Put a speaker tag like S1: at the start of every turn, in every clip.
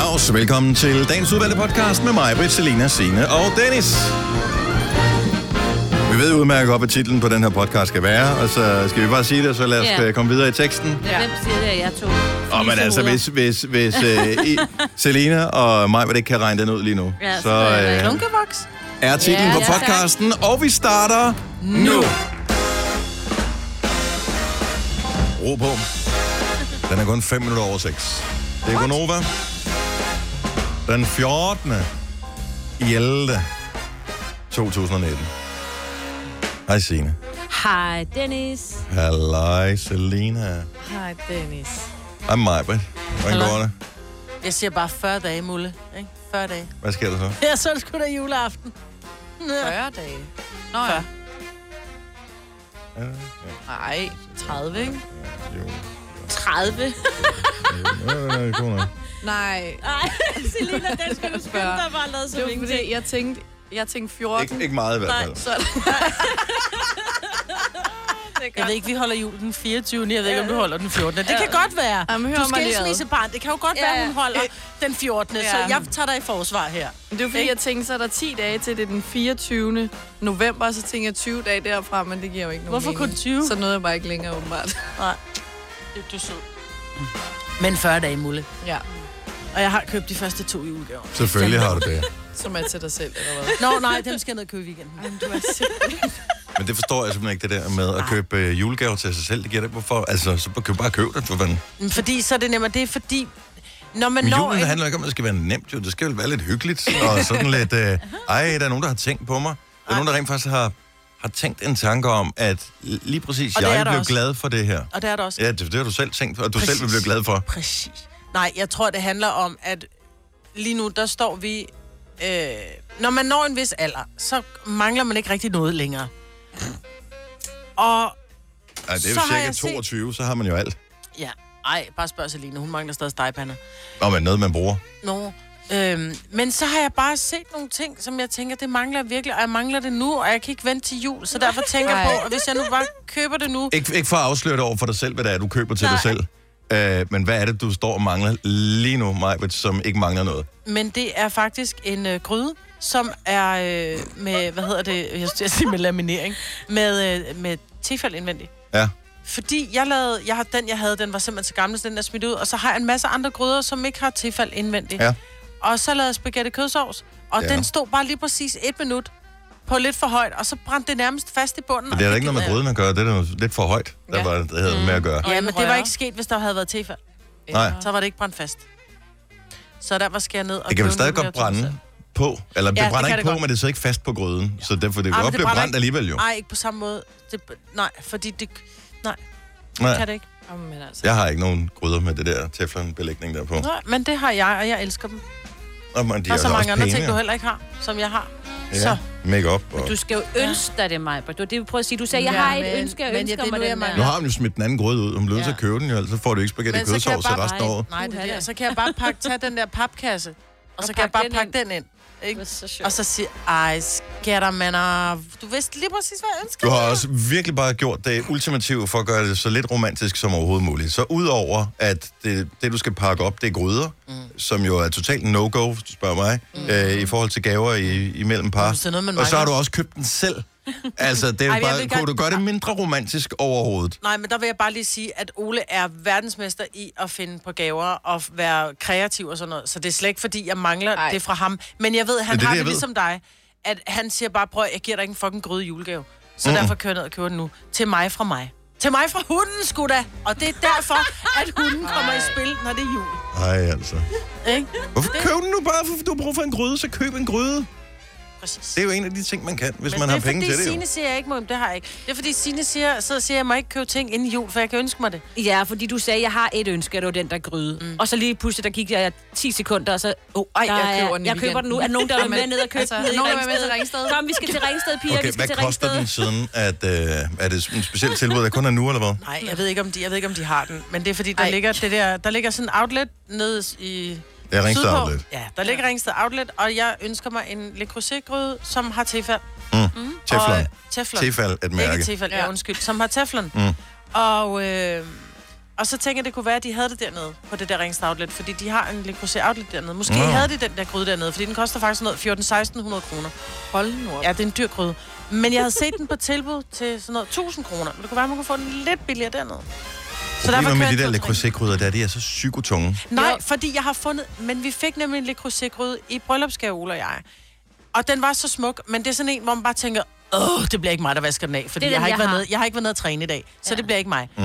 S1: Dags. Velkommen til dagens udvalgte podcast med mig, Britt, Selina, Signe og Dennis. Vi ved udmærket godt, hvad titlen på den her podcast skal være, og så skal vi bare sige det, og så lad os
S2: Ja.
S1: yeah. komme videre i teksten.
S2: Ja. Hvem siger det, at jeg tog
S1: Og men altså, hvis, hvis, hvis uh, I, Selena og mig, hvad det ikke kan regne den ud lige nu,
S2: Ja, så
S1: så
S2: er der ikke
S1: uh,
S3: Lunkevoks.
S1: er titlen
S2: Ja,
S1: på
S2: ja, tak.
S1: podcasten, og vi starter nu. Ro på. Den er kun 5 minutter over 6. Det er Gonova. Den 14. i 11. 2019. Hej Signe.
S2: Hej, Dennis.
S1: Halløj Selena.
S3: Hej, Dennis.
S1: Hej Majbrit. Hvordan
S3: Hallo.
S1: går det?
S3: Jeg siger bare 40 dage, Mulle. Ikke? 40 dage.
S1: Hvad sker der så?
S3: Ja, så er det sgu da juleaften.
S4: 40 dage. Nå ja.
S1: Ja,
S4: Nej,
S3: 30, ikke?
S1: jo.
S2: 30.
S1: Ja, god nok.
S4: nej.
S2: Nej, Selina, den skal du skynde
S4: Spørg.
S2: dig bare lavet
S4: Det
S2: som
S4: var
S2: ingenting.
S4: fordi, jeg tænkte, jeg tænkte 14.
S1: Ikke, ikke meget i hvert
S4: nej,
S1: fald.
S4: så det
S3: Jeg
S4: gør.
S3: ved ikke, vi holder jul den 24. Jeg ved ikke, om du holder den 14. Det kan godt være.
S4: Jamen, hør
S3: du
S4: mig
S3: skal
S4: lige ad.
S3: skilsmisse barn. Det kan jo godt
S4: Ja,
S3: være,
S4: ja.
S3: hun
S1: Øh.
S3: holder den 14. Så
S4: Ja.
S3: jeg tager dig i forsvar her.
S4: Det var fordi, jeg tænkte, så er der 10 dage til det er den 24. november, og så tænker jeg 20 dage derfra, men det giver jo ikke nogen
S3: Hvorfor kun
S4: mening.
S3: 20?
S4: Så nåede jeg bare ikke længere, åbenbart.
S3: Du, du er sød. Men 40 dage, Mulle.
S4: Ja,
S3: Og jeg har købt de første to julegaver.
S1: Selvfølgelig har du det.
S4: som er til dig selv, eller hvad?
S3: Nå, nej, dem skal jeg ned og købe i weekenden.
S1: Men det forstår jeg simpelthen ikke, det der med at købe øh, julegaver til sig selv. Det giver det hvorfor. Altså, så kan du bare købe det for fanden.
S3: Men Fordi så er det nemmere. Det er fordi... Når man
S1: Men
S3: når
S1: julen
S3: en-
S1: handler ikke om, at det skal være nemt, jo. Det skal jo være lidt hyggeligt, og sådan lidt... Øh, ej, der er nogen, der har tænkt på mig. Der er nogen, der rent faktisk har, har tænkt en tanke om, at lige præcis
S3: Og det er
S1: jeg
S3: der
S1: blev
S3: også.
S1: glad for det her.
S3: Og det er der også.
S1: Ja, det, det har du selv tænkt, og du
S3: Præcis.
S1: selv vil blive glad for.
S3: Præcis. Nej, jeg tror, det handler om, at lige nu, der står vi... Øh, når man når en vis alder, så mangler man ikke rigtig noget længere. Og...
S1: Ej, det er
S3: Så
S1: jo
S3: har
S1: cirka
S3: jeg set-
S1: 22, så har man jo alt.
S3: Ja, ej, bare spørg Selina. Hun mangler stadig stegepander.
S1: Nå, men noget, man bruger.
S3: Nå. Øhm, men så har jeg bare set nogle ting, som jeg tænker, det mangler jeg virkelig, og jeg mangler det nu, og jeg kan ikke vente til jul, så derfor tænker jeg
S4: Nej.
S3: på, at hvis jeg nu bare køber det nu...
S1: Ikke, ikke for at afsløre det over for dig selv, hvad det er, du køber til dig selv. Øh, men hvad er det, du står og mangler lige nu, Majbet, som ikke mangler noget?
S3: Men det er faktisk en øh, gryde, som er øh, med, hvad hedder det, jeg skulle sige med laminering, med, øh, med tefald indvendigt.
S1: Ja.
S3: Fordi jeg lavede, jeg har, den jeg havde, den var simpelthen så gammel, så den er smidt ud, og så har jeg en masse andre gryder, som ikke har tilfald indvendigt.
S1: Ja.
S3: Og så lavede jeg spaghetti kødsovs, og
S1: Ja.
S3: ja. den stod bare lige præcis et minut på lidt for højt, og så brændte det nærmest fast i bunden.
S1: Men det er
S3: og
S1: da ikke noget med
S3: gider
S1: gryden at gøre, det er da noget- lidt for højt, der
S3: Ja.
S1: var det havde med at gøre.
S3: jeg. Ja, men det var
S4: Røre.
S3: ikke sket, hvis der havde været tilfald.
S1: Nej,
S3: Så var det ikke brændt fast. Så der var skæret ned. Og
S1: det kan vel
S3: købe
S1: stadig
S3: en ny mere
S1: godt brænde
S3: tomat.
S1: på, eller det
S3: Ja, det
S1: brænder
S3: kan
S1: ikke
S3: det
S1: på,
S3: godt.
S1: men det sidder ikke fast på gryden, så derfor det kan
S3: Ej, men
S1: godt
S3: det
S1: blive
S3: brænder
S1: brændt
S3: ikke-
S1: alligevel jo.
S3: Nej, ikke på samme måde. Det, nej, fordi det... Nej, ja. kan
S1: Nej,
S3: det ikke.
S4: Oh, men altså.
S1: jeg har ikke nogen gryder med det der teflonbelægning der på.
S3: Nej, men det har jeg, og jeg elsker dem. De
S1: Og man, de
S3: og
S1: er altså
S3: så
S1: også
S3: mange andre
S1: pæne,
S3: ting, du
S1: jo.
S3: heller ikke har, som jeg har.
S1: Ja,
S3: Så.
S1: Make up. Og...
S2: Du skal jo ønske dig det, Maja. Det var det, vi prøver at sige. Du sagde, jeg
S4: Ja,
S2: har et
S4: men-
S2: ønske, jeg
S4: men ja,
S2: ønsker
S4: det er
S2: mig
S4: nu, jeg
S2: den
S4: mangler.
S1: Nu
S2: der.
S1: har man jo smidt den anden gryde ud. Om du er nødt til at købe den, jo, ellers så får du ikke spaghetti
S3: Men så kan jeg
S1: kødsovs
S3: bare-
S1: resten af året.
S3: Nej, det er
S2: Uha,
S3: det.
S2: da.
S3: Og så kan jeg bare pakke, tage den der papkasse, og, så kan
S2: pakke
S3: jeg bare
S2: den
S3: pakke
S2: ind.
S3: den ind. Ikke?
S2: Så sjovt.
S3: Og så siger ej, skatter, man Du vidste lige præcis, hvad jeg
S1: Du
S3: ønskede.
S1: har også virkelig bare gjort det ultimative for at gøre det så lidt romantisk som overhovedet muligt. Så udover, at det, det du skal pakke op, det er gryder, mm. som jo er totalt no-go, hvis du spørger mig, mm. øh, i forhold til gaver i, imellem par.
S3: Hvis det er noget, man
S1: og så har du
S3: mangler.
S1: også købt den selv. Altså, det er jo
S3: Ej, men jeg
S1: bare,
S3: vil
S1: kunne
S3: gerne-
S1: du gøre det mindre romantisk overhovedet?
S3: Nej, men der vil jeg bare lige sige, at Ole er verdensmester i at finde på gaver og f- være kreativ og sådan noget. Så det er slet ikke, fordi jeg mangler Ej.
S4: Ej.
S3: det fra ham. Men jeg ved, han
S1: det er det,
S3: har det,
S1: jeg ved.
S3: ligesom dig. At han siger bare, prøv at- jeg giver dig ikke en fucking gryde julegave. Så mm. derfor kører jeg ned og køber den nu. Til mig fra mig. Til mig fra hunden, sgu da. Og det er derfor, at hunden kommer i spil, når det er jul.
S1: Nej, altså.
S3: Ikke?
S1: Hvorfor køb den nu bare, for du har brug for en gryde, så køb en gryde.
S3: Præcis.
S1: Det er jo en af de ting, man kan, hvis
S3: Men
S1: man
S3: det
S1: har
S3: er
S1: penge
S3: fordi
S1: til det. Jo.
S3: Signe siger, jeg ikke må, Jamen, det har jeg ikke. Det er fordi Signe siger, så siger jeg, jeg må ikke købe ting inden jul, for jeg kan ønske mig det.
S2: Ja, fordi du sagde, jeg har et ønske, og det var den der gryde. Mm. Og så lige pludselig, der gik jeg 10 sekunder, og så... Oh, ej,
S4: jeg
S2: der er-
S4: køber den i
S2: jeg køber den nu. Er der nogen, der er med ned og købe
S4: Altså,
S2: den ned i
S4: nogen, der vil med til
S2: Ringsted?
S4: Ringsted?
S2: Kom, vi skal til Ringsted, piger. vi
S1: Okay,
S2: skal
S1: hvad
S2: til
S1: koster
S2: Ringsted.
S1: den siden? At, øh, er det en speciel tilbud, der kun er nu, eller hvad?
S3: Nej, jeg ved ikke, om de, jeg ved ikke, om de har den. Men det er fordi, der,
S4: Ej.
S3: ligger, det der, der ligger sådan en outlet nede i...
S1: Det er Ringsted
S3: Sydpå.
S1: Outlet.
S3: Ja, der ligger Ringsted Outlet, og jeg ønsker mig en Le Creuset-gryde, som har tefal.
S1: Mm.
S3: Mm.
S1: Teflon.
S3: Og, teflon.
S1: Tefal, et mærke.
S3: Ikke tefal, ja.
S4: Ja.
S1: Mm.
S3: undskyld. Som har teflon. Mm. Og, øh, Og så tænker jeg, det kunne være, at de havde det dernede på det der Ringsted Outlet, fordi de har en Le Creuset Outlet dernede. Måske
S1: Nå.
S3: havde de den der gryde dernede, fordi den koster faktisk noget 14-1600 kroner.
S4: Hold nu op.
S3: Ja, det er en dyr gryde. Men jeg havde set den på tilbud til sådan noget 1000 kroner. Men det kunne være, at man kunne få den lidt billigere dernede. Så
S1: Problemet med de der
S3: kører jeg en
S1: Le
S3: tur til
S1: Creuset-krydder, der, de er så psykotunge.
S3: Ringsted. Nej, fordi jeg har fundet... Men vi fik nemlig en Le Creuset-gryde i bryllupsgave, Ole og jeg. Og den var så smuk, men det er sådan en, hvor man bare tænker, åh, det bliver ikke mig, der vasker den af, fordi
S2: Det er den,
S3: den, jeg, har ikke
S2: jeg
S3: været
S2: har.
S3: Nede, jeg har ikke været nede at træne i dag, så
S2: Ja.
S3: det bliver ikke mig.
S1: Mm.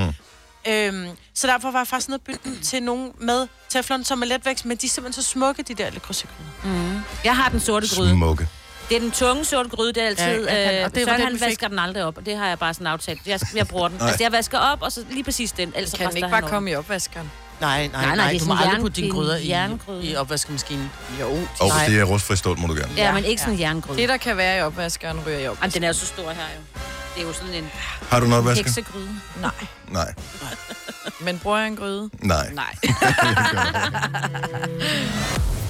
S3: Øhm, så derfor var jeg faktisk nede og bytte den til nogen med teflon, som er letvækst, men de er simpelthen så smukke, de der Le Creuset-gryder.
S2: Jeg har den sorte gryde.
S1: Smukke.
S2: Det er den tunge sorte gryde, det er altid...
S3: Ja, jeg kan-
S2: Ja, øh,
S3: og
S2: og
S3: det
S2: det
S3: var
S2: Søren,
S3: den,
S2: han
S3: vi fik.
S2: vasker den aldrig op, og det har jeg bare sådan aftalt. Jeg, jeg bruger den. altså, jeg vasker op, og så lige præcis den, ellers
S4: Kan den
S2: resten
S4: ikke
S2: er
S4: bare
S2: henover.
S4: komme i opvaskeren?
S3: Nej, nej, nej,
S2: nej,
S3: nej
S2: det er
S3: du må
S2: sådan
S3: aldrig
S2: jern-
S3: putte dine
S2: en
S3: gryder i,
S2: jerngryde.
S3: i opvaskemaskinen.
S4: Jo.
S1: Og
S3: Nej.
S1: det er rustfri stål, må du gerne.
S2: Ja, men ikke sådan en jerngryde.
S4: Det, der kan være i opvaskeren, ryger i
S2: Jamen,
S4: opvaskeren.
S2: den er jo så stor her jo. Det er jo sådan en
S1: Har du en opvasker?
S2: heksegryde.
S4: Nej.
S1: Nej.
S4: Men bruger jeg en gryde?
S1: Nej.
S2: Nej.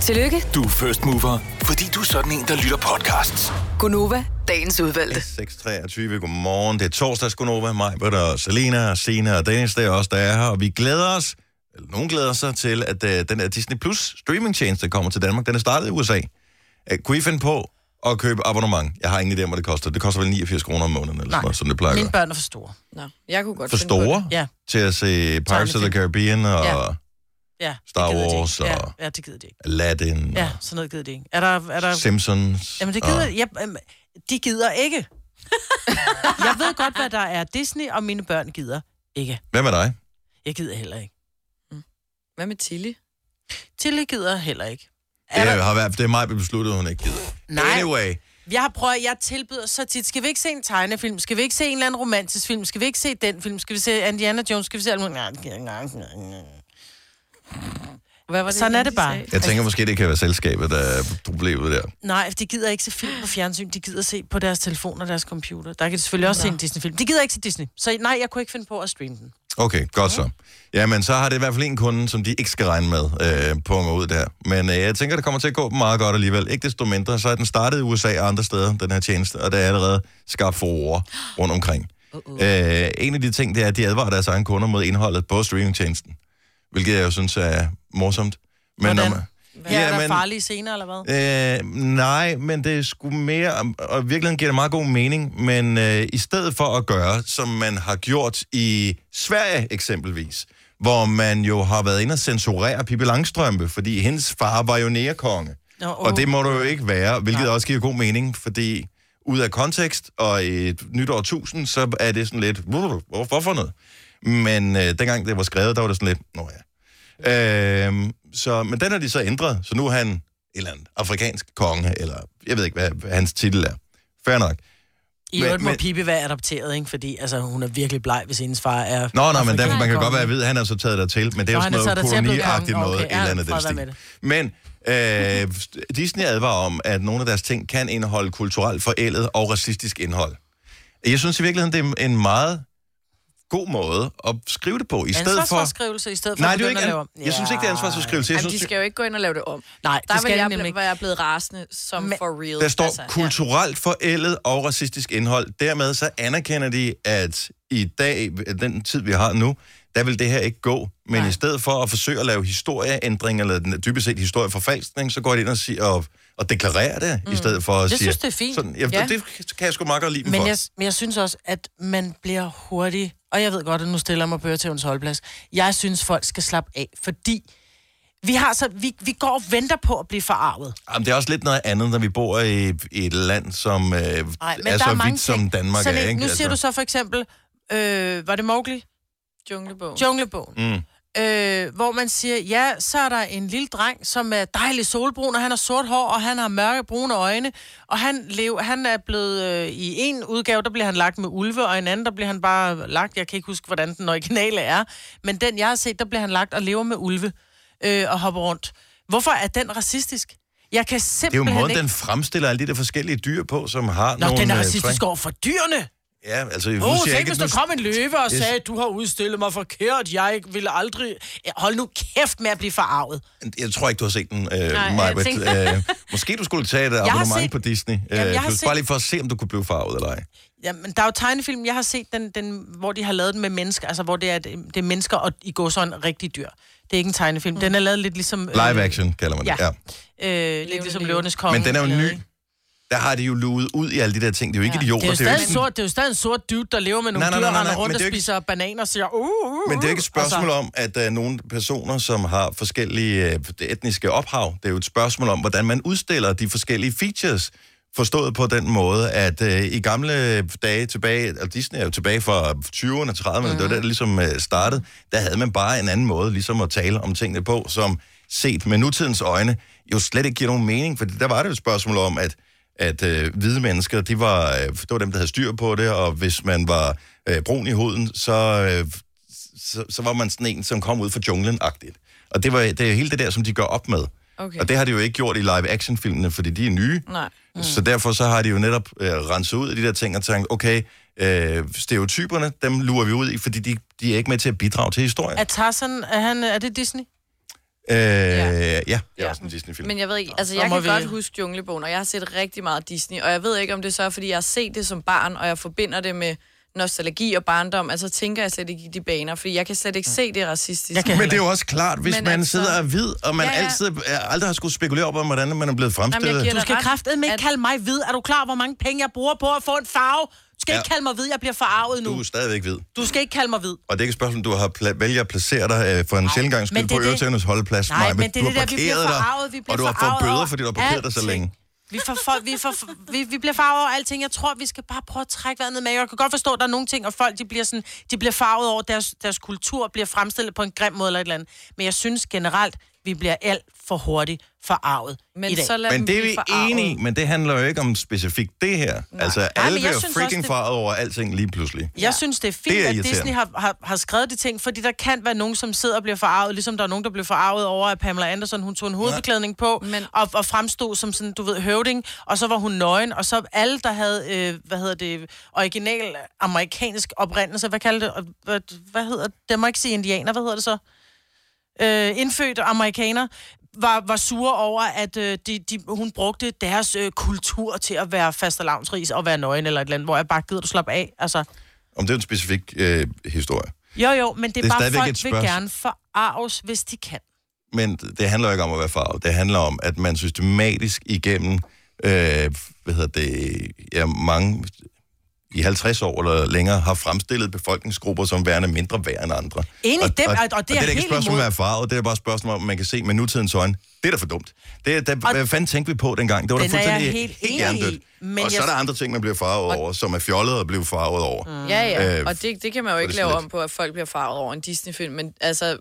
S5: Tillykke,
S6: Du er first mover, fordi du er sådan en, der lytter podcasts.
S5: Gunova, dagens udvalgte.
S1: 6.23, godmorgen. Det er torsdags, Gunova, mig, Britt og Selena, og Sina og Dennis, det er os, der er her. Og vi glæder os, eller nogen glæder sig til, at øh, den her Disney Plus streamingtjeneste der kommer til Danmark. Den er startet i USA. Øh, kunne I finde på at købe abonnement? Jeg har ingen idé om, hvad det koster. Det koster vel 89 kroner om måneden, eller sådan noget, som det plejer at
S3: Mine
S1: gøre.
S3: børn er for store.
S4: Nå, jeg kunne godt
S1: For
S4: finde på det.
S1: store
S3: Ja,
S1: til at se Pirates of the
S3: Tegnefilm.
S1: Caribbean og
S3: Ja. ja. det
S1: Star
S3: gider de ikke.
S1: Wars og-
S3: Ja, ja, det gider de ikke.
S1: Aladdin
S3: Ja, sådan noget gider de ikke. Er der... Er
S1: og
S3: der
S1: Simpsons.
S3: jamen, det gider... Ja, øhm, de gider ikke. jeg ved godt, hvad der er Disney, og mine børn gider ikke.
S1: Hvem er dig?
S3: Jeg gider heller ikke.
S4: Mm. Hvad med Tilly?
S3: Tilly gider heller ikke. Er
S1: Det,
S3: der...
S1: har været, det er mig, der besluttede, hun ikke gider.
S3: Nej.
S1: Anyway,
S3: Jeg har prøvet, jeg tilbyder så tit. Skal vi ikke se en tegnefilm? Skal vi ikke se en eller anden romantisk film? Skal vi ikke se den film? Skal vi se Indiana Jones? Skal vi se alt muligt? Nej, det gider jeg ikke. Nej, nej, nej.
S4: Hvad var det,
S3: Sådan er
S4: igen,
S3: det
S4: de
S3: bare.
S4: sagde?
S1: jeg tænker måske, det kan være selskabet, der er problemet der.
S3: Nej, de gider ikke se film på fjernsyn. De gider se på deres telefon og deres computer. Der kan de selvfølgelig også se en Disney-film. De gider ikke se Disney. Så nej, jeg kunne ikke finde på at streame den.
S1: Okay, godt så. Jamen, så har det i hvert fald en kunde, som de ikke skal regne med øh, på mig ud der. Men øh, jeg tænker, det kommer til at gå meget godt alligevel. Ikke desto mindre, så er den startet i USA og andre steder, den her tjeneste, og der er allerede skabt forord rundt omkring. Uh-uh. Øh, en af de ting, det er, at de advarer deres egne kunder mod indholdet på streamingtjenesten, hvilket jeg jo synes er morsomt. Men
S3: Hvordan?
S1: man-
S3: Ja, er der
S1: Jamen,
S3: farlige scener, eller hvad?
S1: Øh, nej, men det er sgu mere, og i virkeligheden giver det meget god mening, men øh, i stedet for at gøre, som man har gjort i Sverige eksempelvis, hvor man jo har været inde og censurere Pippi Langstrømpe, fordi hendes far var jo nærekonge.
S3: Nå,
S1: Oh. Og det må du jo ikke være, hvilket også giver god mening, fordi ud af kontekst og i et nyt årtusind, så er det sådan lidt, "Hvor- hvor- hvorfor noget? Men øh, dengang det var skrevet, der var det sådan lidt, nå ja. Øhm, så, men den har de så ændret, så nu er han et eller andet afrikansk konge, eller jeg ved ikke, hvad, hvad hans titel er. Fair nok.
S3: I øvrigt må
S1: men-
S3: Pippi være adopteret, ikke? Fordi altså, hun er virkelig bleg, hvis hendes far er...
S1: Nå, nej, men derfor,
S3: afrikaner.
S1: man kan godt være ved, at han er så taget der til, men det er jo
S3: Nå,
S1: sådan
S3: han
S1: noget
S3: er taget dertil og blevet
S1: koloniagtigt
S3: konge.
S1: noget, okay,
S3: Okay,
S1: et
S3: ja,
S1: eller andet
S3: fred være med
S1: den stil. Men øh, Disney advarer om, at nogle af deres ting kan indeholde kulturelt forældet og racistisk indhold. Jeg synes i virkeligheden, det er en meget god måde at skrive det på. I stedet for...
S3: Ansvarsforskrivelse i stedet for...
S1: Nej,
S3: at
S1: det er jo
S3: begynde
S1: ikke...
S3: at lave om.
S1: an- Jeg synes ikke, det er ansvarsforskrivelse. Jeg
S4: Jamen, de
S1: synes,
S4: skal jo ikke gå ind og lave det om.
S3: Nej,
S4: Der
S3: det
S4: var jeg,
S3: skal de nemlig
S4: ble-
S3: ikke.
S4: var jeg blevet rasende, som
S3: Men-
S4: for real.
S1: der står
S4: Altså, ja.
S1: kulturelt forældet og racistisk indhold. Dermed så anerkender de, at i dag, den tid vi har nu, der vil det her ikke gå. Men Nej. i stedet for at forsøge at lave historieændringer, eller den- dybest set historieforfalskning, så går de ind og, siger, og, og deklarerer det, mm. i stedet for at
S3: Jeg
S1: sige...
S3: synes, det er fint.
S1: Sådan, ja, ja.
S4: Ja.
S1: Det kan jeg sgu meget godt lide dem
S3: Men
S1: for.
S3: jeg, men jeg synes også, at man bliver hurtig, og jeg ved godt, at nu stiller jeg mig på Øretævens holdplads. Jeg synes, folk skal slappe af, fordi vi, har så, vi, vi går og venter på at blive forarvet.
S1: Jamen, det er også lidt noget andet, når vi bor i, i et land, som øh,
S3: Ej,
S1: er så vidt, som
S3: ting.
S1: Danmark
S3: så
S1: er.
S3: det-
S1: Ikke? Altså,
S3: Nu siger du så for eksempel, øh, var det Mowgli?
S4: Junglebogen.
S3: Junglebogen.
S1: Mm.
S3: Øh, hvor man siger, ja, så er der en lille dreng, som er dejlig solbrun, og han har sort hår, og han har mørke brune øjne, og han, lev, han er blevet, øh, i en udgave, der bliver han lagt med ulve, og i en anden, der bliver han bare lagt, jeg kan ikke huske, hvordan den originale er, men den, jeg har set, der bliver han lagt og lever med ulve, øh, og hopper rundt. Hvorfor er den racistisk? Jeg kan
S1: Det er jo
S3: simpelthen
S1: måden,
S3: ikke...
S1: den fremstiller alle de der forskellige dyr på, som har
S3: Nå,
S1: nogle...
S3: den er
S1: øh,
S3: racistisk
S1: træk.
S3: over for dyrene!
S1: Ja, altså... nu
S3: Åh,
S1: siger jeg
S3: tænk,
S1: ikke,
S3: hvis
S1: at
S3: der kom en løve og
S1: Yes.
S3: sagde, du har udstillet mig forkert, jeg ville aldrig... Ja, Hold nu kæft med at blive forarvet.
S1: Jeg tror ikke, du har set den, øh,
S2: jeg
S1: Maja.
S2: tænkte-
S1: Øh, måske du skulle tage et abonnement
S3: set-
S1: på Disney. Øh,
S3: Jamen, jeg har
S1: plus-
S3: set-
S1: Bare lige for at se, om du kunne blive farvet eller ej.
S3: Jamen, der er jo tegnefilm, jeg har set, den, den, hvor de har lavet den med mennesker, altså hvor det er, det er mennesker og i går sådan rigtig dyr. Det er ikke en tegnefilm. Den er lavet lidt ligesom...
S1: Live action kalder man det, ja.
S3: ja. Øh, lidt ligesom
S4: liv.
S3: Løvernes Konge.
S1: Men den er jo
S3: eller-
S1: ny. Der har de jo luet ud i alle de der ting. Det er jo ikke ja.
S3: Det
S1: idioter.
S3: er, jo
S1: jo
S3: stadig
S1: ikke
S3: en
S1: sådan-
S3: sort, det er jo stadig en sort dude, der lever med nogle
S1: Nej, nej,
S3: dyr,
S1: nej,
S3: og
S1: nej,
S3: render
S1: nej, men
S3: rundt og
S1: det er jo ikke-
S3: spiser bananer og siger... Uh, uh, uh.
S1: Men det er jo ikke et spørgsmål om, at der er nogle personer, som har forskellige øh, etniske ophav. Det er jo et spørgsmål om, hvordan man udstiller de forskellige features. Forstået på den måde, at øh, i gamle dage tilbage, og Disney er jo tilbage fra 20'erne og 30'erne, mm. det var der, det ligesom øh, startede, der havde man bare en anden måde ligesom at tale om tingene på, som set med nutidens øjne jo slet ikke giver nogen mening, for der var det jo et spørgsmål om, at at øh, hvide mennesker, de var, øh, det var dem, der havde styr på det, og hvis man var øh, brun i huden, så øh, så, så var man sådan en, som kom ud fra junglen-agtigt. Og det, var, det er hele det der, som de gør op med.
S4: Okay.
S1: Og det har de jo ikke gjort i live-action-filmene, fordi de er nye.
S4: Nej.
S1: Mm. Så derfor så har de jo netop øh, renset ud af de der ting og tænkt, okay, øh, stereotyperne, dem lurer vi ud i, fordi de, de er ikke med til at bidrage til historien.
S3: Er Tarzan, er, han, er det Disney?
S1: Øh, ja.
S4: Ja.
S1: ja, det er også en Disney-film.
S4: Men jeg ved ikke, altså
S3: så
S4: jeg
S3: må
S4: kan
S3: vi-
S4: vi... godt huske Junglebogen, og jeg har set rigtig meget Disney, og jeg ved ikke, om det så er, fordi jeg har set det som barn, og jeg forbinder det med nostalgi og barndom, altså tænker jeg slet ikke i de baner, fordi jeg kan slet ikke se det racistisk. Jeg
S1: Men det er jo også klart, hvis
S4: Men
S1: man
S4: altså-
S1: sidder og er hvid, og man ja,
S4: Ja,
S1: ja.
S4: ja.
S1: altid øh, aldrig har skulle spekulere op om, hvordan man er blevet fremstillet.
S4: Jamen, jeg giver
S3: Du
S4: dig
S3: skal
S4: ret,
S3: kraftedeme ikke
S4: at-
S3: kalde mig hvid. Er du klar, hvor mange penge jeg bruger på at få en farve? Du skal
S1: Ja.
S3: ikke kalde mig hvid, jeg bliver farvet
S1: du
S3: nu.
S1: er stadigvæk hvid.
S3: Du skal ikke kalde mig hvid.
S1: Og det er ikke et spørgsmål, om du har pla- vælger at placere dig øh, for en sjældent gang skyld
S3: men det
S1: på
S3: er det-
S1: øretævnernes holdeplads.
S3: Nej,
S1: Maja,
S3: men det er
S1: du
S3: det
S1: har
S3: der, vi bliver
S1: parkeret dig,
S3: forarget, vi bliver
S1: Og du har fået
S3: forarget
S1: bøder,
S3: over
S1: fordi du har parkeret dig så
S3: alting.
S1: længe.
S3: Vi, får for, vi, får for, vi, vi bliver farvet over alting. Jeg tror, vi skal bare prøve at trække vejret ned med. Jeg kan godt forstå, at der er nogle ting, og folk de bliver, sådan, de bliver farvet over, deres, deres kultur bliver fremstillet på en grim måde eller et eller andet. Men jeg synes generelt, vi bliver alt for hurtigt forarvet
S4: Men
S3: i dag.
S4: så lad dem
S1: Men det er
S4: blive
S1: vi
S4: forarvet.
S1: enige i, men det handler jo ikke om specifikt det her. Nej. Altså, alle
S3: men jeg
S1: bliver
S3: synes
S1: freaking
S3: også, det-
S1: farvet over alting lige pludselig.
S3: Jeg synes, det er fint,
S1: Det
S3: det
S1: er
S3: er at
S1: irriterende.
S3: Disney har, har, har skrevet de ting, fordi der kan være nogen, som sidder og bliver forarvet, ligesom der er nogen, der blev forarvet over, at Pamela Anderson, hun tog en hovedbeklædning på,
S4: Men-
S3: og, og fremstod som sådan, du ved, høvding, og så var hun nøgen, og så alle, der havde, øh, hvad hedder det, original amerikansk oprindelse, hvad kalder det, Og hvad, hvad hedder det, det må ikke sige indianer, hvad hedder det så? øh, indfødte amerikaner var, var sure over, at øh, de, de, hun brugte deres øh, kultur til at være fastelavnsris og være nøgen eller et eller andet, hvor jeg bare gider du slappe af. Altså,
S1: Om det er en specifik øh, historie.
S3: jo jo, men det
S1: Det er
S3: er, det er bare,
S1: stadigvæk et
S3: folk vil
S1: spørgsmål.
S3: gerne forarves, hvis de kan.
S1: Men det handler jo ikke om at være farvet. Det handler om, at man systematisk igennem øh, hvad hedder det, ja, mange i 50 år eller længere, har fremstillet befolkningsgrupper som værende mindre værd end andre.
S3: Enig,
S1: og,
S3: det- og- og det er
S1: det er
S3: jeg
S1: da ikke et
S3: helt
S1: spørgsmål om
S3: imod.
S1: at være farvet, det er bare et spørgsmål om, at man kan se med nutidens øjne. Det er da for dumt. Det, er- der,
S3: Og-
S1: hvad fanden tænkte vi på dengang? Det var da
S3: Den er jeg
S1: fuldstændig
S3: helt enig i,
S1: hjernedødt.
S3: men
S1: Og så er
S3: jeg-
S1: der andre ting, man bliver farvet over, som er fjollet at blive farvet over.
S4: Mm. Ja, ja,
S1: Øh,
S4: og det, det kan man jo ikke
S1: sådan
S4: lave
S1: lidt-
S4: om på, at folk bliver farvet over en Disney-film, men altså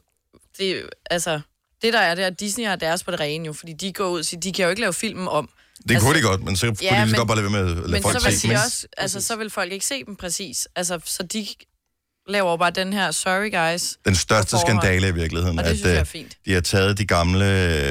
S4: det, altså, det der er, det er, at Disney har deres på det rene jo, fordi de går ud og siger, de kan jo ikke lave filmen om.
S1: Det
S4: altså,
S1: kunne de godt, men så kunne
S4: Ja,
S1: de lige så
S4: men-
S1: godt bare lade være med at lade
S4: Men
S1: folk
S4: så vil,
S1: se.
S4: de også, altså, så vil folk ikke se dem præcis. Altså, så de laver jo bare den her, sorry guys.
S1: Den største
S4: på forhånd.
S1: skandale i virkeligheden,
S4: Og det
S1: at
S4: synes jeg er
S1: øh,
S4: fint.
S1: de har taget de gamle,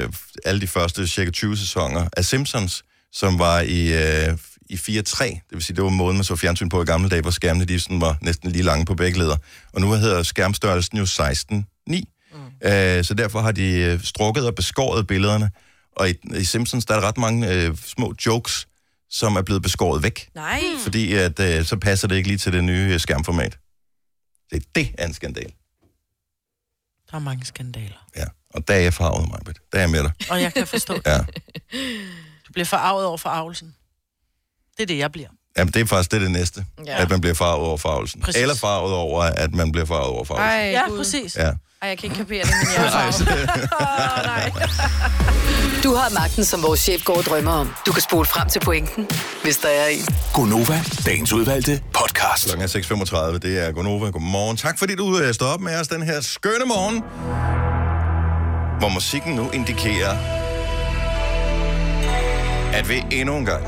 S1: øh, alle de første cirka 20 sæsoner af Simpsons, som var i, øh, i 4-3, det vil sige, det var måden, man så fjernsyn på i gamle dage, hvor skærmene de sådan var næsten lige lange på begge leder. Og nu hedder skærmstørrelsen jo 16-9, mm. øh, så derfor har de øh, strukket og beskåret billederne. Og i, i Simpsons, der er der ret mange øh, små jokes, som er blevet beskåret væk,
S4: Nej,
S1: fordi at, øh, så passer det ikke lige til det nye øh, skærmformat. Det, det er en skandal.
S3: Der er mange skandaler.
S1: Ja, og der er jeg farvet, Majbet. Der er jeg med dig.
S3: Og jeg kan forstå,
S1: Ja.
S3: du bliver forarvet over forarvelsen. Det er det, jeg bliver.
S1: Jamen, det er faktisk det, er det næste. Ja.
S4: Ja.
S1: At man bliver farvet over farvelsen. Præcis.
S3: Præcis.
S1: Eller farvet over, at man bliver farvet over farvelsen.
S4: Ej,
S3: Ja,
S4: Gud.
S3: præcis.
S1: Ja.
S4: Ej, jeg kan ikke kapere det, men jeg er farvet. Åh, nej.
S5: Du har magten, som vores chef går og drømmer om. Du kan spole frem til pointen, hvis der er en.
S6: Gonova, dagens udvalgte podcast.
S1: Klokken er 6.35. Det er Gonova. Godmorgen. Tak fordi du øh, står op med os den her skønne morgen. Hvor musikken nu indikerer, at vi endnu en gang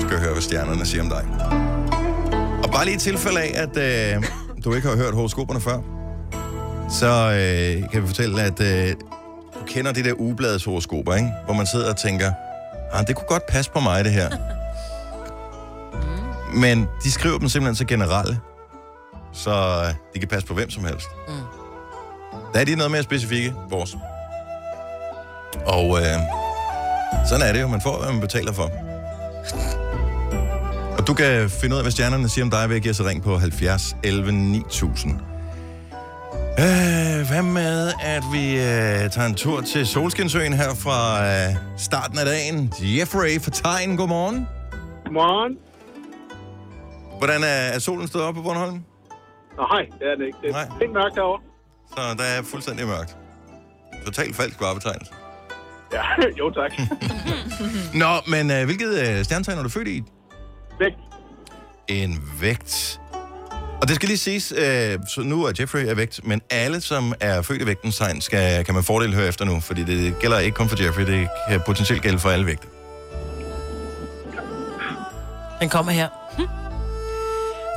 S1: skal høre, hvad stjernerne siger om dig. Og bare lige i tilfælde af, at øh, du ikke har hørt horoskoperne før, så øh, kan vi fortælle, at øh, du kender det der ugebladets horoskoper, ikke? Hvor man sidder og tænker, ah, det kunne godt passe på mig, det her. Men de skriver dem simpelthen så generelle, så øh, de kan passe på hvem som helst. Mm. Der er de noget mere specifikke, vores. Og øh, sådan er det jo. Man får, hvad man betaler for. Og du kan finde ud af, hvad stjernerne siger om dig ved at give os et ring på 70 11 9000. Øh, hvad med, at vi øh, tager en tur til Solskinsøen her fra øh, starten af dagen? Jeffrey fra Tegn, godmorgen.
S7: Godmorgen.
S1: Hvordan er, er solen stået op på Bornholm?
S7: Nej, det er det ikke. Det
S1: Nej.
S7: er helt mørkt derovre.
S1: Så der er fuldstændig mørkt. Totalt falsk varebetegnelse.
S7: Ja, jo tak.
S1: Nå, men øh, hvilket øh, stjernetegn er du født i?
S7: Væk.
S1: En vægt. Og det skal lige siges, øh, så nu er Jeffrey er vægt, men alle, som er født i vægtens tegn, skal, kan man fordel høre efter nu, fordi det gælder ikke kun for Jeffrey, det kan potentielt gælde for alle vægte.
S3: Den kommer her.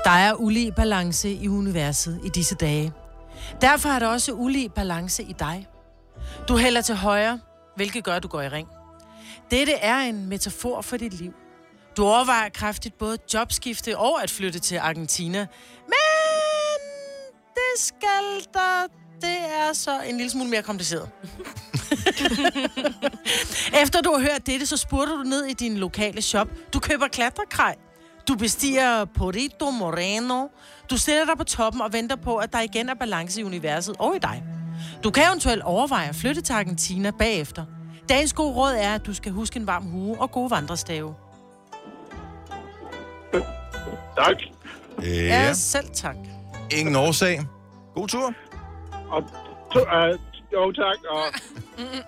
S3: Der er ulig balance i universet i disse dage. Derfor er der også ulig balance i dig. Du hælder til højre, hvilket gør, at du går i ring. Dette er en metafor for dit liv. Du overvejer kraftigt både jobskifte og at flytte til Argentina. Men det skal der... Det er så en lille smule mere kompliceret. Efter du har hørt dette, så spurgte du ned i din lokale shop. Du køber klatrekrej. Du bestiger Porito Moreno. Du sætter dig på toppen og venter på, at der igen er balance i universet og i dig. Du kan eventuelt overveje at flytte til Argentina bagefter. Dagens gode råd er, at du skal huske en varm hue og gode vandrestave.
S7: Tak.
S1: Øh,
S3: Ja,
S1: ja.
S3: ja selv tak.
S1: Ingen årsag. God tur.
S7: Og to, uh, jo tak, og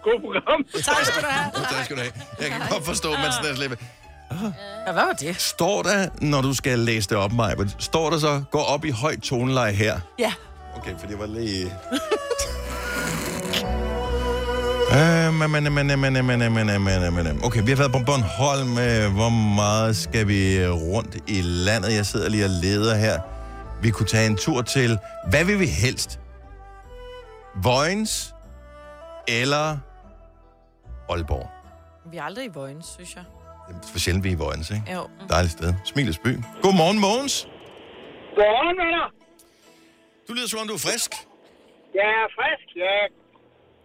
S7: god program.
S3: Tak skal du have.
S1: God dag skal du have. Jeg kan godt forstå, at man sådan er slippe.
S3: Ja, hvad var det?
S1: Står der, når du skal læse det op, Maja, står der så, gå op i højt toneleje her?
S3: Ja.
S1: Okay, for det var lige... Øh, men, men, men, men, men, men, men, men, men, men. Okay, vi har været på Bornholm. Øh, Hvor meget skal vi øh, rundt i landet? Jeg sidder lige og leder her. Vi kunne tage en tur til... Hvad vil vi helst? Vojens eller Aalborg?
S4: Vi er aldrig i Vojens, synes jeg.
S1: Det er sjældent, vi er i Vojens, ikke?
S4: Jo.
S1: Dejligt sted. Smilets by. Godmorgen, Mogens.
S7: Godmorgen, venner.
S1: Du lyder som om, du er frisk.
S7: Jeg er frisk. Jeg,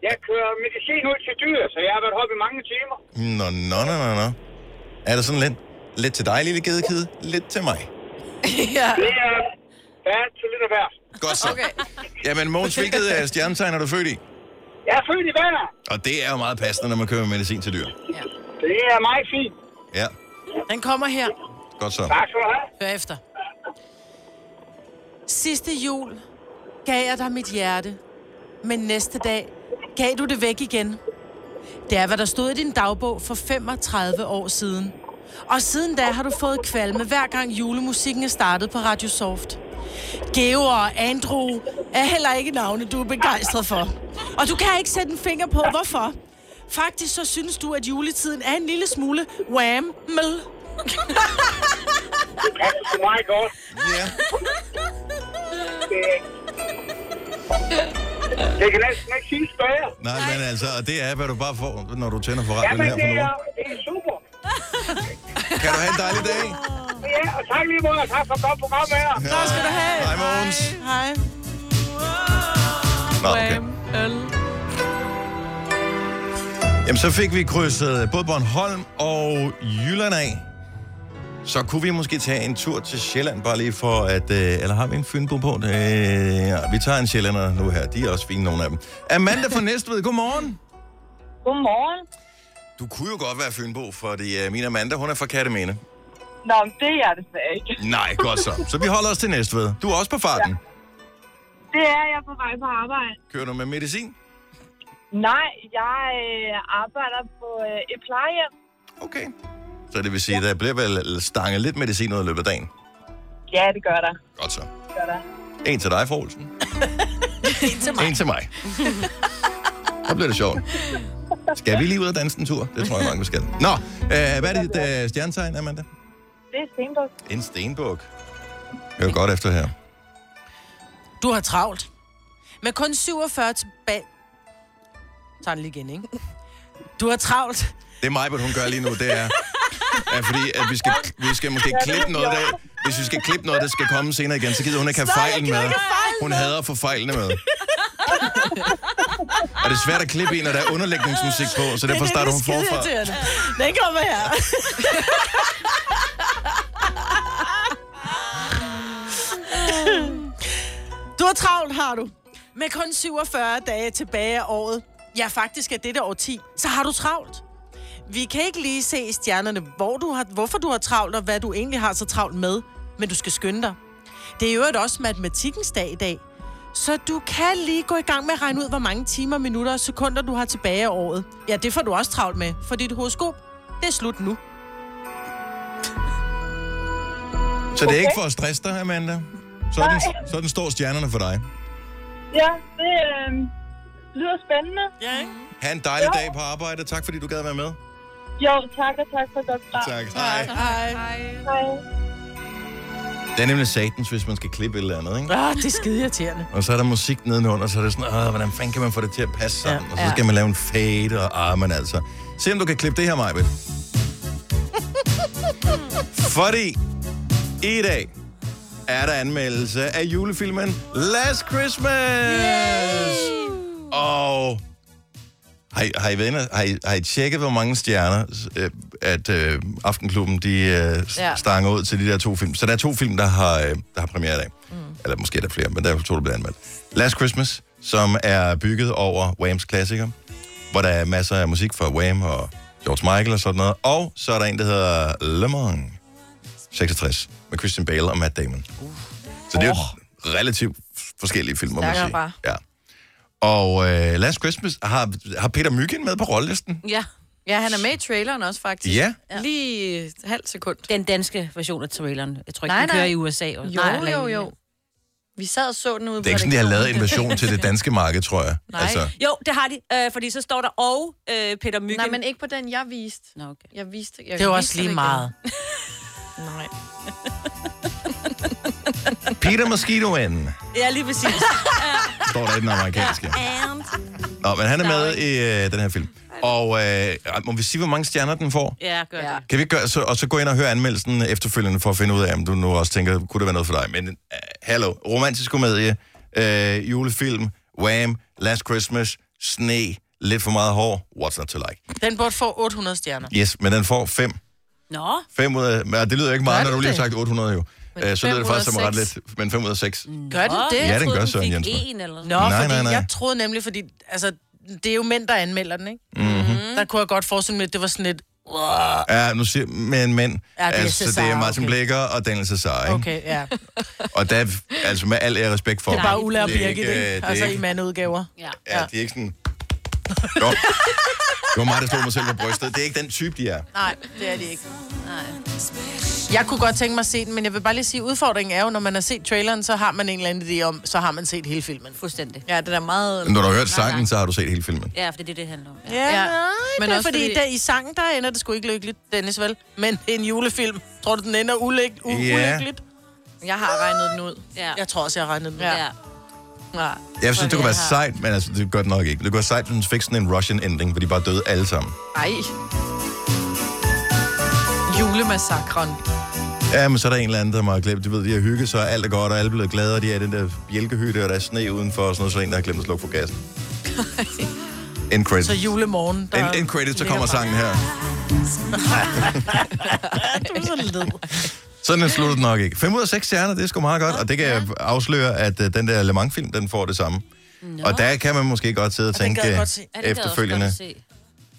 S7: jeg kører medicin ud til dyr, så jeg har været oppe i mange timer.
S1: Nå, nå, nå, nå, nå. Er det sådan lidt, lidt til dig, lille gedekide? Lidt til mig.
S4: ja.
S7: Det er, der er til lidt af hver.
S1: Godt så.
S4: Okay.
S1: Jamen, Mogens, hvilket øh, stjernetegn er du født i?
S7: Jeg er født i vandet.
S1: Og det er jo meget passende, når man køber medicin til dyr.
S7: Det er meget fint.
S1: Ja,
S3: Den kommer her.
S1: godt så.
S7: Tak skal du have.
S3: Hør efter. Sidste jul gav jeg dig mit hjerte, men næste dag gav du det væk igen. Det er, hvad der stod i din dagbog for 35 år siden. Og siden da har du fået kvalme, hver gang julemusikken er startet på Radio Soft. Geo og Andrew er heller ikke navne, du er begejstret for. Og du kan ikke sætte en finger på, hvorfor. Faktisk så synes du, at juletiden er en lille smule whammel.
S7: Tak skal du meget godt.
S1: Ja.
S7: Det, det kan næsten ikke siges bedre.
S1: Nej, men altså, og det er, hvad du bare får, når du tænder for
S7: Ja,
S1: radioen
S7: men
S1: her
S7: det
S1: for
S7: er,
S1: nu.
S7: det er super.
S1: Kan du have en dejlig dag?
S7: Ja, og tak lige måde, og tak for et godt program her.
S3: Tak skal du have.
S1: Hej, Mogens.
S3: Hej.
S1: Nå, okay. Jamen, så fik vi krydset både Bornholm og Jylland af. Så kunne vi måske tage en tur til Sjælland, bare lige for at... Øh, eller har vi en fynbo på? Øh, ja, vi tager en sjællander nu her. De er også fine, nogle af dem. Amanda fra Næstved, godmorgen.
S8: Godmorgen.
S1: Du kunne jo godt være fynbo, fordi øh, min Amanda, hun er fra Kattemene.
S8: Nå, men det er jeg desværre ikke.
S1: Nej, godt så. Så vi holder os til Næstved. Du er også på farten. Ja.
S8: Det er jeg på vej på arbejde.
S1: Kører du med medicin?
S8: Nej, jeg øh, arbejder på øh, et plejehjem.
S1: Okay. Så det vil sige, at der bliver vel stanget lidt medicin ud i løbet af dagen.
S8: Ja, det gør der.
S1: Godt så.
S8: Det gør der.
S1: En til dig, Forholsen. en til mig. En til mig. Så bliver det sjovt. Skal vi lige ud og danse en tur? Det tror jeg mange vi skal. Nå, øh, hvad er dit øh, stjernetegn, Amanda?
S8: Det er Stenbuk.
S1: En stenbuk. Hør godt efter her.
S3: Du har travlt. Med kun 47 tilbage... Tag den lige igen, ikke? Du har travlt.
S1: Det er mig, hvad hun gør lige nu, det er... Ja, fordi at vi, skal, vi skal måske klippe noget af, hvis vi skal klippe noget, der skal komme senere igen, så gider hun ikke have fejlen med. Hun hader at få fejlene med. Og det er svært at klippe en, når der er underlægningsmusik på, så derfor starter hun forfra.
S9: Den kommer her. Du har travlt, har du. Med kun 47 dage tilbage af året, ja faktisk er dette årti, så har du travlt. Vi kan ikke lige se i stjernerne, hvor du har, hvorfor du har travlt, og hvad du egentlig har så travlt med. Men du skal skynde dig. Det er jo også matematikkens dag i dag. Så du kan lige gå i gang med at regne ud, hvor mange timer, minutter og sekunder, du har tilbage af året. Ja, det får du også travlt med, for dit horoskop, det er slut nu.
S1: Så det er ikke for at stresse dig, Amanda. Sådan, sådan står stjernerne for dig.
S8: Ja, det øh, lyder spændende.
S3: Ja, ikke?
S1: Ha' en dejlig dag på arbejde. Tak fordi du gad være med.
S8: Jo, tak og tak for godt svar.
S1: Tak. Hej.
S3: Hej.
S8: Hej.
S1: Det er nemlig satans, hvis man skal klippe et eller andet, ikke?
S9: Ah, det er skide irriterende.
S1: Og så er der musik nedenunder, og så er det sådan, Åh, hvordan fanden kan man få det til at passe sammen? Ja. Og så skal man lave en fade, og ah, men altså. Se om du kan klippe det her, Majbet. Fordi i dag er der anmeldelse af julefilmen Last Christmas! Yay! Og har I, har, I været inde, og- har, I, har I tjekket, hvor mange stjerner, øh, at øh, Aftenklubben de, øh, ja.
S4: Ja.
S1: stanger ud til de der to film? Så der er to film, der har, øh, der har premiere i dag. Mm. Eller måske er der flere, men der er to, der bliver anmeldt. Last Christmas, som er bygget over Whams klassiker, hvor der er masser af musik fra Wham og George Michael og sådan noget. Og så er der en, der hedder Le Mans 66 med Christian Bale og Matt Damon. Uh. Så det er jo relativt forskellige film, må man
S4: Stærkere
S1: sige.
S4: bare.
S1: Ja. Og øh, Last Christmas har, har Peter Myggen med på rollelisten.
S2: Ja,
S4: Ja, han er med i traileren også, faktisk.
S1: Ja.
S4: Lige et halvt sekund.
S2: den danske version af traileren. Jeg tror ikke,
S4: Nej,
S2: den kører
S4: nej.
S2: i USA. Og
S4: Jo, nej, jo, jo. Vi sad og så den ude
S1: Det er ikke sådan, de har lavet en version til det danske marked, tror jeg. Altså.
S4: Nej.
S2: Jo, det har de, øh, fordi så står der og øh, Peter Myggen.
S4: Nej, men ikke på den, jeg viste.
S2: Nå, okay.
S4: Jeg viste, jeg
S3: Det er jo
S4: viste
S3: også lige
S4: igen.
S3: meget.
S4: Nej.
S1: Peter Mosquitoen
S2: Ja, lige præcis.
S1: står der i den amerikanske. Nå, men han er med i øh, den her film. Og øh, må vi sige, hvor mange stjerner den får?
S2: ja, gør
S4: Ja.
S2: det.
S1: Kan vi ikke gøre, så, og så gå ind og høre anmeldelsen efterfølgende for at finde ud af, om du nu også tænker, kunne det være noget for dig? Men øh, hallo, romantisk komedie, øh, julefilm, Wham, Last Christmas, sne, lidt for meget hår, what's not to like?
S3: Den burde få 800 stjerner.
S1: Yes, men den får 5.
S2: Nå,
S1: 5 ud af, men det lyder ikke meget, når
S3: Gør det
S1: du lige har
S3: det?
S1: sagt 800 jo. Øh, så lyder det faktisk som
S4: 506.
S1: ret lidt, men 5 ud af 6.
S3: Gør den
S2: Åh,
S3: det?
S1: Ja, den
S2: troede,
S1: gør, Søren
S2: fik
S1: Jensen.
S2: en eller sådan
S3: Nå,
S1: Nej,
S3: nej, fordi
S1: nej,
S3: nej,
S1: nej.
S3: jeg troede nemlig, fordi altså, det er jo mænd, der anmelder den, ikke?
S2: Mm.
S3: Mm-hmm. Der kunne jeg godt forestille mig, at det var sådan lidt...
S1: Mhm. Ja, nu siger men mænd.
S3: Ja, det er
S1: altså, det er
S3: Cesar,
S1: Martin
S3: okay.
S1: Blækker og Daniel Cesar, ikke? Okay.
S3: Okay, ja.
S1: Og der, er- altså med al ære og respekt for
S3: Det er bare
S1: dem.
S3: Ulla og
S1: Det er
S3: Birgit,
S1: øh, det
S3: ikke?
S1: er
S3: Altså
S1: ikke-
S3: i mandudgaver.
S2: Ja.
S1: Ja, de er ikke sådan... Jo. Det var mig, der slog mig selv på brystet. Det er ikke den type, de er.
S3: Nej, det er det ikke. Nej. Jeg kunne godt tænke mig at se den, men jeg vil bare lige sige, at udfordringen er jo, når man har set traileren, så har man en eller anden idé om, så har man set hele filmen.
S2: Fuldstændig.
S4: Ja, det er meget...
S1: Men når du har hørt sangen, så har du set hele filmen.
S2: Ja, for det er det, det handler om. Ja.
S3: Ja,
S4: Ja.
S3: nej, men
S4: Men
S3: det er
S4: også
S3: fordi,
S4: fordi-
S3: der, i sangen, der ender det sgu ikke lykkeligt, Dennis, vel? Men det er en julefilm. Tror du, den ender ulyk- u-
S1: Ja.
S3: ulykkeligt?
S4: Jeg har regnet den ud.
S2: Ja.
S3: Jeg tror også, jeg har regnet den. ud.
S2: ja.
S4: Nej.
S1: Jeg synes, det kunne være sejt, men altså, det gør det nok ikke. Det kunne være sejt, hvis man fik sådan en Russian ending, hvor de bare døde alle sammen.
S4: Ej. Julemassakren.
S1: Ja, men så er der en eller anden, der har glemt, de ved, de har hygget sig, og alt er godt, og alle er blevet glade, og de er i den der bjælkehytte, og der er sne udenfor, og sådan noget, så er der en, der har glemt at slukke for gassen. End credits.
S3: Så julemorgen,
S1: End,
S3: der...
S1: end credits, så
S3: ligger
S1: kommer
S3: bare-
S1: sangen her.
S3: Du er så led.
S1: Sådan slutter den nok ikke. 5 ud af 6 stjerner, det er sgu meget godt, og det kan jeg afsløre, at uh, den der Le Mans-film, den får det samme. Og der kan man måske godt sidde og
S3: den gad
S1: tænke
S3: jeg
S1: øh,
S3: godt se. Ja,
S1: efterfølgende,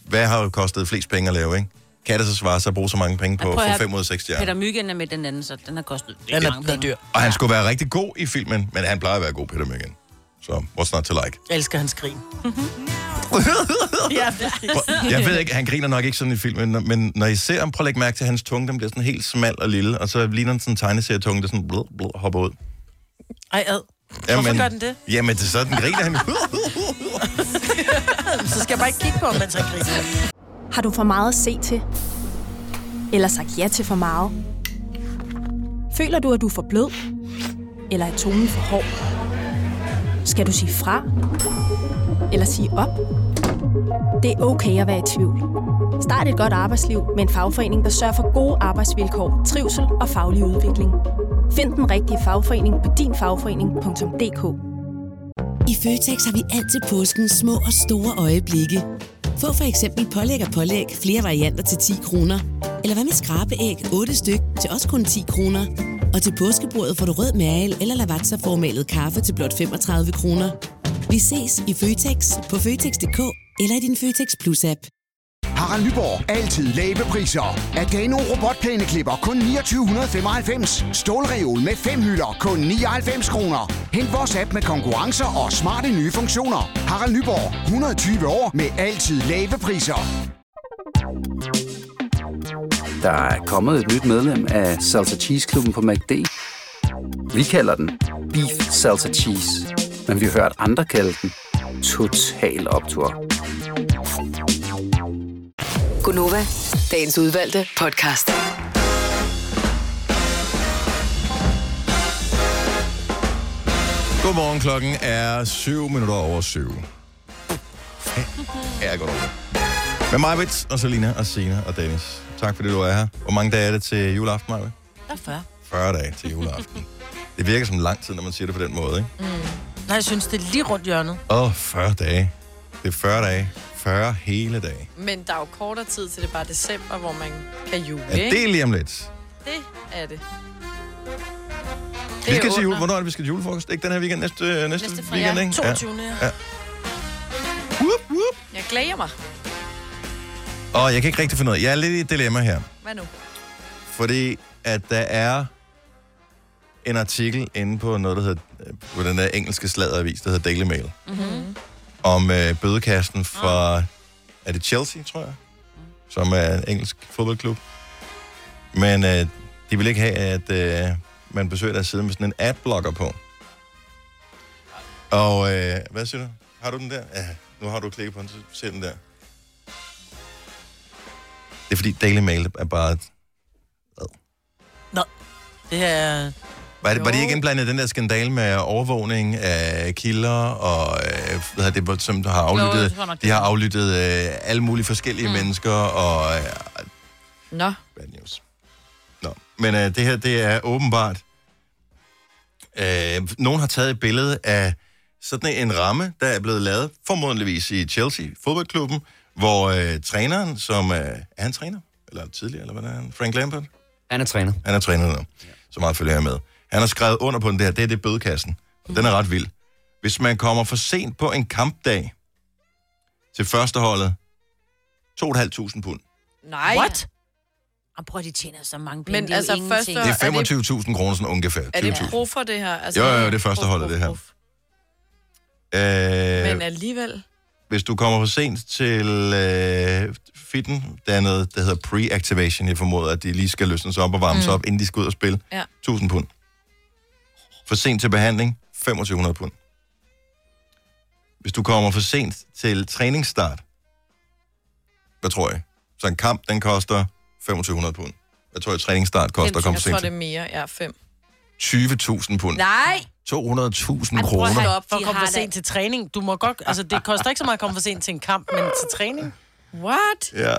S1: hvad har jo kostet flest penge at lave, ikke? Kan det så svare sig at bruge så mange penge på
S2: prøv at
S1: for
S2: høre,
S1: 5 ud af 6 stjerner?
S2: Peter Myggen er med den anden, så den har kostet
S3: Den
S2: rigtig
S3: er, den er dyr.
S1: Og han skulle være rigtig god i filmen, men han plejer at være god, Peter Myggen. Så what's not to like?
S3: Jeg elsker hans grin. ja, præcis.
S1: Jeg ved ikke, han griner nok ikke sådan i filmen, men- men når I ser ham, prøv at lægge mærke til, at hans tunge den bliver sådan helt smal og lille, og så ligner den sådan en tegneserietunge, der sådan blå, blå, hopper ud.
S3: Ej, ad. Hvorfor gør den det?
S1: Jamen, det er sådan, griner han.
S3: Så skal jeg bare ikke kigge på, mens han griner.
S10: Har du for meget at se til? Eller sagt ja til for meget? Føler du, at du er for blød? Eller er tonen for hård? Skal du sige fra? Eller sige op? Det er okay at være i tvivl. Start et godt arbejdsliv med en fagforening, der sørger for gode arbejdsvilkår, trivsel og faglig udvikling. Find den rigtige fagforening på dinfagforening.dk
S11: I Føtex har vi altid påskens små og store øjeblikke. Få for eksempel pålæg og pålæg flere varianter til 10 kroner. Eller hvad med skrabeæg 8 styk til også kun 10 kroner. Og til påskebordet får du rød mal eller lavatserformalet kaffe til blot 35 kroner. Vi ses i Føtex på Føtex.dk eller i din Føtex Plus-app.
S12: Harald Nyborg. Altid lave priser. Adano robotplæneklipper kun 2995. Stålreol med fem hylder kun 99 kroner. Hent vores app med konkurrencer og smarte nye funktioner. Harald Nyborg. 120 år med altid lave priser.
S13: Der er kommet et nyt medlem af Salsa Cheese Klubben på MACD. Vi kalder den Beef Salsa Cheese, men vi har hørt andre kalde den Total Optor.
S5: Gunova, dagens udvalgte podcast.
S1: Godmorgen, klokken er 7 minutter over 7. Ja, jeg går over. Med Majbrit og Selina og Sina og Dennis. Tak fordi du er her. Hvor mange dage er det til juleaften, Majbrit?
S3: Der er 40.
S1: 40 dage til juleaften. Det virker som lang tid, når man siger det på den måde, ikke?
S3: Nej, jeg synes, det er lige rundt hjørnet.
S1: Åh, oh, 40 dage. Det er 40 dage. 40 hele dage.
S4: Men der er jo kortere tid til det er bare december, hvor man kan jule,
S1: Ja,
S4: ikke?
S1: det er lige om lidt.
S4: Det er det.
S1: Vi
S4: er
S1: skal til jul.
S4: under.
S1: Hvornår er det, vi skal til julefrokost? Ikke den her weekend, næste, øh, næste,
S4: Næste
S1: næste
S4: fredag.
S1: weekend, ikke?
S4: 22..
S1: Ja. Whoop, whoop.
S4: Jeg glæder mig.
S1: Og jeg kan ikke rigtig finde ud af. Jeg er lidt i et dilemma her.
S4: Hvad nu?
S1: Fordi at der er en artikel inde på noget, der hedder, øh, på den der engelske sladeravis, der hedder Daily Mail,
S14: Mm-hmm.
S1: om øh, bødekasten fra, er det Chelsea, tror jeg, som er en engelsk fodboldklub. Men øh, de vil ikke have, at øh, man besøger deres side med sådan en adblocker på. Og øh, hvad siger du? Har du den der? Ja, nu har du klikket på den, så ser den der. Det er fordi Daily Mail er bare et
S3: Nå. Det er...
S1: Var, det, var de ikke indblandet i den der skandale med overvågning af kilder, og øh, hvad hedder det, hvor- som har
S4: Jo,
S1: aflyttet,
S4: det tror jeg nok,
S1: de har aflyttet øh, alle mulige forskellige mm. mennesker, og, øh,
S4: Nå.
S1: Bad news. nå. men øh, det her, det er åbenbart, øh, nogen har taget et billede af sådan en ramme, der er blevet lavet, formodentligvis i Chelsea, fodboldklubben, hvor øh, træneren, som øh, er han træner? Eller tidligere, eller hvad er han? Frank Lampard?
S13: Han er træner.
S1: Han er træner nu. Så meget følger jeg med. Han har skrevet under på den der, det er det bødekassen. Og den er ret vild. Hvis man kommer for sent på en kampdag til førsteholdet, 2.500 pund.
S4: Nej.
S2: What? Og prøv, at de tjener så mange penge.
S4: Men
S2: det er
S4: altså,
S2: jo ingenting.
S4: Så
S1: Det
S4: er
S1: er
S4: det-
S1: 25.000 kroner sådan ungefær.
S4: Er det
S1: 20.000.
S4: pro for det her? Altså,
S1: Jo, jo, jo, det er førsteholdet, det her. Øh,
S4: Men øh- alligevel...
S1: hvis du kommer for sent til øh, fitten, der er noget, der hedder pre-activation, jeg formoder, at de lige skal løsnes op og varmes
S4: Mm.
S1: mm. op, inden de skal ud og spille.
S4: Ja.
S1: 1000 pund. For sent til behandling, 2500 pund. Hvis du kommer for sent til træningsstart, hvad tror jeg? Så en kamp, den koster 2500 pund. Hvad tror jeg, træningsstart koster at komme
S4: jeg
S1: for
S4: tror,
S1: sent
S4: det
S1: til?
S4: er mere. Ja, fem.
S1: 20.000 pund.
S4: Nej!
S1: 200.000
S3: Prøv at
S1: kroner.
S3: op for at komme for sent til træning. Du må godt... Altså, det koster ikke så meget at komme for sent til en kamp, men til træning.
S4: What?
S1: Ja.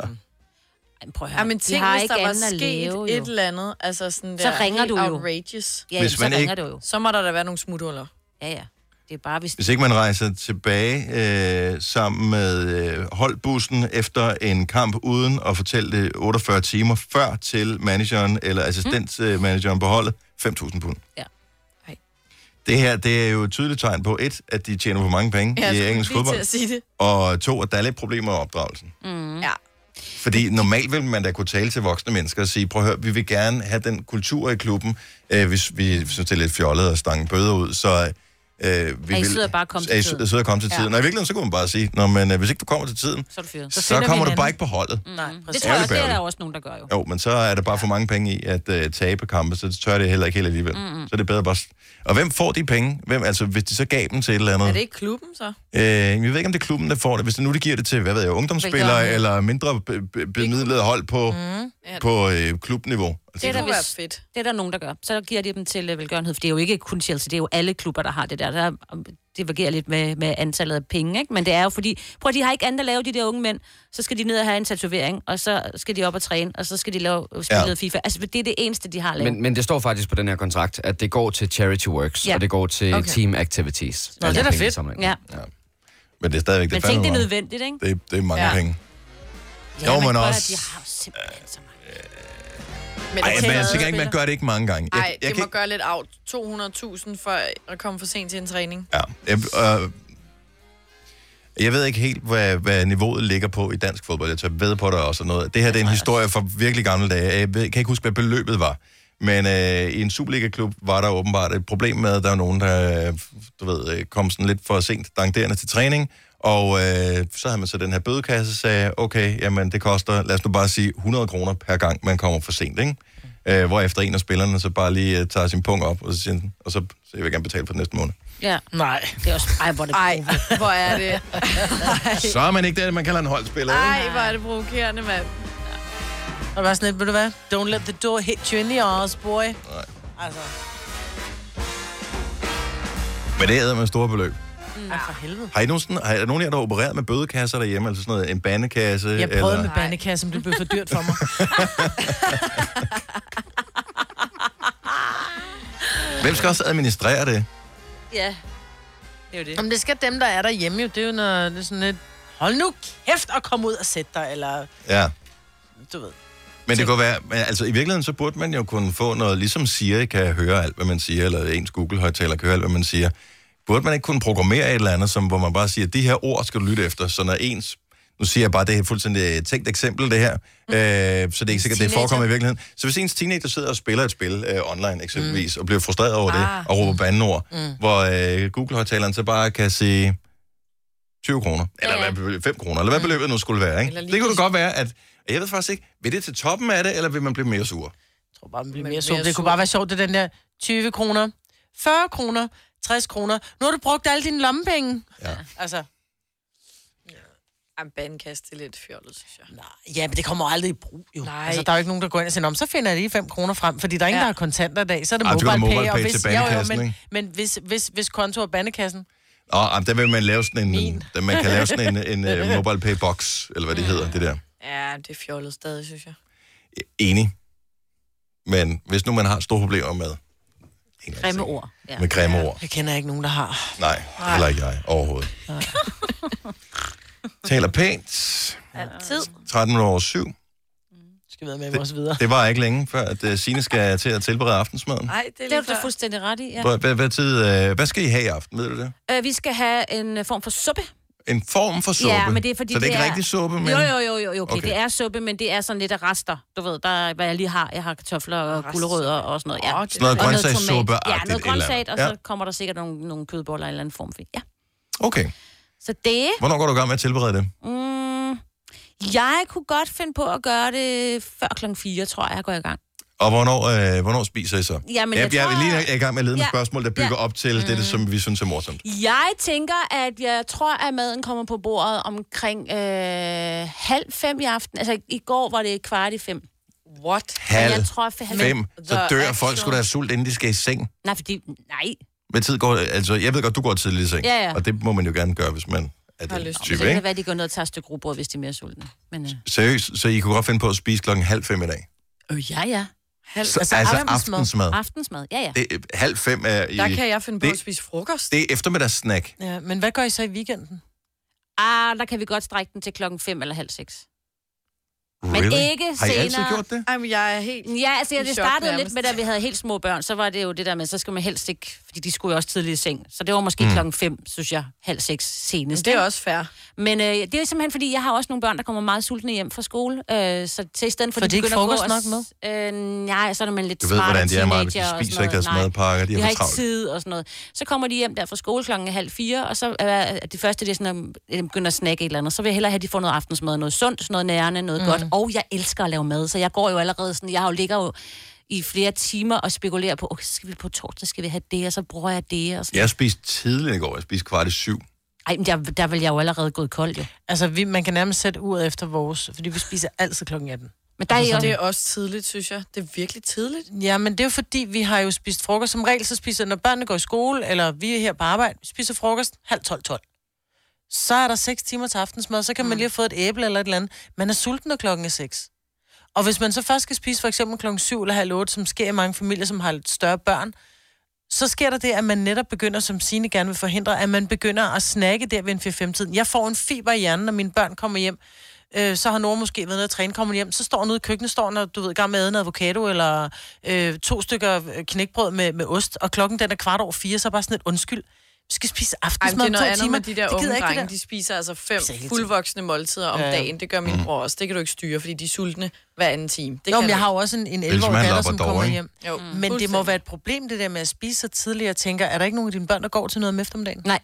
S2: Prøv at
S4: Ja, men
S2: De
S4: tænk,
S2: har
S4: hvis
S2: ikke
S4: der var
S2: andet at
S4: sket
S2: lave, jo.
S4: et eller andet, altså sådan der,
S2: Så ringer
S4: helt
S2: du jo.
S4: outrageous.
S2: Ja, Hvis så man ringer ikke- du jo.
S4: Så må der da være nogle smuthuller.
S2: Ja, ja. Det er bare, hvis...
S1: Hvis ikke man rejser tilbage øh, sammen med øh, holdbussen efter en kamp, uden at fortælle det 48 timer før til manageren eller
S4: Mm.
S1: assistentmanageren på holdet, 5.000 pund.
S2: Ja.
S4: Ej.
S1: Det her, det er jo et tydeligt tegn på, et, at de tjener for mange penge
S4: Ja, jeg
S1: Mm. i
S4: skulle
S1: engelsk
S4: lige til
S1: fodbold,
S4: at sige det.
S1: og to, at der er lidt problemer med opdragelsen.
S4: Mm. Ja.
S1: Fordi normalt vil man da kunne tale til voksne mennesker og sige, prøv at høre, vi vil gerne have den kultur i klubben, øh, hvis vi synes, det er lidt fjollet at stange bøder ud, så... Øh, vi
S2: Er I
S1: vil-
S2: søde at bare komme til
S1: er I
S2: tiden?
S1: søde- søde at komme til
S2: Ja.
S1: tiden. Og i virkeligheden, så kunne man bare sige, Nå, men, øh, hvis ikke du kommer til tiden,
S2: Så er du fyret. Så
S1: så, så
S2: finder vi
S1: kommer du
S2: hinanden."
S1: bare ikke på holdet.
S2: Nej,
S1: præcis.
S2: det tror jeg også, det er
S1: Ærlig
S2: der
S1: bærer.
S2: også nogen, der gør jo.
S1: Jo, men så er der bare for mange penge i at øh, tabe kampe, så tør det heller ikke helt alligevel.
S4: Mm-mm.
S1: Mm. Så er det bedre bare... s- Og hvem får de penge? Hvem, altså, hvis de så gav dem til et eller andet?
S4: Er det ikke klubben så?
S1: Øh, jeg ved ikke, om det er klubben, der får det. Hvis det nu de giver det til, hvad ved jeg, ungdomsspillere
S4: Velgørende.
S1: eller mindre be- be- bemidlede hold på,
S2: Mm.
S1: mm.
S2: Ja.
S1: på øh, klubniveau.
S2: Det er, der, hvis, fedt. det er der nogen, der gør. Så giver de dem til øh, velgørenhed, for det er jo ikke kun Chelsea, det er jo alle klubber, der har det der. der er, divergerer lidt med, med antallet af penge, ikke? Men det er jo fordi, prøv at de har ikke andet at lave, de der unge mænd. Så skal de ned og have en tatovering, og så skal de op og træne, og så skal de lave spille
S14: Ja.
S2: noget FIFA. Altså, det er det eneste, de har lavet.
S14: Men, men det står faktisk på den her kontrakt, at det går til charity works,
S2: Ja.
S14: ja. og det går til
S2: Okay.
S14: okay. team activities.
S2: Nå,
S14: Altså
S2: det er da
S14: penge
S2: fedt.
S14: samlet.
S2: Ja.
S1: Men det er stadigvæk
S2: Men
S1: det fandme
S2: tænk, det er
S1: meget.
S2: nødvendigt, ikke?
S1: Det, det er mange
S2: Ja.
S1: ja. penge.
S2: Ja,
S1: Jo,
S2: men
S1: men
S2: prøv at-
S1: også-
S2: de har jo simpelthen så mange.
S4: Men
S1: Ej, men jeg
S4: tæller-
S1: tænker ikke, man gør det ikke mange gange.
S4: Nej, det
S1: jeg,
S4: må ikke... gøre lidt af 200.000 for at komme for sent til en træning.
S1: Ja, jeg, øh, jeg ved ikke helt, hvad, hvad niveauet ligger på i dansk fodbold. Jeg tør ved på, at der også er noget. Det her det er en historie fra virkelig gamle dage. Jeg ved, kan ikke huske, hvad beløbet var. Men øh, i en Superliga-klub var der åbenbart et problem med, at der var nogen, der øh, du ved, øh, kom sådan lidt for sent danderende til træning. Og øh, så havde man så den her bødekasse, og sagde, okay, jamen det koster, lad os nu bare sige, 100 kroner per gang, man kommer for sent, ikke? Øh, hvor efter en af spillerne så bare lige øh, tager sin punkt op, og så siger han, og så, så jeg vil gerne betale for den næste måned.
S2: Ja.
S3: Nej.
S2: Det er også... Ej, hvor er det
S4: Ej, hvor er det... Ej.
S1: Så er man ikke det, man kalder en holdspiller. ikke?
S4: Ej, hvor er det provokerende, mand.
S3: Og bare sådan lidt, ved du hvad? Don't let the door hit you in the arse, boy. Nej. Altså,
S1: Men det er med store beløb.
S3: mm. for helvede.
S1: Har I nogensinde, har, er der nogen af jer, der har opereret med bødekasser derhjemme? Altså sådan noget, en bandekasse?
S3: Jeg prøvede
S1: eller...
S3: med bandekassen, det blev for dyrt for mig.
S1: Hvem skal også administrere det?
S2: Ja. Det er jo det.
S3: Jamen, det skal dem, der er derhjemme jo. Det er jo noget, det er sådan et, hold nu kæft og kom ud og sæt dig, eller
S1: Ja.
S3: du ved.
S1: Men det kunne være, men altså i virkeligheden, så burde man jo kunne få noget, ligesom Siri kan høre alt, hvad man siger, eller ens Google-højtaler kan høre alt, hvad man siger. Burde man ikke kunne programmere et eller andet, som, hvor man bare siger, de her ord skal du lytte efter, så når ens nu siger jeg bare, det er et fuldstændig øh, tænkt eksempel, det her. Mm. Øh, så det er ikke sikkert, det
S15: Teenager.
S1: forekommer i virkeligheden. Så hvis ens teenager sidder og spiller et spil øh, online eksempelvis, mm. og bliver frustreret over
S15: Ah.
S1: det, og råber bandeord,
S15: Mm.
S1: mm. hvor øh, Google-højtaleren så bare kan sige 20 kroner, eller hvad, beløb- 5 kroner, Mm. eller hvad beløbet nu skulle være. Ikke? Det kunne det godt være, at og jeg ved faktisk ikke, vil det til toppen af det, eller vil man blive mere sur?
S3: tror bare, man
S1: Men
S3: bliver mere
S1: mere
S3: sur. Det
S1: sur.
S3: kunne bare være sjovt, det er den der 20 kroner, 40 kroner, 60 kroner. Nu har du brugt alle dine lommepenge.
S1: Ja.
S3: Altså,
S4: Jamen, bandkast det er lidt fjollet, synes jeg. Nej.
S3: ja, men det kommer aldrig i brug, jo.
S4: Nej.
S3: Altså, der er jo ikke nogen, der går ind og siger, "Nå, men så finder jeg lige 5 kroner frem, fordi der er ingen,
S4: Ja.
S3: ja. der har kontanter i dag. Så er det
S1: Ej, Ah, du har
S3: mobile,
S1: MobilePay
S3: og
S1: til
S3: hvis,
S1: bandekassen,
S3: men,
S1: ikke?
S3: men hvis, hvis, hvis konto er bandekassen,
S1: Nå, ah, der vil man lave sådan en, der, man kan lave sådan en, en uh, mobile pay box, eller hvad det hedder, det der.
S4: Ja, det er fjollet stadig, synes jeg.
S1: Enig. Men hvis nu man har store problemer med,
S2: Grimme ord. Ja.
S1: med grimme ord,
S3: jeg kender ikke nogen, der har.
S1: nej,
S3: Nej.
S1: heller ikke jeg overhovedet. Taler pænt,
S4: Altid.
S1: 13 over 7.
S3: Skal vi være med vores videre.
S1: Det var ikke længe før, at uh, Signe skal til at tilberede aftensmaden.
S2: Nej, det er, det er du da fuldstændig ret i, ja.
S1: Hvor- Hvad, hvad, tid, uh, hvad skal I have i aften, ved du det?
S2: Øh, vi skal have en øh, form for suppe.
S1: En form for suppe?
S2: Ja, men det er fordi,
S1: Så det er ikke rigtig suppe, men...
S2: Jo, jo, jo, jo, jo okay. okay.
S1: Okay.
S2: Det er suppe, men det er sådan lidt af rester. Du ved, der, er, hvad jeg lige har. Jeg har kartofler og gulerødder og sådan noget. Ja.
S1: Sådan noget
S2: Og tomat.
S1: grøntsagssuppe-agtigt
S2: Ja,
S1: et
S2: noget
S1: eller andet.
S2: grøntsag, og så
S1: Ja.
S2: kommer der sikkert nogle, nogle kødboller i en eller anden form. for- Ja.
S1: Okay.
S2: Så det...
S1: Hvornår går du i gang med at tilberede det?
S2: Mm, jeg kunne godt finde på at gøre det før klokken 4, tror jeg, jeg går i gang.
S1: Og hvornår, øh, hvornår spiser I så?
S2: Jamen, jeg
S1: jeg,
S2: tror-
S1: er lige i gang med at lede med
S2: Ja.
S1: spørgsmål, der bygger
S2: Ja.
S1: op til mm. det, som vi synes er morsomt.
S2: Jeg tænker, at jeg tror, at maden kommer på bordet omkring øh, halv fem i aften. Altså, i går var det kvart i fem.
S4: What?
S1: Halv
S2: jeg tror, at halv
S1: Fem, så dør folk skulle da have sult, inden de skal i seng.
S2: Nej, fordi... Nej.
S1: Med tid går, altså, jeg ved godt, du går tidligt i seng,
S2: Ja, ja.
S1: og det må man jo gerne gøre, hvis man er
S2: Har
S1: den
S2: lyst. Så
S1: type,
S2: kan det
S1: ikke?
S2: være, at de går ned og tager et stykke rugbrød, hvis de er mere sultne. Men, øh.
S1: Seriøst, så I kunne godt finde på at spise klokken halv fem i dag.
S2: øh, ja, ja. Halv,
S1: Så- altså aftensmad.
S2: Aftensmad, ja, ja.
S1: Det, øh, halv fem er i...
S2: Der kan jeg
S4: finde
S2: på
S1: det,
S2: at
S4: spise frokost.
S1: Det er eftermiddagssnack.
S3: Ja, men hvad gør I så i weekenden?
S2: Ah, der kan vi godt strække den til klokken 5 eller halv 6. Men
S1: Really?
S2: ikke
S1: Har I
S2: senere.
S1: altid gjort det?
S4: Jamen, jeg er helt
S2: Ja, altså,
S4: i
S2: ja, det
S4: chok
S2: startede
S4: nærmest.
S2: lidt med, da vi havde helt små børn, så var det jo det der med, så skal man helst ikke, fordi de skulle jo også tidligt i seng. Så det var måske mm.
S4: Mm.
S2: klokken 5, synes jeg, halv 6 senest.
S4: Det er
S2: ikke?
S4: også fair.
S2: Men øh, det er simpelthen, fordi jeg har også nogle børn, der kommer meget sultne hjem fra skole. Øh, så til i stedet for,
S3: Får de ikke
S2: begynder at gå
S3: frokost nok
S2: og s- Øh, nej, så er man lidt
S1: Du ved,
S2: smartere
S1: hvordan de er, Maja. De
S2: teenager og
S1: spiser
S2: sådan
S1: ikke deres
S2: noget. Nej.
S1: madpakker. De har
S2: har
S1: for
S2: ikke
S1: travlt.
S2: tid og sådan noget. Så kommer de hjem der fra skole klokken halv fire, og så er det første, det er sådan, at de begynder at snakke et eller andet. Så vil jeg hellere have, at de får noget aftensmad, noget sundt, noget nærende, noget mm. godt. Og jeg elsker at lave mad, så jeg går jo allerede sådan, jeg har jo ligger jo i flere timer og spekulerer på, okay, så skal vi på torsdag, skal vi have det, og så bruger jeg det. Og sådan.
S1: Jeg spiste tidligt i går. Jeg spiste kvart i syv.
S2: Ej, men der, der vil jeg jo allerede gået kold, jo.
S3: Altså, vi, man kan nærmest sætte uret efter vores, fordi vi spiser altid klokken 18.
S2: Men der er I
S4: altså,
S2: også-
S4: det er også tidligt, synes jeg. Det er virkelig tidligt.
S3: Ja, men det er jo fordi, vi har jo spist frokost. Som regel, så spiser når børnene går i skole, eller vi er her på arbejde, spiser frokost halv tolv, tolv. Så er der seks timer til aftensmad, så kan
S4: Mm.
S3: man lige have fået et æble eller et eller andet. Man er sulten, når klokken er seks. Og hvis man så først skal spise for eksempel klokken syv eller halv otte, som sker i mange familier, som har lidt større børn, så sker der det, at man netop begynder, som sine gerne vil forhindre, at man begynder at snakke der ved en 4-5-tiden. Jeg får en fiber i hjernen, når mine børn kommer hjem. Øh, så har Nora måske været nede og træne, kommer hjem, så står hun nede i køkkenet, står når du ved, i gang med at æde en avocado, eller øh, to stykker øh, knækbrød med, med ost, og klokken den er kvart over fire, så er bare sådan et undskyld. Vi skal spise
S4: Ej, men
S3: aftensmad
S4: det er
S3: om
S4: noget
S3: to
S4: andet
S3: timer.
S4: med de der
S3: gider
S4: unge
S3: jeg ikke,
S4: drenge.
S3: der.
S4: De spiser altså fem
S3: hele tiden.
S4: fuldvoksne måltider om
S3: Ja, ja.
S4: dagen. Det gør
S1: Mm.
S4: min bror også. Det kan du ikke styre, fordi de er sultne hver anden time. Det
S3: Nå,
S4: kan
S3: men
S4: du
S3: jeg har
S4: ikke.
S3: jo også en, en
S4: Ellers
S3: 11-årig
S4: man
S3: datter, som
S4: labrador,
S3: kommer
S4: ikke?
S3: hjem.
S4: Jo, mm.
S3: Men det må være et problem, det der med at spise så tidligt. Jeg tænker, er der ikke nogen af dine børn, der går til noget om eftermiddagen?
S2: Nej.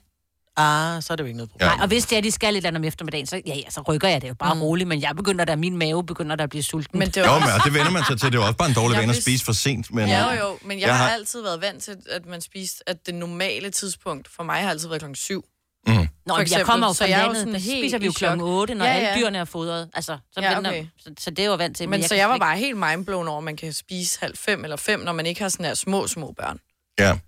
S3: Ah, så er det jo ikke noget problem.
S2: Nej, og hvis det er, de skal et eller andet om eftermiddagen, så, ja, ja, så rykker jeg det jo bare mm. roligt, men jeg begynder da, min mave begynder da at blive sulten. Men det
S1: Jo, men og det vender man sig til. Det er jo også bare en dårlig
S4: Jeg
S1: vane at
S4: vidste-
S1: spise for sent. Men, øh,
S4: Men, ja, jo, jo, men jeg,
S1: Jeg
S4: jeg har
S1: har-
S4: altid været vant til, at man spiste, at det normale tidspunkt for mig har altid været klokken syv.
S1: Mm.
S2: Nå,
S4: for
S2: men jeg
S4: eksempel,
S2: kommer jo
S4: så
S2: fra
S4: jeg er jo
S2: landet,
S4: sådan
S2: der
S4: helt
S2: spiser vi
S4: i
S2: jo klokken
S4: chok.
S2: 8, når
S4: Ja,
S2: ja, ja.
S4: ja.
S2: alle dyrene er fodret. Altså, så,
S4: Ja,
S2: ja, okay.
S4: okay.
S2: den, så, så, det er jeg jo vant til.
S4: Men, men
S2: jeg
S4: så
S2: kan
S4: jeg
S2: slet
S4: var
S2: ikke-
S4: bare helt mindblown over, at man kan spise halv fem eller fem, når man ikke har sådan her små, små børn.
S1: Ja.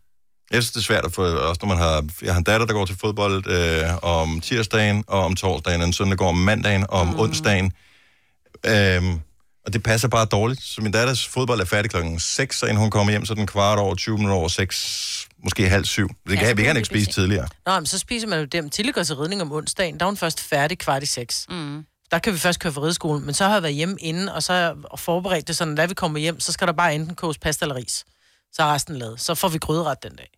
S1: Jeg synes, det er svært at få, også når man har, jeg har en datter, der går til fodbold øh, om tirsdagen, og om torsdagen, og en søndag går om mandagen, og om mm. onsdagen. Øhm, og det passer bare dårligt. Så min datters fodbold er færdig klokken 6, så inden hun kommer hjem, så er den kvart over 20 minutter over 6, måske halv syv. Det kan, ja, vi kan ikke spise tidligere.
S3: Nå, men så spiser man jo dem. Tilly går til ridning om onsdagen. Der er hun først færdig kvart i seks. Mm. Der kan vi først køre for rideskolen, men så har jeg været hjemme inden, og så har jeg forberedt det sådan, at da vi kommer hjem, så skal der bare enten koges pasta eller ris. Så er resten lavet. Så får vi gryderet den dag.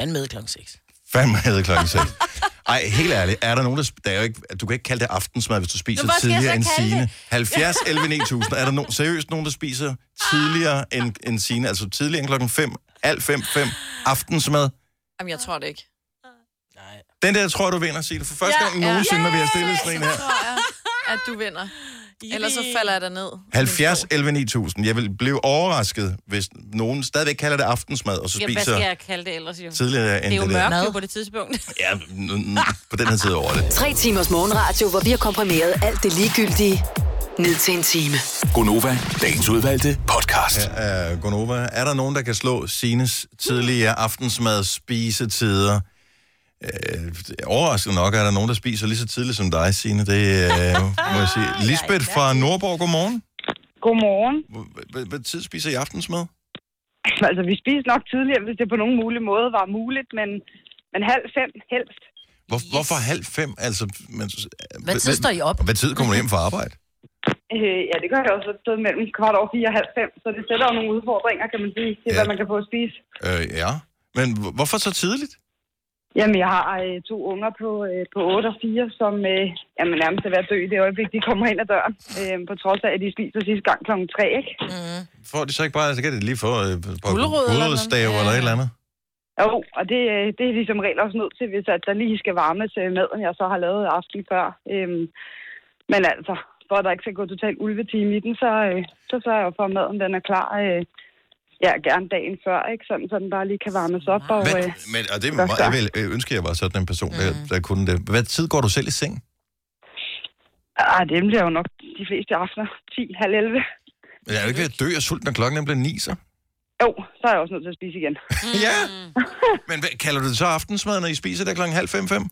S3: Fanden med klokken 6.
S1: Fandme havde klokken 6. Ej, helt ærligt, er der nogen, der... sp- Der er jo ikke, du kan ikke kalde det aftensmad, hvis du spiser
S6: Nå, hvad skal jeg så
S1: tidligere end
S6: kalde
S1: sine.
S6: det?
S1: 70, 11, 9000. Er der nogen, seriøst nogen, der spiser tidligere end, end sine? Altså tidligere end klokken 5, halv 5, 5, aftensmad.
S4: Jamen, jeg tror det ikke.
S1: Den der tror jeg, du vinder, Signe. For første
S4: Ja,
S1: gang
S4: ja.
S1: nogensinde, når vi har stillet sådan en
S4: Jeg
S1: her.
S4: tror, jeg, at du vinder. Ellers så falder jeg derned.
S1: 70, 11, 9000. Jeg vil blive overrasket, hvis nogen stadigvæk kalder det aftensmad, og så
S2: Ja, hvad skal
S1: spiser
S2: jeg kalde det ellers jo?
S1: tidligere end
S2: det er jo
S1: det der.
S2: mørkt jo på det tidspunkt.
S1: ja, n- n- på den her tid over det.
S5: Tre timers morgenradio, hvor vi har komprimeret alt det ligegyldige ned til en time.
S1: Gonova, dagens udvalgte podcast. Her er Gonova. Er der nogen, der kan slå Sines tidligere aftensmad spisetider? Øh, overraskende nok er der nogen, der spiser lige så tidligt som dig, Sine. Det øh, må jeg sige. Lisbeth fra Nordborg, godmorgen.
S16: Godmorgen.
S1: Hvad- Hvad tid spiser I aftensmad?
S16: Altså, vi spiste nok tidligere, hvis det på nogen mulig måde var muligt, men, men halv fem helst.
S1: Hvor, yes. Hvorfor halv fem? Altså, men,
S16: Hvad tid står I op?
S1: og Hvad tid kommer du hjem fra arbejde?
S16: Øh, ja, det gør jeg også et sted mellem kvart over fire og halv fem, så det sætter jo nogle udfordringer, kan man sige, til
S1: Ja.
S16: ja. hvad man kan få at spise.
S1: Øh, ja. Men hvor- hvorfor så tidligt?
S16: Jamen, jeg har øh, to unger på, øh, på 8 og 4, som øh, jamen, nærmest er ved at dø i det øjeblik, de kommer ind ad døren. Øh, på trods af, at de spiser sidste gang kl. 3, ikke? Mm.
S1: Får de så ikke bare, så kan de lige få øh, et par
S16: Gulerod eller
S1: gulerodsstaver
S16: noget.
S1: eller, et eller andet?
S16: Jo, og det, øh, det er ligesom regel også nødt til, hvis at der lige skal varmes øh, maden, jeg så har lavet aften før. Øhm, men altså, for at der ikke skal gå totalt ulvetime i den, så, øh, så sørger jeg jo for, at maden den er klar. Øh, ja, gerne dagen før, ikke? Sådan, så den bare lige kan varmes op. Og, øh,
S1: Men, og det er
S16: Hvad
S1: meget,
S16: så?
S1: jeg vil, øh, ønsker jeg var sådan en person, der, der kunne det. Hvad tid går du selv i seng?
S16: ah, det bliver jo nok de fleste aftener. 10, halv 11.
S1: Men Jeg er jo ikke ved at dø af sult, når klokken bliver ni, så.
S16: Jo, så er jeg også nødt til at spise igen.
S1: ja, men hvad, kalder du det så aftensmad, når I spiser der klokken halv fem, fem?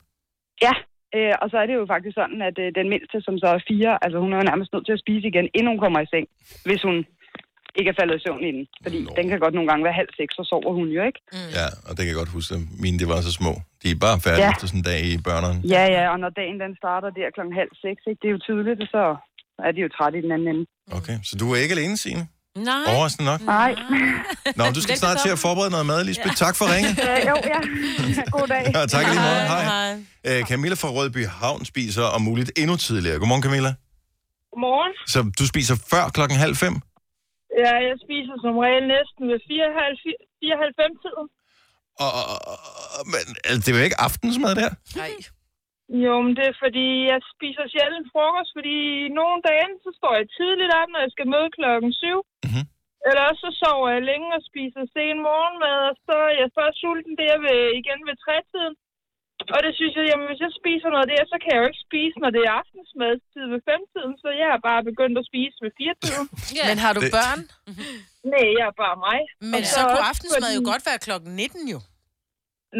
S16: Ja, øh, og så er det jo faktisk sådan, at øh, den mindste, som så er fire, altså hun er jo nærmest nødt til at spise igen, inden hun kommer i seng, hvis hun ikke er faldet i søvn i den. Fordi Nå. den kan godt nogle gange være halv seks, så sover hun jo, ikke?
S1: Mm. Ja, og det kan jeg godt huske, at mine de var så små. De er bare færdige ja.
S16: Ja.
S1: efter sådan en dag i børnene.
S16: Ja, ja, og når dagen den starter der klokken halv seks, ikke? Det er jo tydeligt, og så er de jo trætte i den anden ende.
S1: Okay, så du er ikke alene, Signe?
S2: Nej.
S1: Overraskende nok.
S16: Nej.
S1: Nå, men du skal snart til at forberede noget mad, Lisbeth. Ja. Tak for ringet.
S16: Øh, jo, ja. God dag.
S1: Ja, tak i lige måde. Hej.
S16: Hej.
S1: Æ, Øh, Camilla fra Rødby Havn spiser om muligt endnu tidligere. Godmorgen, Camilla.
S17: Godmorgen.
S1: Så du spiser før klokken halv fem?
S17: Ja, jeg spiser som regel næsten ved 94-tiden.
S1: Og, og, og- og, men altså, det er jo ikke aftensmad der?
S17: Nej. Jo, men det er fordi, jeg spiser sjældent frokost, fordi nogle dage, så står jeg tidligt op, når jeg skal møde klokken 7. Mm-hmm. Eller også så sover jeg længe og spiser sen morgenmad, og så er jeg først sulten der ved, igen ved trætiden. Og det synes, at jamen, hvis jeg spiser noget af det, her, så kan jeg jo ikke spise, når det er aftensmadstid ved femtiden, så jeg er bare begyndt at spise ved firetiden.
S3: Ja. Men har du Det- børn?
S17: Nej, jeg er bare mig.
S3: Men så kunne aftensmad jo godt være klokken 19 jo.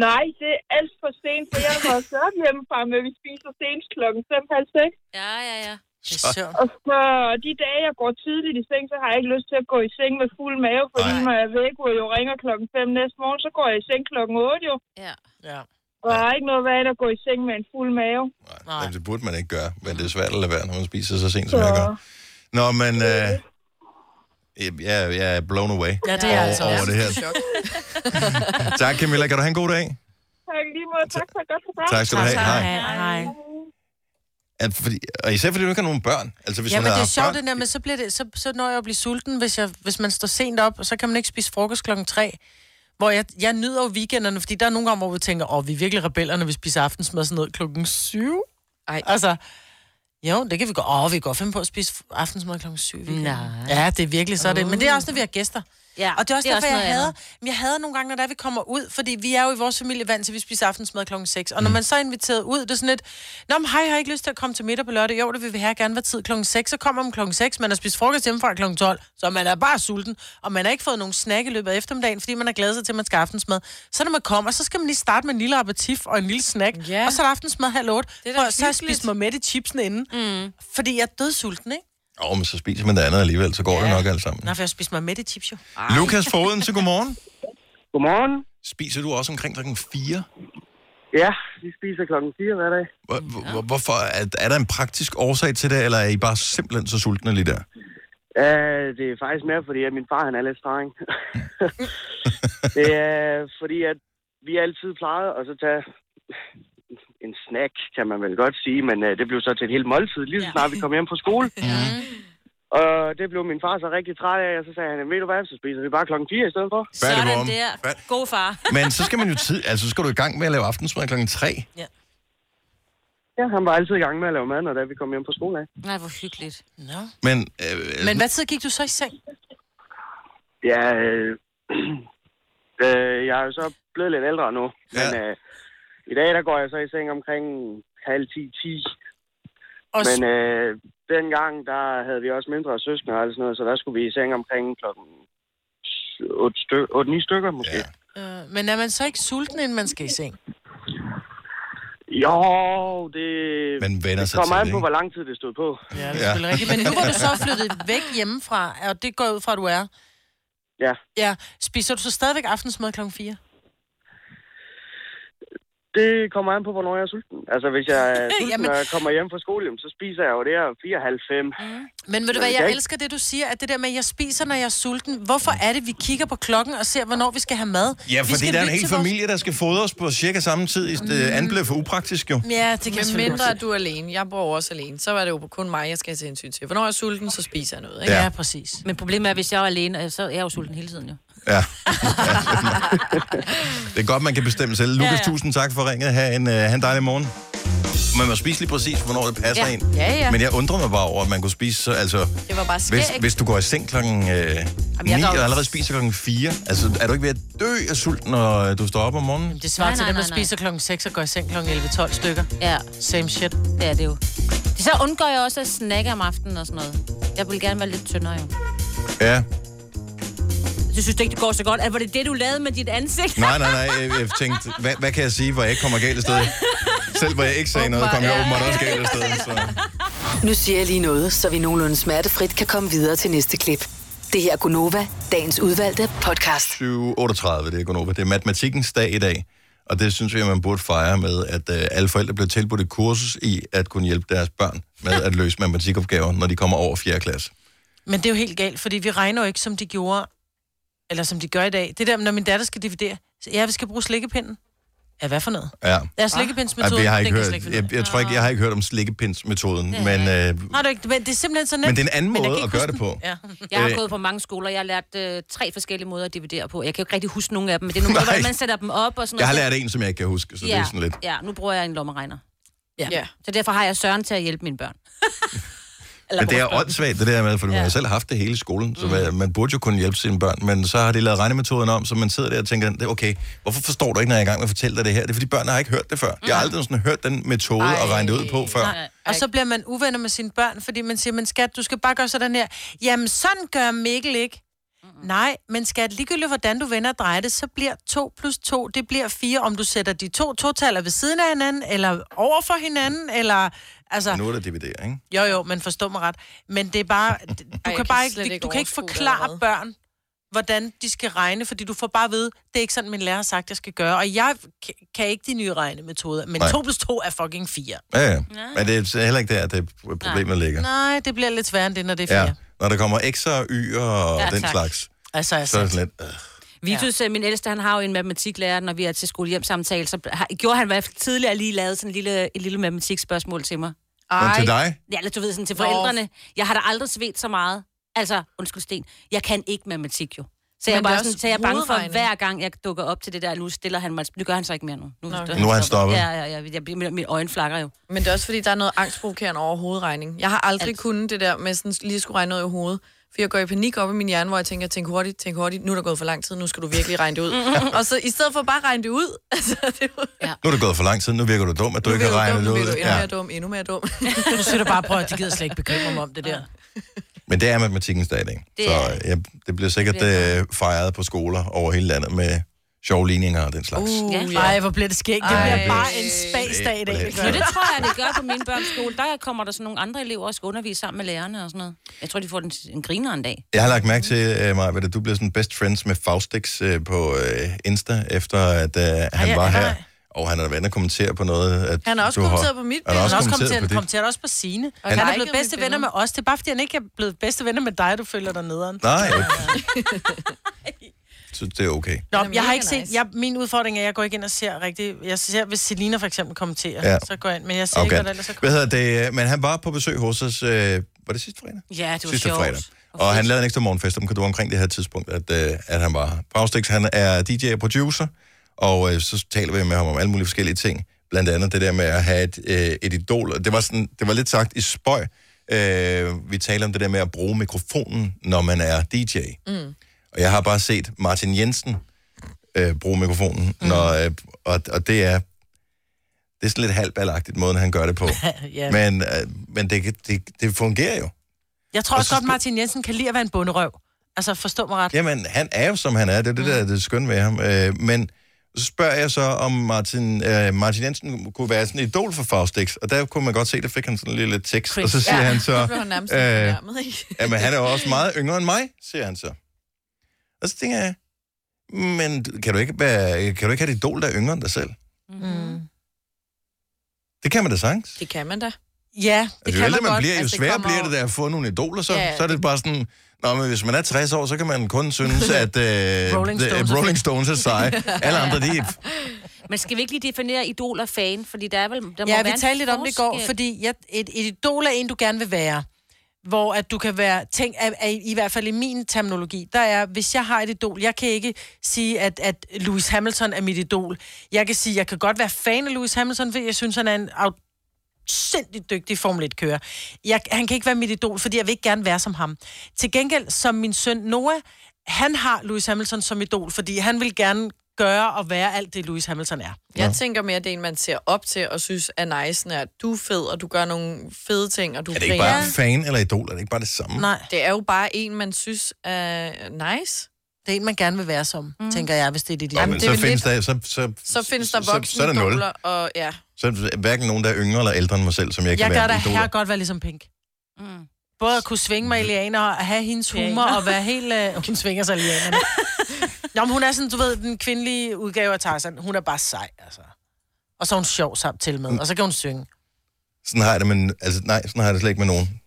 S17: Nej, det er alt for sent, for jeg har været sørget hjemmefra med, at vi spiser senest klokken 5.30.
S2: Ja, ja, ja.
S17: Og så de dage, jeg går tidligt i seng, så har jeg ikke lyst til at gå i seng med fuld mave, fordi når jeg væk, hvor jo ringer klokken 5 næste morgen, så går jeg i seng klokken 8 jo.
S2: Ja.
S3: ja.
S17: Og der er ikke noget værd end at gå i seng med en fuld mave.
S1: Jamen, det burde man ikke gøre, men det er svært at lade være, når man spiser så sent, som jeg gør. Nå, men øh, jeg, jeg er blown away
S17: Ja, det er
S1: over,
S17: jeg altså
S1: over
S17: også.
S1: det her. Tak, Camilla. Kan du have en god dag?
S17: Tak lige måde. Tak for et godt program.
S1: Tak skal du have. Hej.
S3: Hej.
S1: At fordi, og især fordi du ikke har nogen børn. Altså, hvis
S3: ja,
S1: man
S3: men
S1: havde
S3: det er
S1: haft
S3: sjovt,
S1: børn-
S3: det der med, så, bliver det, så, så når jeg at blive sulten, hvis, jeg, hvis man står sent op, og så kan man ikke spise frokost klokken 3. Hvor jeg, jeg nyder jo weekenderne, fordi der er nogle gange, hvor vi tænker, åh, vi er virkelig rebeller, når vi spiser aftensmad sådan noget klokken 7. Ej. Altså, jo, det kan vi godt. Åh, vi kan godt finde på at spise f- aftensmad klokken 7. Nej. Mm. Ja, det er virkelig så er det. Men det er også, når vi har gæster.
S2: Ja,
S3: og det er også
S2: det er
S3: derfor,
S2: også
S3: jeg
S2: noget
S3: hader,
S2: andet.
S3: men jeg hader nogle gange, når der vi kommer ud, fordi vi er jo i vores familie vant til, at vi spiser aftensmad klokken 6.
S9: Mm.
S3: Og når man så er inviteret ud, det er sådan lidt, Nå, men hej, jeg har ikke lyst til at komme til middag på lørdag. Jo, det vil vi have gerne være tid klokken 6, så kommer man klokken 6, man har spist frokost hjemmefra klokken 12, så man er bare sulten, og man har ikke fået nogen snack i løbet af eftermiddagen, fordi man har glædet sig til, at man skal have aftensmad. Så når man kommer, så skal man lige starte med en lille appetit og en lille snack, ja. og så er der aftensmad halv otte,
S9: Det er da
S3: og så har jeg
S9: hyggeligt.
S3: spist mig med i chipsene inden, mm. fordi jeg er dødsulten, ikke?
S1: Åh, oh, men så spiser man det andet alligevel, så går ja. det nok alt sammen.
S3: Nå, for jeg spiste mig med i chips jo.
S1: Lukas Foden, så godmorgen.
S15: Godmorgen.
S1: Spiser du også omkring klokken 4?
S15: Ja, vi spiser klokken 4 hver dag.
S1: Hvor, hvor, hvorfor? Er, er der en praktisk årsag til det, eller er I bare simpelthen så sultne lige der?
S15: Uh, det er faktisk mere, fordi at min far han er lidt streng. det er fordi, at vi altid plejede at så tage en snack, kan man vel godt sige, men uh, det blev så til et helt måltid, lige så snart vi kom hjem fra skole. Og det blev min far så rigtig træt af, og så sagde han, ved du hvad, så spiser vi bare klokken 4 i stedet for.
S1: Hvad er det,
S2: Sådan
S1: vorm?
S2: der. God far.
S1: Men så skal man jo tid, altså så skal du i gang med at lave aftensmad klokken 3.
S15: Ja, han var altid i gang med at lave mad, når da vi kom hjem fra skole af.
S2: Nej, hvor hyggeligt.
S3: Nå.
S1: Men, øh,
S3: Men hvad tid gik du så i seng?
S15: Ja, øh, øh, jeg er jo så blevet lidt ældre nu, ja. men øh, i dag der går jeg så i seng omkring halv ti, ti.
S3: Og
S15: Men øh, dengang, der havde vi også mindre søskende og alt sådan noget, så der skulle vi i seng omkring klokken 8-9 styk, otte, ni stykker måske. Ja.
S3: Øh, men er man så ikke sulten, inden man skal i seng?
S15: Jo, det,
S1: Man vender
S15: det
S1: sig
S15: kommer
S1: til
S15: an
S1: det,
S15: på,
S1: ikke?
S15: hvor lang tid det stod på.
S3: Ja, det er selvfølgelig rigtigt. Men nu hvor du så er flyttet væk hjemmefra, og det går jeg ud fra, at du er,
S15: Ja,
S3: ja, spiser du så stadigvæk aftensmad klokken 4?
S15: det kommer an på, hvornår jeg er sulten. Altså, hvis jeg er sulten,
S3: Jamen.
S15: Jamen. og jeg kommer hjem fra skole, jamen, så spiser jeg jo det her 4,5-5. Mm.
S3: Men ved du hvad, jeg elsker det, du siger, at det der med, at jeg spiser, når jeg er sulten. Hvorfor er det, vi kigger på klokken og ser, hvornår vi skal have mad?
S1: Ja,
S3: Vi
S1: fordi
S3: skal
S1: der er en
S3: lytte
S1: hel
S3: til vores-
S1: familie, der skal fodres på cirka samme tid. Mm. Det andet bliver for upraktisk jo.
S3: Ja, det kan jeg
S4: Men
S3: selvfølgelig
S4: mindre
S3: godt
S4: at du er alene. Jeg bor jo også alene. Så var det jo kun mig, jeg skal have til hensyn til. Hvornår jeg er sulten, så spiser jeg noget. Ikke?
S1: Ja. Ja,
S3: præcis.
S2: Men problemet er, hvis jeg er alene, øh, så er jeg jo sulten hele tiden jo.
S1: Det er godt, man kan bestemme selv. Lukas, ja, ja. tusind tak for ringet. Ha' en, uh, ha en dejlig morgen. Man må spise lige præcis, hvornår det passer
S4: Ja.
S1: ind.
S4: Ja, ja.
S1: Men jeg undrer mig bare over, at man kunne spise så... Altså,
S4: Det var bare skægt.
S1: hvis, hvis du går i seng klokken øh, 9
S4: jeg
S1: og
S4: går-
S1: allerede spiser klokken 4, altså er du ikke ved at dø af sulten, når øh, du står op om morgenen?
S3: Det svarer
S2: Nej,
S3: til
S2: nej,
S3: dem, der
S2: nej, nej.
S3: spiser klokken 6 og går i seng klokken 11-12 stykker.
S2: Ja.
S3: Same shit.
S2: Det er det jo. Så undgår jeg også at snakke om aftenen og sådan noget. Jeg vil gerne være lidt tyndere jo.
S1: Ja.
S2: Du synes ikke, det går så godt. Er, var det det, du lavede med dit ansigt?
S1: Nej, nej, nej. Jeg, jeg tænkte, hvad, hvad kan jeg sige, hvor jeg ikke kommer galt af sted? Selv hvor jeg ikke sagde noget, kom jeg åbenbart også galt af sted. Så.
S5: Nu siger jeg lige noget, så vi nogenlunde smertefrit kan komme videre til næste klip. Det her er Gunova, dagens udvalgte podcast.
S1: 7.38, det er Gunova. Det er matematikkens dag i dag. Og det synes jeg, man burde fejre med, at øh, alle forældre bliver tilbudt et kursus i at kunne hjælpe deres børn med at løse matematikopgaver, når de kommer over 4. klasse.
S3: Men det er jo helt galt, fordi vi regner jo ikke, som de gjorde, eller som de gør i dag. Det der, når min datter skal dividere, så ja, vi skal bruge slikkepinden. Ja, hvad for noget?
S1: Ja.
S3: Ja, slikkepindsmetoden,
S1: Ja, jeg, har ikke
S3: den kan jeg
S1: hørt,
S3: slet ikke finde ud
S1: jeg, jeg, tror ikke, jeg har ikke hørt om slikkepindsmetoden,
S2: Det har
S1: men
S2: jeg
S1: øh,
S3: Har du ikke? Men det er simpelthen så nemt.
S1: Men det er en anden
S3: jeg
S1: måde at
S3: kan ikke
S1: gøre
S3: huske
S1: det på.
S3: den.
S2: Jeg har
S1: Øh.
S2: gået på mange skoler. Jeg har lært øh, tre forskellige måder at dividere på. Jeg kan jo ikke rigtig huske nogen af dem, men det er nogle
S1: Nej.
S2: måder, hvordan man sætter dem op og sådan
S1: jeg har
S2: noget.
S1: lært en, som jeg ikke kan huske, så det er sådan lidt...
S2: Ja, nu bruger jeg en lommeregner. Ja.
S4: ja.
S2: Så derfor har jeg Søren til at hjælpe mine børn.
S1: Eller men det er åndssvagt, det der med, for ja. man har selv haft det hele i skolen, så mm. man burde jo kunne hjælpe sine børn, men så har de lavet regnemetoden om, så man sidder der og tænker, det er okay, hvorfor forstår du ikke, når jeg er i gang med at fortælle dig det her? Det er, fordi børn har ikke hørt det før. Mm. Jeg har aldrig sådan hørt den metode Ej. og regnet det ud på før. Nej.
S3: Og så bliver man uvenner med sine børn, fordi man siger, men skat, du skal bare gøre sådan her. Jamen, sådan gør Mikkel ikke. Nej, men skat, ligegyldigt hvordan du vender og drejer det, så bliver 2 plus 2, det bliver 4, om du sætter de to totaler ved siden af hinanden, eller over for hinanden, eller... Altså,
S1: Nu er det dividere, ikke?
S3: jo, jo, men forstå mig ret. Men det er bare... Du
S4: jeg
S3: kan,
S4: kan
S3: bare
S4: slet
S3: ikke,
S4: ikke
S3: du kan ikke
S4: overskue, hvad
S3: forklare
S4: der er
S3: børn, hvordan de skal regne, fordi du får bare at vide, det er ikke sådan, min lærer har sagt, jeg skal gøre. Og jeg k- kan ikke de nye regnemetoder, men
S1: Nej.
S3: 2 plus 2 er fucking 4.
S1: Ja, ja. Men det er heller ikke der, det problemet ligger.
S3: Nej, det bliver lidt sværere end det, når det er 4.
S1: Ja, når der kommer x'er og y'er og
S2: Ja,
S1: den
S2: tak.
S1: slags,
S3: Altså, jeg
S1: så er det sådan lidt... Øh.
S2: Vitus, ja. min ældste, han har jo en matematiklærer, når vi er til skolehjemsamtale, så har, gjorde han i hvert fald tidligere lige lavet sådan en lille, et lille matematikspørgsmål til mig.
S1: Nå, til dig?
S2: Ja, eller du ved, sådan til
S3: Nå.
S2: forældrene. Jeg har da aldrig svedt så meget. Altså, undskyld Sten, jeg kan ikke matematik jo. Så
S4: Men
S2: jeg, er
S4: det er
S2: bare
S4: også
S2: sådan, så jeg er bange for,
S4: hovedregning.
S2: hver gang jeg dukker op til det der, nu stiller han mig, nu gør han så ikke mere nu. Nu, okay.
S1: Nu er han stoppet.
S2: Ja, ja, ja, jeg, bliver- mine, mine øjne flakker jo.
S4: Men det er også fordi, der er noget angstprovokerende over hovedregning. Jeg har aldrig Alt. kunnet det der med sådan lige skulle regne noget i hovedet. For jeg går i panik op i min hjerne, hvor jeg tænker, tænk hurtigt, tænk hurtigt, nu er der gået for lang tid, nu skal du virkelig regne det ud. og så i stedet for bare at regne det ud, altså, det var,
S1: Nu er det gået for lang tid, nu virker du dum, at du ikke har regnet det
S4: nu
S1: ud.
S4: bliver du endnu
S1: Ja.
S4: mere dum, endnu mere dum.
S3: Nu siger du bare, prøv at de gider slet ikke bekymre mig om det der.
S1: Men det er matematikkens dag i dag.
S3: Det
S1: Så øh,
S3: er
S1: ja, det bliver sikkert
S3: Det bliver
S1: øh, fejret på skoler over hele landet med sjove ligninger og den slags.
S3: Uh, ja. Ej, hvor bliver det skægt. Det
S1: Ej.
S3: bliver bare
S1: Det
S3: en spagsdag i dag. det gør
S2: Men
S3: det.
S2: det tror jeg, det gør på min børns skole. Der kommer der sådan nogle andre elever og skal undervise sammen med lærerne og sådan noget. Jeg tror, de får den, en griner en dag.
S1: Jeg har lagt mærke til, øh, Maja, at du blev sådan best friends med Faustix øh, på øh, Insta, efter at øh, han
S3: ja,
S1: var
S3: nej.
S1: her. Og han har været inde og kommentere på noget. At
S3: Han er også
S1: du har-
S3: kommenteret på mit
S1: Han er også kommenteret på
S3: Han
S1: dit.
S3: kommenteret også på sine.
S1: Og
S3: Og han er
S1: liket
S3: blevet
S4: mit
S3: bedste venner
S4: billede.
S3: med os. Det er bare, fordi han ikke er blevet bedste venner med dig, du føler dig nederen.
S1: Nej, jeg synes, det er okay.
S3: Nå,
S4: er
S3: jeg har
S4: mega
S3: ikke set...
S4: nice.
S3: Jeg, min udfordring er, at jeg går ikke ind og ser rigtigt... Jeg ser, hvis Selina for eksempel kommenterer,
S1: Ja.
S3: ja. så går jeg ind. Men jeg ser okay. ikke,
S1: Okay.
S3: hvad der ellers er kommet.
S1: Hvad hedder det? øh, Men han var på besøg hos os, øh, var det sidste fredag?
S3: Ja, det var
S1: sidste
S3: sjovt.
S1: fredag. Og han lavede en ekstra morgenfest om, kan du omkring det her tidspunkt, at, øh, at han var her. Faustix, han er DJ og producer, og øh, så taler vi med ham om alle mulige forskellige ting. Blandt andet det der med at have et, øh, et idol. Og Det var, sådan, det var lidt sagt i spøj. Øh, vi taler om det der med at bruge mikrofonen, når man er DJ.
S7: Mm.
S1: Og jeg har bare set Martin Jensen øh, bruge mikrofonen, mm. når, øh, og, og det er det er sådan lidt halvballagtigt, måden han gør det på.
S3: Ja.
S1: Men, øh, men det, kan- det, det fungerer jo.
S3: Jeg tror
S1: Og
S3: også
S1: så
S3: godt, Martin Jensen kan lide at være en bunderøv. Altså, forstå mig ret.
S1: Jamen, han er jo, som han er. Det er det, der
S4: Mm.
S1: er det skønne ved ham. Øh, men så spørger jeg så, om Martin, øh, Martin Jensen kunne være sådan en idol for Faustix. Og der kunne man godt se, der fik han sådan en lille tekst. Og så siger
S4: ja,
S1: han
S4: Nu
S1: så...
S4: blev han nærmest øh,
S1: øh,
S4: ikke?
S1: Jamen, han er jo også meget yngre end mig, siger han så. Og så tænker jeg, men du- kan du ikke, være, kan du ikke have et idol, der er yngre end dig selv?
S4: Mm.
S1: Det kan man da sagtens.
S4: Det kan man da. Altså,
S3: Ja,
S1: Det Altså, jo ældre man bliver, jo sværere bliver det der at få nogle idoler, så,
S4: Ja, ja.
S1: så er det bare sådan... Nå, men hvis man er 60 år, så kan man kun synes, at øh,
S3: Rolling
S1: the-
S3: Stones er
S1: Rolling
S3: fedt.
S1: Stones er seje. Alle andre, de...
S2: Men skal vi ikke lige definere idol og fan? Fordi der er vel, der må
S3: Ja,
S2: være
S3: vi
S2: en
S3: talte lidt om det i går,
S2: forskel.
S3: fordi jeg, et, et idol er en, du gerne vil være. Hvor at du kan være, tænk, at, at, i hvert fald i min terminologi, der er, hvis jeg har et idol, jeg kan ikke sige, at, at Lewis Hamilton er mit idol. Jeg kan sige, jeg kan godt være fan af Lewis Hamilton, fordi jeg synes, han er en sindssygt dygtig Formel 1-kører. Jeg, han kan ikke være mit idol, fordi jeg vil ikke gerne være som ham. Til gengæld, som min søn Noah, han har Lewis Hamilton som idol, fordi han vil gerne gøre og være alt det, Lewis Hamilton er.
S4: Jeg tænker mere, at det er en, man ser op til og synes er nice, når du er fed, og du gør nogle fede ting, og du
S1: Er det ikke
S4: griner.
S1: bare fan eller idol? Er det ikke bare det samme?
S3: Nej.
S4: Det er jo bare en, man synes er nice.
S3: Det er en, man gerne vil være som, mm. tænker jeg, hvis det er dit
S1: Nå, men
S3: det er
S1: så
S3: vel
S1: findes
S3: lidt-
S1: der... Så, så,
S4: Så findes der
S1: så- så er
S4: voksne
S1: der nul.
S4: idoler, og ja.
S1: så er der hverken nogen, der er yngre eller ældre end mig selv, som jeg
S3: Jeg,
S1: kan
S3: jeg
S1: være
S3: gør da
S1: idol.
S3: her godt være ligesom Pink. Mm. Både at kunne svinge mig i lianer, og have hendes humor, og være helt... Øh, hun svinger sig i lianerne. Nå, men hun er sådan, du ved, den kvindelige udgave af Tarzan. Hun er bare sej, altså. Og så er hun sjov sammen til
S1: Mm.
S3: med, og så kan hun synge.
S1: Sådan har jeg det, men... Altså, nej, sådan har jeg det slet ikke med nogen.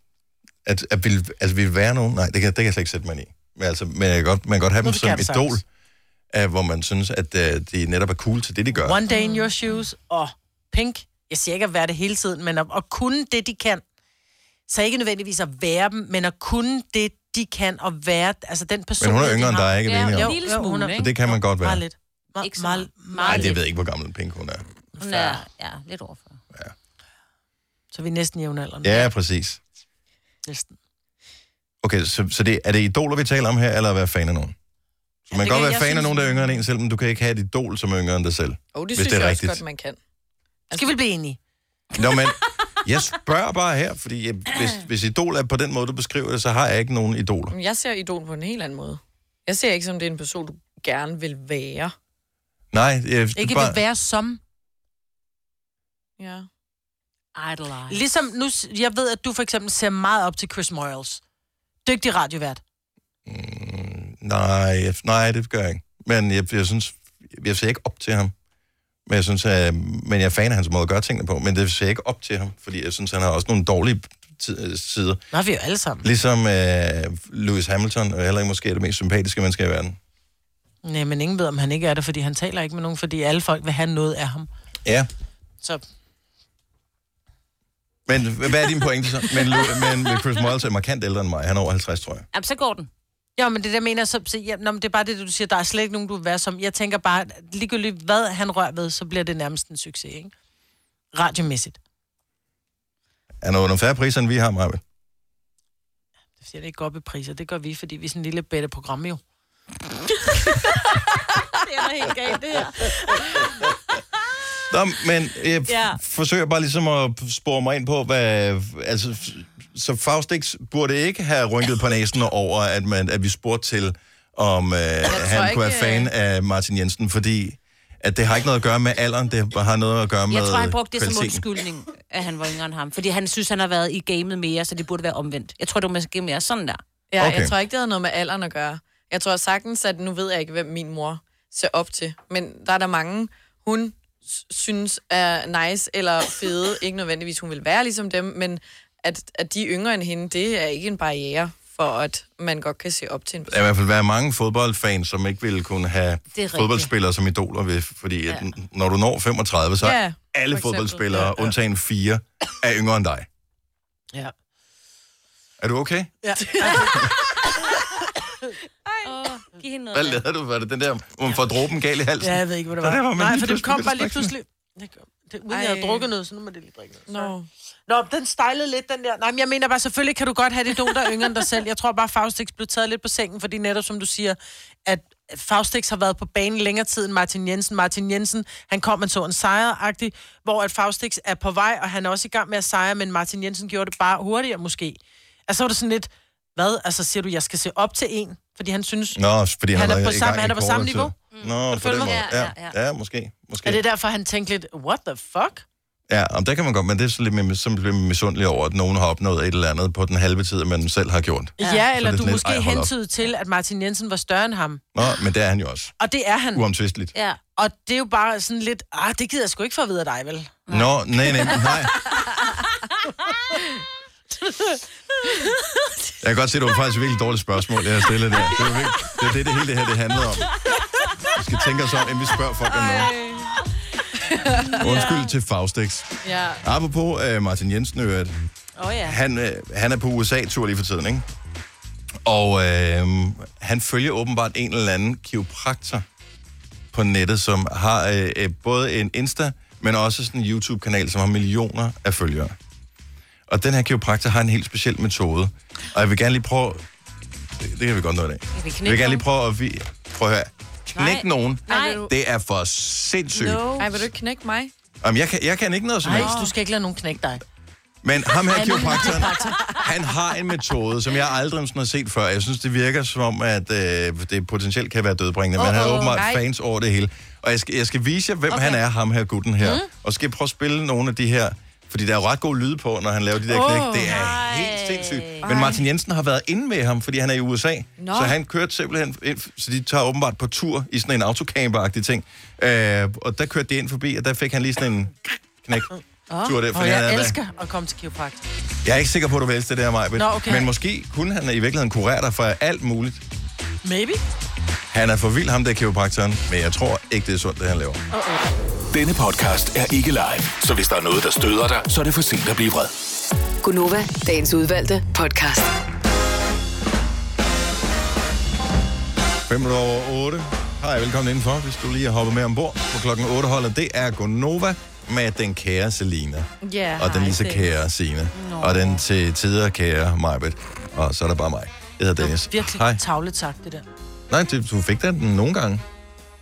S1: At, at vil, altså, vil være nogen? Nej, det kan, det kan jeg slet ikke sætte mig ind i. Men, altså, men jeg kan godt, man kan godt have
S3: Nå,
S1: dem
S3: det
S1: som
S3: kan du
S1: idol, af, hvor man synes, at uh, de netop er cool til det, de gør.
S3: One day in your shoes og Pink. Jeg siger ikke at være det hele tiden, men at, at kunne det, de kan. Så ikke nødvendigvis at være dem, men at kunne det, de kan, og være altså den person,
S1: Men hun er
S3: de
S1: yngre end
S3: har.
S1: dig, ikke? Ja,
S3: Jo,
S1: en
S3: jo,
S1: lille
S3: jo, hun er-
S1: Så det kan man godt være.
S3: Meget lidt. Me- ikke meget,
S1: Nej,
S3: meget
S1: det
S3: lidt.
S1: ved jeg ikke, hvor gammel en pink hun er.
S2: Hun er ja, lidt overfor.
S3: Så vi er næsten jævnaldrende.
S1: Ja, præcis.
S3: Næsten.
S1: Okay, så, så det, er det idoler, vi taler om her, eller at være fan af nogen? Så man
S4: det
S1: kan godt
S4: kan-
S1: være
S4: jeg
S1: fan af
S4: synes-
S1: nogen, der er yngre end en selv, men du kan ikke have et idol, som er yngre end dig selv.
S4: Og det
S1: hvis
S4: synes
S1: det er
S4: jeg
S1: rigtigt.
S4: også godt, man kan.
S3: Skal vi blive enige?
S1: Nå, men jeg spørger bare her, fordi jeg, hvis, hvis idol er på den måde, du beskriver det, så har jeg ikke nogen idoler.
S4: Men Altså, Jeg ser idol på en helt anden måde. Jeg ser ikke, som det er en person, du gerne vil være.
S1: Nej, jeg,
S4: Ikke
S1: bare,
S4: vil
S3: Være som...
S4: Ja.
S2: Idolize.
S3: Ligesom nu, s- jeg ved, at du for eksempel ser meget op til Chris Moyles. Dygtig radiovært.
S1: Mm, Nej, jeg, nej, det gør jeg ikke. Men jeg, jeg synes, jeg ser ikke op til ham. Men jeg, synes, at, men jeg er fan af hans måde at gøre tingene på, men det ser jeg ikke op til ham, fordi jeg synes, han har også nogle dårlige ti- øh, sider.
S3: Nå, vi er jo alle sammen.
S1: Ligesom øh, Lewis Hamilton, og heller ikke måske er det mest sympatiske menneske i verden.
S3: Nej, men ingen ved, om han ikke er der, fordi han taler ikke med nogen, fordi alle folk vil have noget af ham.
S1: Ja,
S3: Så
S1: men h- hvad er din pointe så? Men, Lew- men Chris Moyles er markant ældre end mig. Han er over 50, tror jeg.
S2: Jamen, så går den.
S3: Ja, men det der mener, jeg, så, så ja, nå, men det er bare det, du siger, der er slet ikke nogen, du vil være som. Jeg tænker bare, at ligegyldigt hvad han rører ved, så bliver det nærmest en succes, ikke? Radiomæssigt.
S1: Han er under færre priser, end vi har, Marve.
S3: Det siger det ikke går op i priser, det gør vi, fordi vi er sådan en lille bedre program jo.
S2: Det er da helt galt, det her.
S1: Nå, men jeg f-
S2: Ja.
S1: ja. forsøger bare ligesom at spore mig ind på, hvad... Altså, f- så Faustix burde ikke have rynket på næsen over, at, man, at vi spurgte til, om øh, han
S2: ikke,
S1: kunne være fan
S2: øh,
S1: af Martin Jensen, fordi at det har ikke noget at gøre med alderen, det har noget at gøre med
S2: Jeg tror, han brugte det som
S1: kvaliteten.
S2: undskyldning, at han var yngre end ham. Fordi han synes, han har været i gamet mere, så det burde være omvendt. Jeg tror, det var måske mere sådan der.
S4: Ja, okay. jeg tror ikke, det havde noget med alderen at gøre. Jeg tror sagtens, at nu ved jeg ikke, hvem min mor ser op til. Men der er der mange, hun s- synes er nice eller fede. Ikke nødvendigvis, hun vil være ligesom dem, men at, at de er yngre end hende, det er ikke en barriere for, at man godt kan se op til en
S1: Der er i hvert fald være mange fodboldfans, som ikke ville kunne have
S4: rigtigt.
S1: fodboldspillere som idoler, ved, fordi ja. at, n- når du når 35, så er
S4: Ja, for
S1: alle
S4: eksempel.
S1: fodboldspillere,
S4: Ja,
S1: ja,
S4: ja.
S1: ja. undtagen fire, er yngre end dig.
S3: Ja.
S1: Er du okay?
S3: Ja.
S2: Åh, giv hende noget.
S1: Hvad lavede du? Var det den der, hvor man får dråben galt i halsen?
S3: Ja, jeg ved ikke, hvad det
S1: Nå,
S3: var.
S1: der, hvor man
S3: Nej,
S1: lige
S3: for det
S1: pludselig
S3: kom bare
S1: bliver
S3: lige
S1: stærk.
S3: pludselig. Det kom- det- Uden jeg havde
S4: Ej.
S3: drukket noget, så nu må det lige drikke
S4: noget.
S3: Nå. Nå, den stejlede lidt, den der. Nej, men jeg mener bare, selvfølgelig kan du godt have det idol, der er yngre end dig selv. Jeg tror bare, Faustix blev taget lidt på sengen, fordi netop som du siger, at Faustix har været på banen længere tid end Martin Jensen. Martin Jensen, han kom, man så en sejragtig, hvor at Faustix er på vej, og han er også i gang med at sejre, men Martin Jensen gjorde det bare hurtigere måske. Altså, så var det sådan lidt, hvad? Altså, siger du, jeg skal se op til en? Fordi han synes,
S1: Nå, fordi han,
S3: han er
S1: var
S3: på
S1: i
S3: samme,
S1: gang i
S3: han er på samme
S1: kortere
S3: niveau.
S1: tid. Nå, på
S3: Mm. følge
S1: den
S3: mig?
S1: måde.
S3: Ja,
S1: Ja,
S3: ja,
S1: ja, ja, måske. måske.
S3: Er det derfor, han tænkte lidt, what the fuck?
S1: Ja, om det kan man godt, men det er sådan lidt mere, sådan lidt misundelig over, at nogen har opnået et eller andet på den halve tid, man selv har gjort.
S3: Ja,
S1: Så
S3: ja
S1: det
S3: eller
S1: er
S3: du
S1: sådan lidt, "Ej,
S3: måske
S1: hold op."
S3: hentydede til, at Martin Jensen var større end ham.
S1: Nå, men det er han jo også.
S3: Og det er han.
S1: Uomtvisteligt.
S3: Ja. Og det er jo bare sådan lidt, ah, det gider jeg sgu ikke få at vide af dig, vel?
S1: Nå, nej, nej, nej. Jeg kan godt se, at det var faktisk et virkelig dårligt spørgsmål, jeg har stillet der. Det er, virkelig, det, er det, det hele det her det handlede om. Vi skal tænke os om, inden vi spørger folk om noget. Undskyld til Faustix.
S4: Ja.
S1: Apropos øh, Martin Jensen, øh,
S3: Åh oh, ja.
S1: han, øh, han er på USA-tur lige for tiden, ikke? Og øh, han følger åbenbart en eller anden kiropraktor på nettet, som har øh, øh, både en Insta, men også sådan en YouTube-kanal, som har millioner af følgere. Og den her kiropraktor har en helt speciel metode. Og jeg vil gerne lige prøve... Det, det kan vi godt nå i dag.
S2: vi knække
S1: jeg vil gerne
S2: nogen?
S1: lige prøve at... Vi, prøv at høre. Knæk
S4: Nej.
S1: nogen.
S4: Nej, vil du-
S1: Det er for sindssygt.
S4: No. Ej, vil du ikke knække mig?
S1: Jamen, jeg, kan, jeg kan ikke noget som
S3: Nej,
S1: helst.
S3: du skal ikke lade nogen knække dig.
S1: Men ham her,
S3: Han er
S1: kiropraktoren,
S3: kiropraktor.
S1: han har en metode, som jeg aldrig sådan har set før. Jeg synes, det virker som om, at øh, det potentielt kan være dødbringende, oh,
S6: Åh,
S1: men han er
S6: åh,
S1: åbenbart
S6: nej.
S1: fans over det hele. Og jeg skal, jeg skal vise jer, hvem
S6: Okay.
S1: okay. han er, ham her gutten her.
S6: Mm.
S1: Mm. Og så skal jeg prøve at spille nogle af de her, fordi der er ret god lyd på, når han laver de der
S6: Åh,
S1: knæk. Det er helt sindssygt. Men Martin Jensen har været inde med ham, fordi han er i USA.
S6: Nå.
S1: Nå. Så han kørte simpelthen ind, så de tager åbenbart på tur i sådan en autocamper-agtig ting. Øh, og der kørte de ind forbi, og der fik han lige sådan en knæk. Tur der,
S3: og
S1: fordi han
S3: jeg
S1: havde-
S3: elsker at komme til kiropraktor.
S1: Jeg er ikke sikker på, at du vil elske det der, Maja.
S3: Nå, okay.
S1: Men måske kunne han i virkeligheden kurere dig for alt muligt.
S3: Maybe.
S1: Han er for vild, ham der kiropraktoren, men jeg tror ikke, det er sundt, det han laver.
S6: Denne podcast er ikke live, så hvis der er noget, der støder dig, så er det for sent at blive vred.
S5: Gunova, dagens udvalgte podcast.
S1: 5 minutter over 8. Hej, velkommen indenfor, hvis du lige har hoppet med ombord. På klokken 8 holder det er Gonova. med den kære Selina,
S4: Ja,
S1: og den
S4: hej,
S1: lige så
S4: Dennis.
S1: kære Signe, og den til tider kære Majbet, og så er der bare mig. Jeg hedder Dennis.
S3: Virkelig
S1: Hej.
S3: Hej. tavlet sagt, det der.
S1: Nej, du du fik den nogle gange.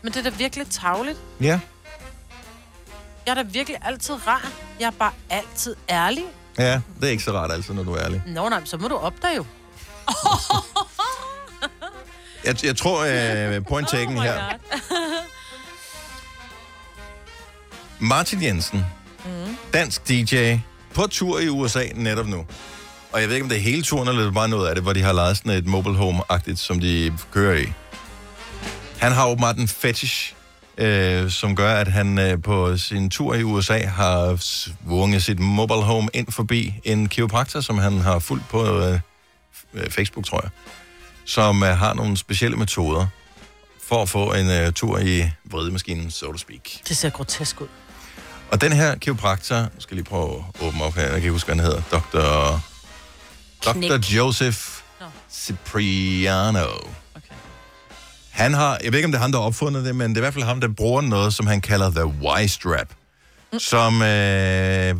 S3: Men det er da virkelig tavligt.
S1: Ja.
S3: Jeg er da virkelig altid rar. Jeg er bare altid ærlig.
S1: Ja, det er ikke så rart altid, når du er ærlig.
S3: Nå nej, så må du opdage jo.
S1: Jeg, jeg tror, øh, point taken oh her. Martin Jensen,
S4: Mm.
S1: dansk DJ, på tur i USA netop nu. Og jeg ved ikke, om det er hele turen, eller det er bare noget af det, hvor de har lejet sådan et mobile home-agtigt, som de kører i. Han har åbenbart en fetish, øh, som gør, at han øh, på sin tur i USA har svunget sit mobile home ind forbi en kiropraktor, som han har fulgt på øh, f- øh, Facebook, tror jeg, som øh, har nogle specielle metoder for at få en øh, tur i vredemaskinen, so to speak.
S3: Det ser grotesk ud.
S1: Og den her kiropraktor, jeg skal lige prøve at åbne op her, jeg kan ikke huske, hvad han hedder, Dr. Dr. Joseph Cipriano. Okay. Han har, jeg ved ikke, om det er ham, der har opfundet det, men det er i hvert fald ham, der bruger noget, som han kalder The Y-Strap. Mm. Som, øh,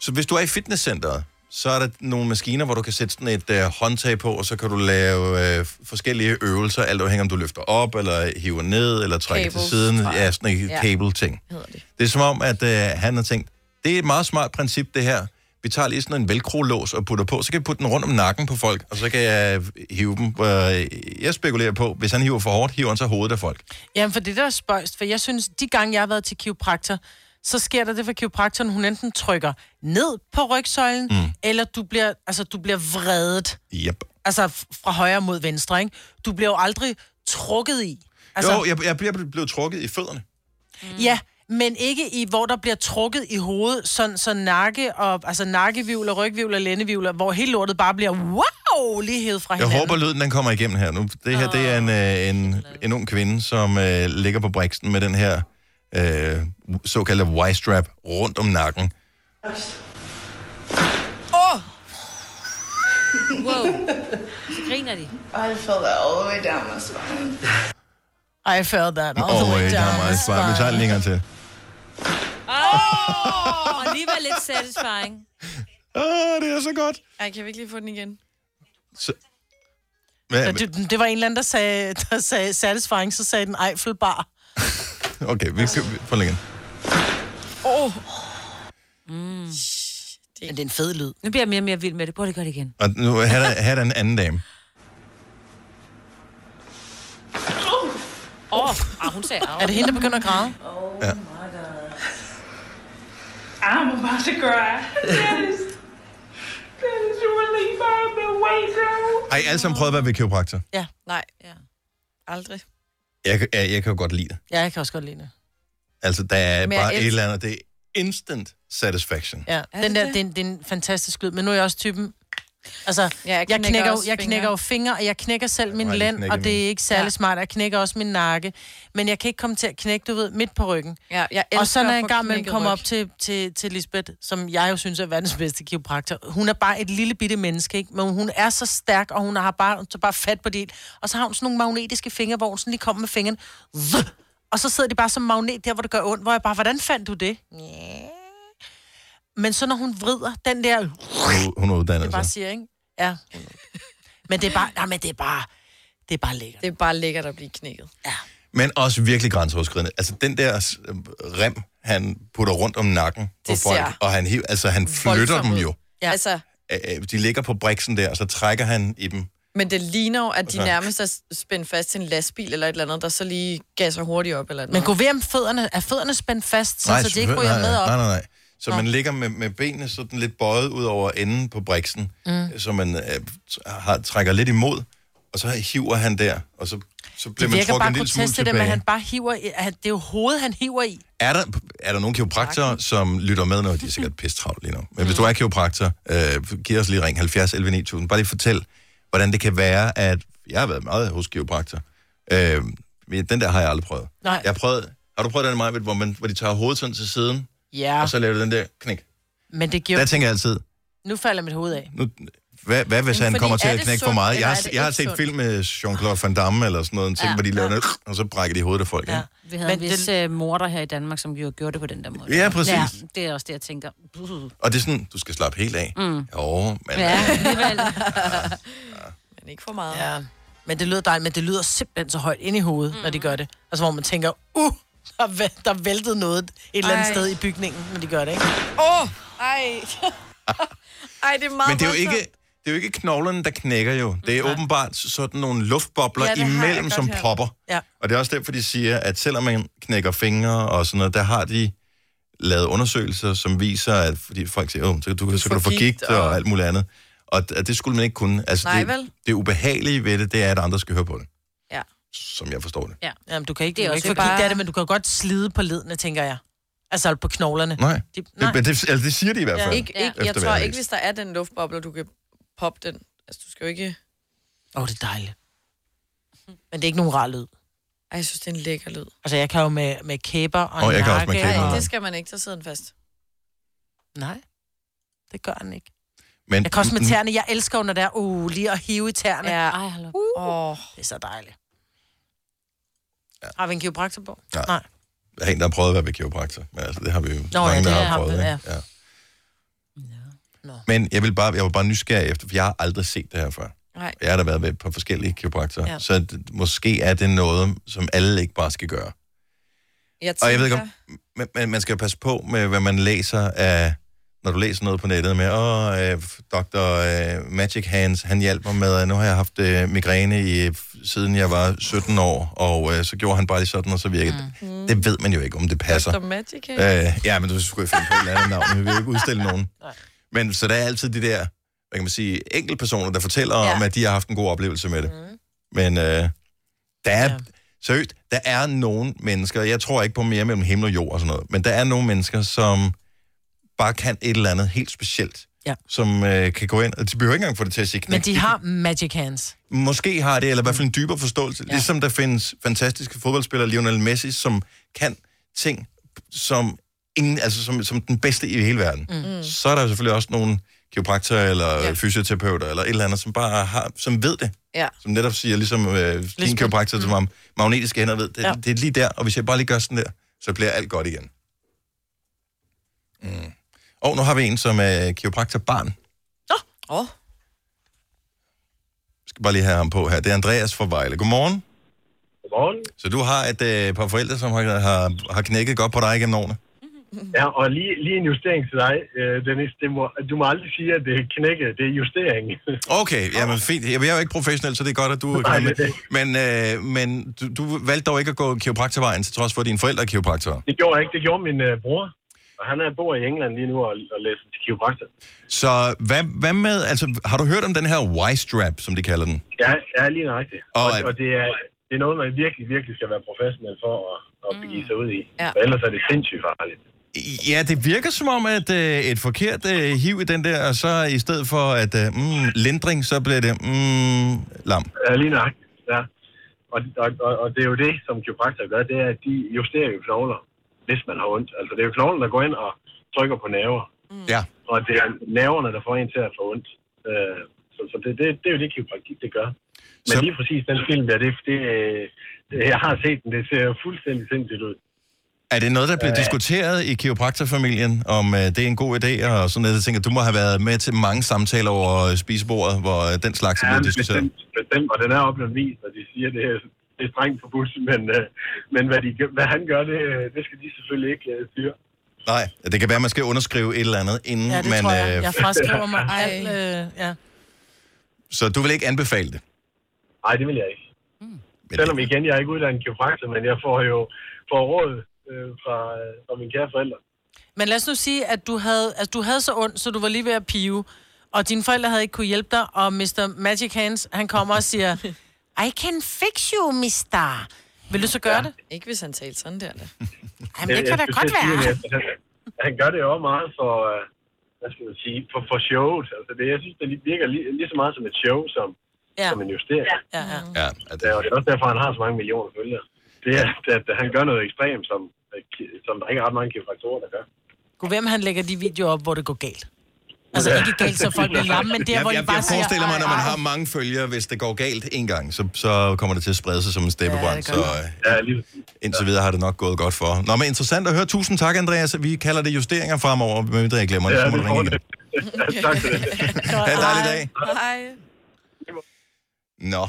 S1: så hvis du er i fitnesscenteret, så er der nogle maskiner, hvor du kan sætte sådan et øh, håndtag på, og så kan du lave øh, forskellige øvelser, alt afhængig om du løfter op, eller hiver ned, eller trækker
S6: Cables,
S1: til siden.
S6: tror jeg.
S1: Ja, sådan en
S6: Ja.
S1: cable-ting. Det er som om, at øh, han har tænkt, det er et meget smart princip, det her. Vi tager lige sådan en velcro-lås og putter på, så kan jeg putte den rundt om nakken på folk, og så kan jeg hive dem. Øh, Jeg spekulerer på, hvis han hiver for hårdt, hiver han så hovedet af folk.
S3: Jamen, for det der er spøjst, for jeg synes, de gange, jeg har været til kiropraktor, så sker der det for kiropraktoren, hun enten trykker ned på rygsøjlen,
S1: Mm.
S3: mm. eller du bliver, altså, du bliver vredet.
S1: Yep.
S3: Altså, f- fra højre mod venstre, ikke? Du bliver jo aldrig trukket i. Altså,
S1: Altså... Jo, jeg, jeg bliver blevet trukket i fødderne.
S3: Ja, men ikke i, hvor der bliver trukket i hovedet, sådan så nakke og, altså nakkevivler, rygvivler, lændevivler, hvor hele lortet bare bliver, wow, lige hævet fra
S1: Jeg
S3: hinanden.
S1: håber, lyden den kommer igennem her nu. Det her, det er en, øh, en, en ung kvinde, som øh, ligger på briksen med den her øh, såkaldte Y-strap rundt om nakken.
S4: Åh!
S2: Wow. Så griner de.
S17: I felt that all the way down my spine.
S3: I felt that all the
S1: Åh,
S3: way
S1: øh, der er
S3: down.
S1: meget svar. Vi tager den lige en gang til.
S2: Og alligevel lidt satisfying.
S1: Åh, det er så godt.
S4: Ej, kan vi ikke lige få den igen?
S1: Hvad,
S3: Ja, det, det var en eller anden, der sagde, der sagde satisfying, så sagde den Eiffelbar.
S1: Okay, vi skal forlænge.
S4: Åh! Oh.
S2: Mm. Men det er en fed lyd. Nu bliver jeg mere og mere vild med det. Prøv lige at gøre det igen.
S1: Og nu her er der, her er der en anden dame.
S2: Åh, oh. oh.
S4: ah,
S2: hun sagde au.
S3: Er det hende, der begynder at græde?
S17: Oh
S1: Ja.
S17: I'm about to cry. Dennis, Dennis, you relief I've been waiting.
S1: Har I alle sammen prøvet at være ved kiropraktor?
S3: Ja.
S4: Nej. Ja. Aldrig.
S1: Jeg, kan- jeg, jeg kan jo godt lide det.
S3: Ja, jeg kan også godt lide det.
S1: Altså, der er
S3: Men jeg
S1: bare et
S3: elsker-
S1: eller andet. Det er instant satisfaction.
S3: Ja, den der, det, er en- det er en fantastisk lyd, men nu er jeg også typen... Altså, ja, jeg, knækker
S4: knækker
S3: jeg, knækker jo,
S4: også
S3: jeg
S4: fingre.
S3: knækker jo fingre, og jeg knækker selv min
S4: har lige
S3: lænd,
S4: knækket
S3: og det
S4: min.
S3: er ikke særlig
S4: Ja.
S3: ja. smart. Jeg knækker også min nakke, men jeg kan ikke komme til at knække, du ved, midt på ryggen.
S4: Ja, jeg
S3: og
S4: elsker
S3: så når
S4: at
S3: jeg
S4: få
S3: engang man
S4: knækket
S3: kommer
S4: ryg.
S3: op til, til, til Lisbeth, som jeg jo synes er verdens bedste kiropraktor. Hun er bare et lille bitte menneske, ikke? men hun er så stærk, og hun har bare, hun tager bare fat på det. Og så har hun sådan nogle magnetiske fingre, hvor hun sådan lige kommer med fingeren. Vuh! Og så sidder de bare som magnet der, hvor det gør ondt. Hvor jeg bare, hvordan fandt du det? Ja. Men så når hun vrider den der...
S1: Hun- Hun er
S3: Det
S1: uddannet
S3: bare
S1: sig.
S3: siger, ikke? Ja. Men det er bare... Nej, men det er bare... Det er bare lækkert.
S4: Det er bare lækkert at blive knækket.
S1: Men også virkelig grænseoverskridende. Altså, den der øh, rem, han putter rundt om nakken på
S4: Det
S1: folk,
S4: ser
S1: og han, hiv, altså, han flytter
S4: voldsomt
S1: dem
S4: ud.
S1: jo.
S4: Ja. Altså,
S1: Øh, øh, De ligger på briksen der, og så trækker han i dem.
S4: men det ligner jo, at de
S1: Okay.
S4: nærmest er spændt fast til en lastbil eller et eller andet, der så lige gasser hurtigt op eller et eller
S3: Men
S4: andet.
S3: gå ved om fødderne... Er fødderne spændt fast, sådan, så de ikke ryger
S1: nej,
S3: med op?
S1: Nej, nej, nej. Så
S3: Nå.
S1: man ligger med, med benene sådan lidt bøjet ud over enden på briksen, mm.
S3: Mm.
S1: så man øh, t- har, trækker lidt imod, og så hiver han der, og så, så bliver
S3: Det
S1: man
S3: virker
S1: trukket
S3: bare
S1: en lille smule
S3: grotesk, det
S1: tilbage.
S3: der med, at han bare hiver i, at det er jo hovedet, han hiver i.
S1: Er der, er der nogle kiropraktorer, som lytter med, når de er sikkert pisse travlt lige nu? Men hvis du er kiropraktor, øh, giv os lige ring 70 11 9000. Bare lige fortæl, hvordan det kan være, at jeg har været meget hos kiropraktor. Øh, men den der har jeg aldrig prøvet.
S3: Nej.
S1: Jeg har prøvet, har du prøvet den meget, hvor, man, hvor de tager hovedet sådan til siden,
S3: Ja,
S1: og så laver du den der knæk?
S3: men det giver...
S1: Der tænker jeg altid,
S3: Nu falder mit hoved af.
S1: nu, Hvad, hvad hvis
S18: Men
S1: han
S18: fordi
S1: kommer
S18: er
S1: til at
S18: det
S1: knække for
S18: sundt,
S1: meget?
S18: eller
S1: Jeg
S18: er
S1: har,
S18: det
S1: jeg har
S18: ikke
S1: set
S18: sundt?
S1: film med Jean-Claude Van Damme eller sådan noget, en ting,
S2: Ja.
S1: hvor de laver noget, og så brækker de hovedet af folk. Ja.
S2: Vi havde Men en vis den... morder her i Danmark, som jo gjorde det på den der måde.
S1: Ja, præcis.
S2: det er også det, jeg tænker. Uh.
S1: Og det er sådan, du skal slappe helt af.
S2: Mm.
S1: Jo, men...
S2: Ja,
S9: alligevel.
S4: Men ikke for meget.
S9: Ja. Men det lyder dejligt, men det lyder simpelthen så højt ind i hovedet, mm. når de gør det. Altså, hvor man tænker, uh, der, væ- der væltede noget et eller andet
S4: Ej.
S9: sted i bygningen, når de gør det, ikke?
S4: Åh, oh, ej. ej, det er meget
S1: Men det er jo
S4: voldsomt.
S1: ikke, det er jo ikke knoglerne, der knækker jo. Det er åbenbart sådan nogle luftbobler
S4: Ja,
S1: ja,
S4: det har jeg
S1: imellem,
S4: godt
S1: som
S4: hørt.
S1: popper.
S9: Ja.
S1: Og det er også derfor, de siger, at selvom man knækker fingre og sådan noget, der har de lavet undersøgelser, som viser, at fordi folk siger, oh, så, kan du, så kan du få gigt og... og alt muligt andet. Og d- at det skulle man ikke kunne. Altså,
S9: Nej,
S1: det,
S9: vel?
S1: det ubehagelige ved det, det er, at andre skal høre på det,
S4: Ja.
S1: som jeg forstår det.
S2: Ja.
S9: Jamen, du kan ikke,
S4: Det er
S9: det er ikke
S4: også
S9: få
S4: bare-
S9: bare... af det, men du kan godt slide på ledene, tænker jeg. Altså på knoglerne.
S1: Nej,
S9: De, nej.
S1: Det, men det, altså, det siger de i hvert fald.
S4: Ikke, ikke, jeg
S1: efter hvad
S4: tror
S1: har
S4: ikke,
S1: læst.
S4: hvis der er den luftboble, du kan poppe den. Altså, du skal jo ikke...
S9: Åh, oh, det er dejligt. Men det er ikke nogen rar lyd.
S4: Ej, jeg synes, det er en lækker lyd.
S9: Altså, jeg kan jo med, med kæber og
S1: Åh, jeg kan også
S9: nakke
S1: med kæber.
S9: og-
S4: Det skal man ikke, så sidder den fast.
S9: Nej, det gør den ikke.
S1: Men,
S9: Jeg kan også med tæerne. Jeg elsker jo, når der er uh, lige at hive i tæerne. Uh.
S4: Ja.
S2: Ej, hold op.
S4: Åh.
S9: Det er så dejligt. Ja. Har vi en kiropraktor på?
S1: Nej.
S9: Nej.
S1: Der er en, der har prøvet at være ved kiropraktor, men altså, det har vi jo
S9: ja,
S1: Nå, mange,
S9: det
S1: der
S9: har
S1: har
S9: ham, det
S1: prøvet. ikke?
S9: er.
S1: Ja. Men jeg, vil bare, jeg var bare nysgerrig efter, for jeg har aldrig set det her før.
S4: Nej.
S1: Jeg har da været ved et par forskellige kiropraktorer,
S4: Ja.
S1: ja. så det, måske er det noget, som alle ikke bare skal gøre.
S4: Jeg
S1: Og jeg ved ikke, om, men, men man skal jo passe på med, hvad man læser af, når du læser noget på nettet med, åh, øh, Dr. Øh, Magic Hands, han hjalp mig med, at nu har jeg haft øh, migræne i, siden jeg var 17 år, og øh, så gjorde han bare lige sådan, og så virkede mm. det. Det ved man jo ikke, om det passer.
S4: Dr. Magic Hands.
S1: øh, altså. Ja, men du skulle finde på et eller andet navn, men vi vil jo ikke udstille nogen. Men så der er altid de der, hvad kan man sige, enkeltpersoner, der fortæller ja. om, at de har haft en god oplevelse med det.
S9: Mhm.
S1: Mm. Men øh, der er, ja. seriøst, der er nogle mennesker, jeg tror ikke på mere mellem himmel og jord og sådan noget, men der er nogle mennesker, som bare kan et eller andet helt specielt,
S9: Ja.
S1: som øh, kan gå ind, og de behøver ikke engang få det til at sige
S9: Men
S1: knæk.
S9: de har magic hands.
S1: Måske har det, eller i hvert fald en dybere forståelse. Ja. Ligesom der findes fantastiske fodboldspillere, Lionel Messi, som kan ting, som, ingen, altså som, som den bedste i hele verden.
S18: Mm.
S1: Mm. Så er der jo selvfølgelig også nogle kiropraktorer, eller ja. fysioterapeuter, eller et eller andet, som bare har, som ved det.
S4: Ja.
S1: Som netop siger, ligesom øh, din kiropraktor, som om magnetiske hænder ved, det, ja. det er lige der, og hvis jeg bare lige gør sådan der, så bliver alt godt igen. Mm. Og nu har vi en, som er kiropraktor barn.
S4: Åh. Oh.
S1: skal bare lige have ham på her. Det er Andreas fra Vejle. Godmorgen.
S19: Godmorgen.
S1: Så du har et øh, par forældre, som har, har, har knækket godt på dig gennem årene.
S19: Ja, og lige, lige en justering til dig, øh, Dennis. Det må, du må aldrig sige, at det er knække, det er justering.
S1: Okay, jamen fint. Jamen, Jeg er jo ikke professionel, så det er godt, at du
S19: Nej,
S1: er
S19: det
S1: med.
S19: er det.
S1: Men, øh, men du, du valgte dog ikke at gå kiropraktorvejen, til trods for, at dine forældre er kiropraktorer.
S19: Det gjorde jeg ikke, det gjorde min øh, bror. Og han er, bor i England lige nu og, og læser til kiropraktor.
S1: Så hvad, hvad med, altså, har du hørt om den her Y-strap, som de kalder den?
S19: Ja, ja lige nøjagtigt. Og,
S1: Og-
S19: og det, er, det er noget, man virkelig, virkelig skal være professionel for at, at
S8: Mm.
S19: begive sig ud i.
S4: Ja.
S19: For ellers er det sindssygt farligt.
S1: Ja, det virker som om, at øh, et forkert øh, hiv i den der, og så i stedet for at øh, mm, lindring, så bliver det mm, lam.
S19: Ja, lige nøjagtigt. Ja. Og, og, og, og det er jo det, som kiropraktorer gør, det er, at de justerer jo knogler, hvis man har ondt. Altså, det er jo knoglen, der går ind og trykker på nerver.
S1: Ja.
S19: Og det er nerverne, der får en til at få ondt. Øh, så så det, det, det er jo det, kiropraktik det gør. Men så... lige præcis den film der, det, det, øh, det, jeg har set den, det ser jo fuldstændig sindssygt ud.
S1: Er det noget, der bliver
S19: Øh.
S1: diskuteret i kiropraktorfamilien, om øh, det er en god idé og sådan noget? Jeg tænker, du må have været med til mange samtaler over øh, spisebordet, hvor øh, den slags er
S19: Ja,
S1: blevet
S19: men
S1: diskuteret.
S19: bestemt, bestemt, og den er oplevet vist, og de siger, det er, det er strengt forbudt, men, øh, men hvad, de, gør- hvad han gør, det, øh, det skal de selvfølgelig ikke øh, styre.
S1: Nej, det kan være, man skal underskrive et eller andet, inden
S9: Ja, det
S1: man...
S9: tror jeg.
S1: øh,
S9: Jeg fraskriver mig alt. Øh, ja.
S1: Så du vil ikke anbefale det?
S19: Nej, det vil jeg ikke. Mm. Selvom igen, jeg er ikke uddannet kiropraktor, men jeg får jo får råd øh, fra, øh, fra mine kære forældre.
S9: Men lad os nu sige, at du havde, altså, du havde så ondt, så du var lige ved at pive, og dine forældre havde ikke kunne hjælpe dig, og Mr. Magic Hands, han kommer og siger, I can fix you, mister. Vil du så gøre ja. det?
S4: Ikke hvis han talte sådan der. Da.
S9: Jamen, det kan da
S19: skulle
S9: godt
S19: til at sige,
S9: være.
S19: at Han, han gør det jo også meget for, øh, hvad skal man sige, for, for showet. Altså det, jeg synes, det li- virker lige, lige så meget som et show, som, ja. som en justering. Ja.
S9: Ja, ja.
S1: Ja,
S19: Det er jo også derfor, han har så mange millioner følgere. Det er, at han gør noget ekstremt, som, som der ikke er ret mange kiropraktorer, der gør.
S9: Gud, hvem han lægger de videoer op, hvor det går galt?
S3: Altså ikke galt, så folk bliver lamme, men der, hvor
S1: jeg,
S3: I
S1: jeg,
S3: bare
S1: jeg forestiller mig,
S3: siger,
S1: når man
S3: "Ej, ej."
S1: har mange følgere, hvis det går galt en gang, så, så kommer det til at sprede sig som en steppebrand. Ja,
S3: det
S1: så
S3: gør
S1: øh, indtil videre har det nok gået godt for. Nå, men interessant at høre. Tusind tak, Andreas. Vi kalder det justeringer fremover, medmindre jeg glemmer det.
S19: Ja,
S1: så må
S19: det
S1: du ringe
S19: får
S1: igen.
S19: tak for det.
S1: Ha' en dejlig dag.
S4: Hej.
S1: Nå.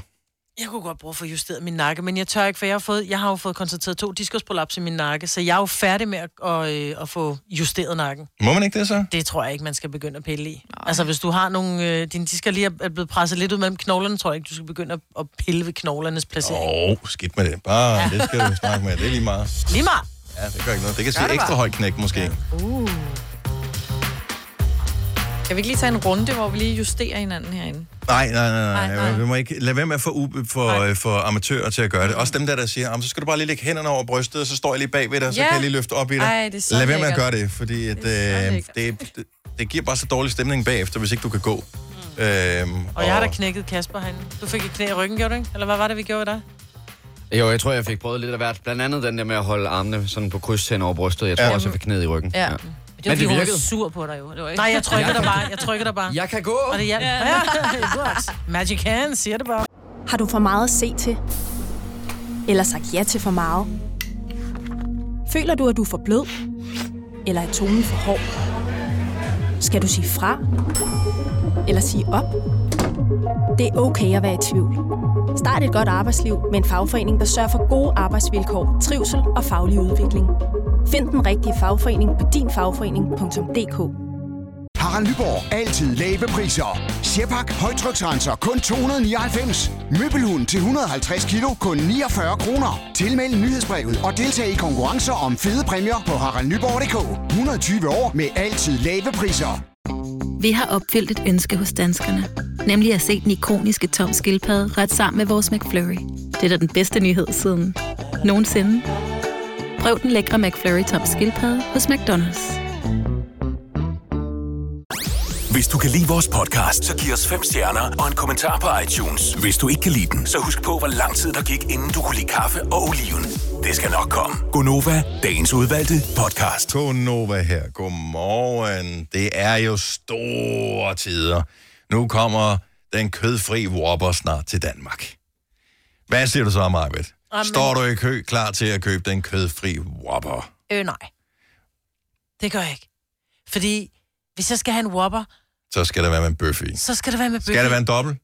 S3: Jeg kunne godt bruge at få justeret min nakke, men jeg tør ikke, for jeg har, fået, jeg har jo fået konstateret to diskusprolaps i min nakke, så jeg er jo færdig med at, at, øh, at få justeret nakken.
S1: Må man ikke det så?
S3: Det tror jeg ikke, man skal begynde at pille i. Nej. Altså, hvis du har nogle... Øh, dine disker lige er- er blevet presset lidt ud mellem knoglerne, tror jeg ikke, du skal begynde at, at pille ved knoglernes placering.
S1: Åh, oh, skidt med det. Bare,
S3: Ja.
S1: det skal du snakke med. Det er lige meget.
S3: Lige meget.
S1: Ja, det gør ikke noget. Det kan
S4: Gør det
S1: sige ekstra
S4: bare.
S1: højt knæk, måske.
S4: Uh. Kan vi ikke lige tage en runde, hvor vi lige justerer hinanden herinde?
S1: Nej, nej, nej,
S4: Nej,
S1: nej.
S4: nej.
S1: Vi må ikke lade være med at få ube for, øh, for amatører til at gøre det. Også dem der, der siger, "Ah, men så skal du bare lige lægge hænderne over brystet, og så står jeg lige bagved dig, så
S4: Ja.
S1: kan jeg lige løfte op i dig.
S4: Ej, det er så
S1: lad være med at
S4: lækkert.
S1: gøre det, fordi at, det, øh, det, det, det giver bare så dårlig stemning bagefter, hvis ikke du kan gå. Mm. Øhm,
S3: Og jeg har da knækket Kasper han. Du fik et knæ i ryggen, gjorde du ikke? Eller hvad var det, vi gjorde i dag?
S14: Jo, jeg tror, jeg fik prøvet lidt af hvert. Blandt andet den der med at holde armene sådan på kryds hen over brystet. Jeg tror
S3: Ja.
S14: også, jeg fik knæet i ryggen.
S3: Ja.
S14: Men
S2: Det var,
S14: det
S2: fordi hun var
S14: virkede.
S2: sur på dig jo. Det var ikke...
S3: Nej, jeg trykker dig bare. Jeg trykker dig bare. Jeg
S14: kan gå.
S3: Og det hjalp.
S2: Ja.
S3: Ja. godt. Magic hands, siger det bare.
S10: Har du for meget at se til? Eller sagt ja til for meget? Føler du, at du er for blød? Eller er tonen for hård? Skal du sige fra? Eller sige op? Det er okay at være i tvivl. Start et godt arbejdsliv med en fagforening, der sørger for gode arbejdsvilkår, trivsel og faglig udvikling. Find den rigtige fagforening på dinfagforening.dk.
S12: Harald Nyborg. Altid lave priser. Sjehpak. Højtryksrenser. Kun 299. Møbelhund til 150 kilo. Kun 49 kroner. Tilmeld nyhedsbrevet og deltag i konkurrencer om fede præmier på haraldnyborg.dk. 120 år med altid lave priser.
S20: Vi har opfyldt et ønske hos danskerne. Nemlig at se den ikoniske tom skildpadde ret sammen med vores McFlurry. Det er da den bedste nyhed siden nogensinde. Prøv den lækre McFlurry tom skildpadde hos McDonald's.
S6: Hvis du kan lide vores podcast, så giv os fem stjerner og en kommentar på iTunes. Hvis du ikke kan lide den, så husk på, hvor lang tid der gik, inden du kunne lide kaffe og oliven. Det skal nok komme.
S1: Gonova, dagens udvalgte podcast. Gonova her. Godmorgen. Det er jo store tider. Nu kommer den kødfri Whopper snart til Danmark. Hvad siger du så, Marvitt?
S3: Jamen-
S1: Står du i kø klar til at købe den kødfri Whopper?
S3: Øh, nej. Det gør jeg ikke. Fordi hvis jeg skal have en Whopper,
S1: Så skal der være med en bøf i.
S3: så skal det være med bøf.
S1: Skal der være en dobbelt?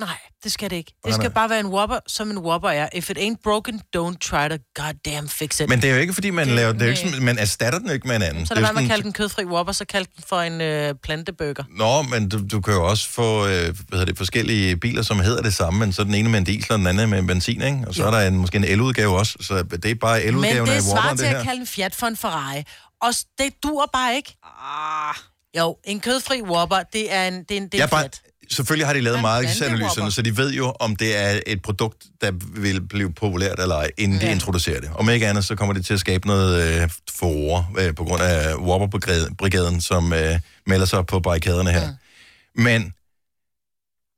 S3: Nej, det skal det ikke.
S1: Nej,
S3: Det skal
S1: nej.
S3: bare være en Whopper, som en Whopper er. If it ain't broken, don't try to goddamn fix it.
S1: Men det er jo ikke, fordi man,
S3: Det-
S1: laver, det er jo
S3: nej.
S1: ikke, sådan- man erstatter den jo ikke med en anden.
S3: Så
S1: Det
S3: lad
S1: er
S3: være med at
S1: sådan-
S3: kalde den kødfri Whopper, så kald den for en øh, planteburger.
S1: Nå, men du, du kan jo også få øh, hvad hedder det, forskellige biler, som hedder det samme, men så er den ene med en diesel, og den anden med en benzin, ikke? Og så er der en, måske en el-udgave også, så det er bare
S3: Men
S1: el-udgaven af
S3: det svarer
S1: Whopper'en,
S3: til
S1: det
S3: at
S1: her.
S3: kalde en Fiat for en Ferrari. Og s- det duer bare ikke. Ah. Jo, en kødfri Whopper, det er en, det er en, det er
S1: Jeg
S3: en
S1: er bare,
S3: Fiat.
S1: selvfølgelig har de
S3: Hvad
S1: lavet
S3: er
S1: markedsanalyserne,
S3: planteropper?
S1: så de ved jo, om det er et produkt, der vil blive populært eller ej, inden de introducerer det. Om ikke andet, så kommer det til at skabe noget øh, forår øh, på grund af Whopper-brigaden, som øh, melder sig på barrikaderne her.
S3: Mm.
S1: Men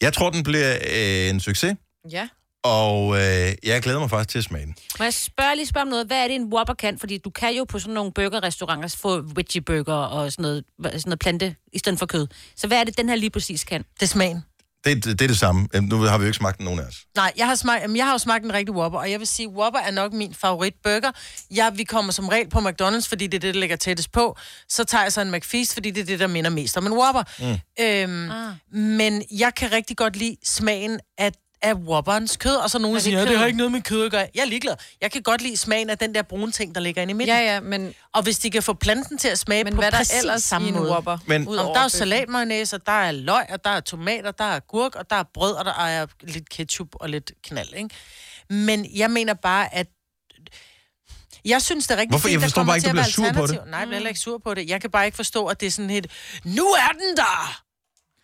S1: jeg tror, den bliver øh, en succes,
S4: Ja.
S1: og øh, jeg glæder mig faktisk til at smage den.
S2: Må jeg spørge, lige spørge om noget? Hvad er det, en Whopper kan? Fordi du kan jo på sådan nogle burgerrestauranter få veggie burger og sådan noget, sådan noget plante i stedet for kød. Så hvad er det, den her lige præcis kan?
S3: Det er smagen.
S1: Det, det, det er det samme. Øhm, Nu har vi jo ikke smagt den, nogen af os.
S3: Nej, jeg har, smagt, jamen, jeg har jo smagt en rigtig Whopper, og jeg vil sige, Whopper er nok min favoritburger. Jeg, vi kommer som regel på McDonald's, fordi det er det, der ligger tættest på. Så tager jeg så en McFeast, fordi det er det, der minder mest om en Whopper. Mm. Øhm, ah. Men jeg kan rigtig godt lide smagen af, af Whopperens kød, og så nogen
S4: det
S3: siger, ja, det
S4: kød?"
S3: har ikke noget med kød at gøre. Jeg er ligeglad. Jeg kan godt lide smagen af den der brune ting, der ligger inde i midten.
S4: Ja, ja, men...
S3: Og hvis de kan få planten til at smage
S4: Men
S3: på
S4: hvad er der
S3: præcis
S4: ellers
S3: samme
S4: i en
S3: måde.
S4: Whopper,
S1: Men-
S3: Om
S1: udover
S3: der er jo
S1: bøffen?
S3: salatmayonnaise, og der er løg, og der er tomater, der er gurk, og der er brød, og der er lidt ketchup og lidt knald, ikke? Men jeg mener bare, at jeg synes, det er rigtig
S1: Hvorfor? Jeg
S3: der
S1: forstår
S3: kommer
S1: bare ikke,
S3: til
S1: du
S3: at
S1: bliver sur
S3: være
S1: på det.
S3: alternativ. Nej, jeg bliver heller ikke sur på det. Jeg kan bare ikke forstå, at det er sådan et, nu er den der!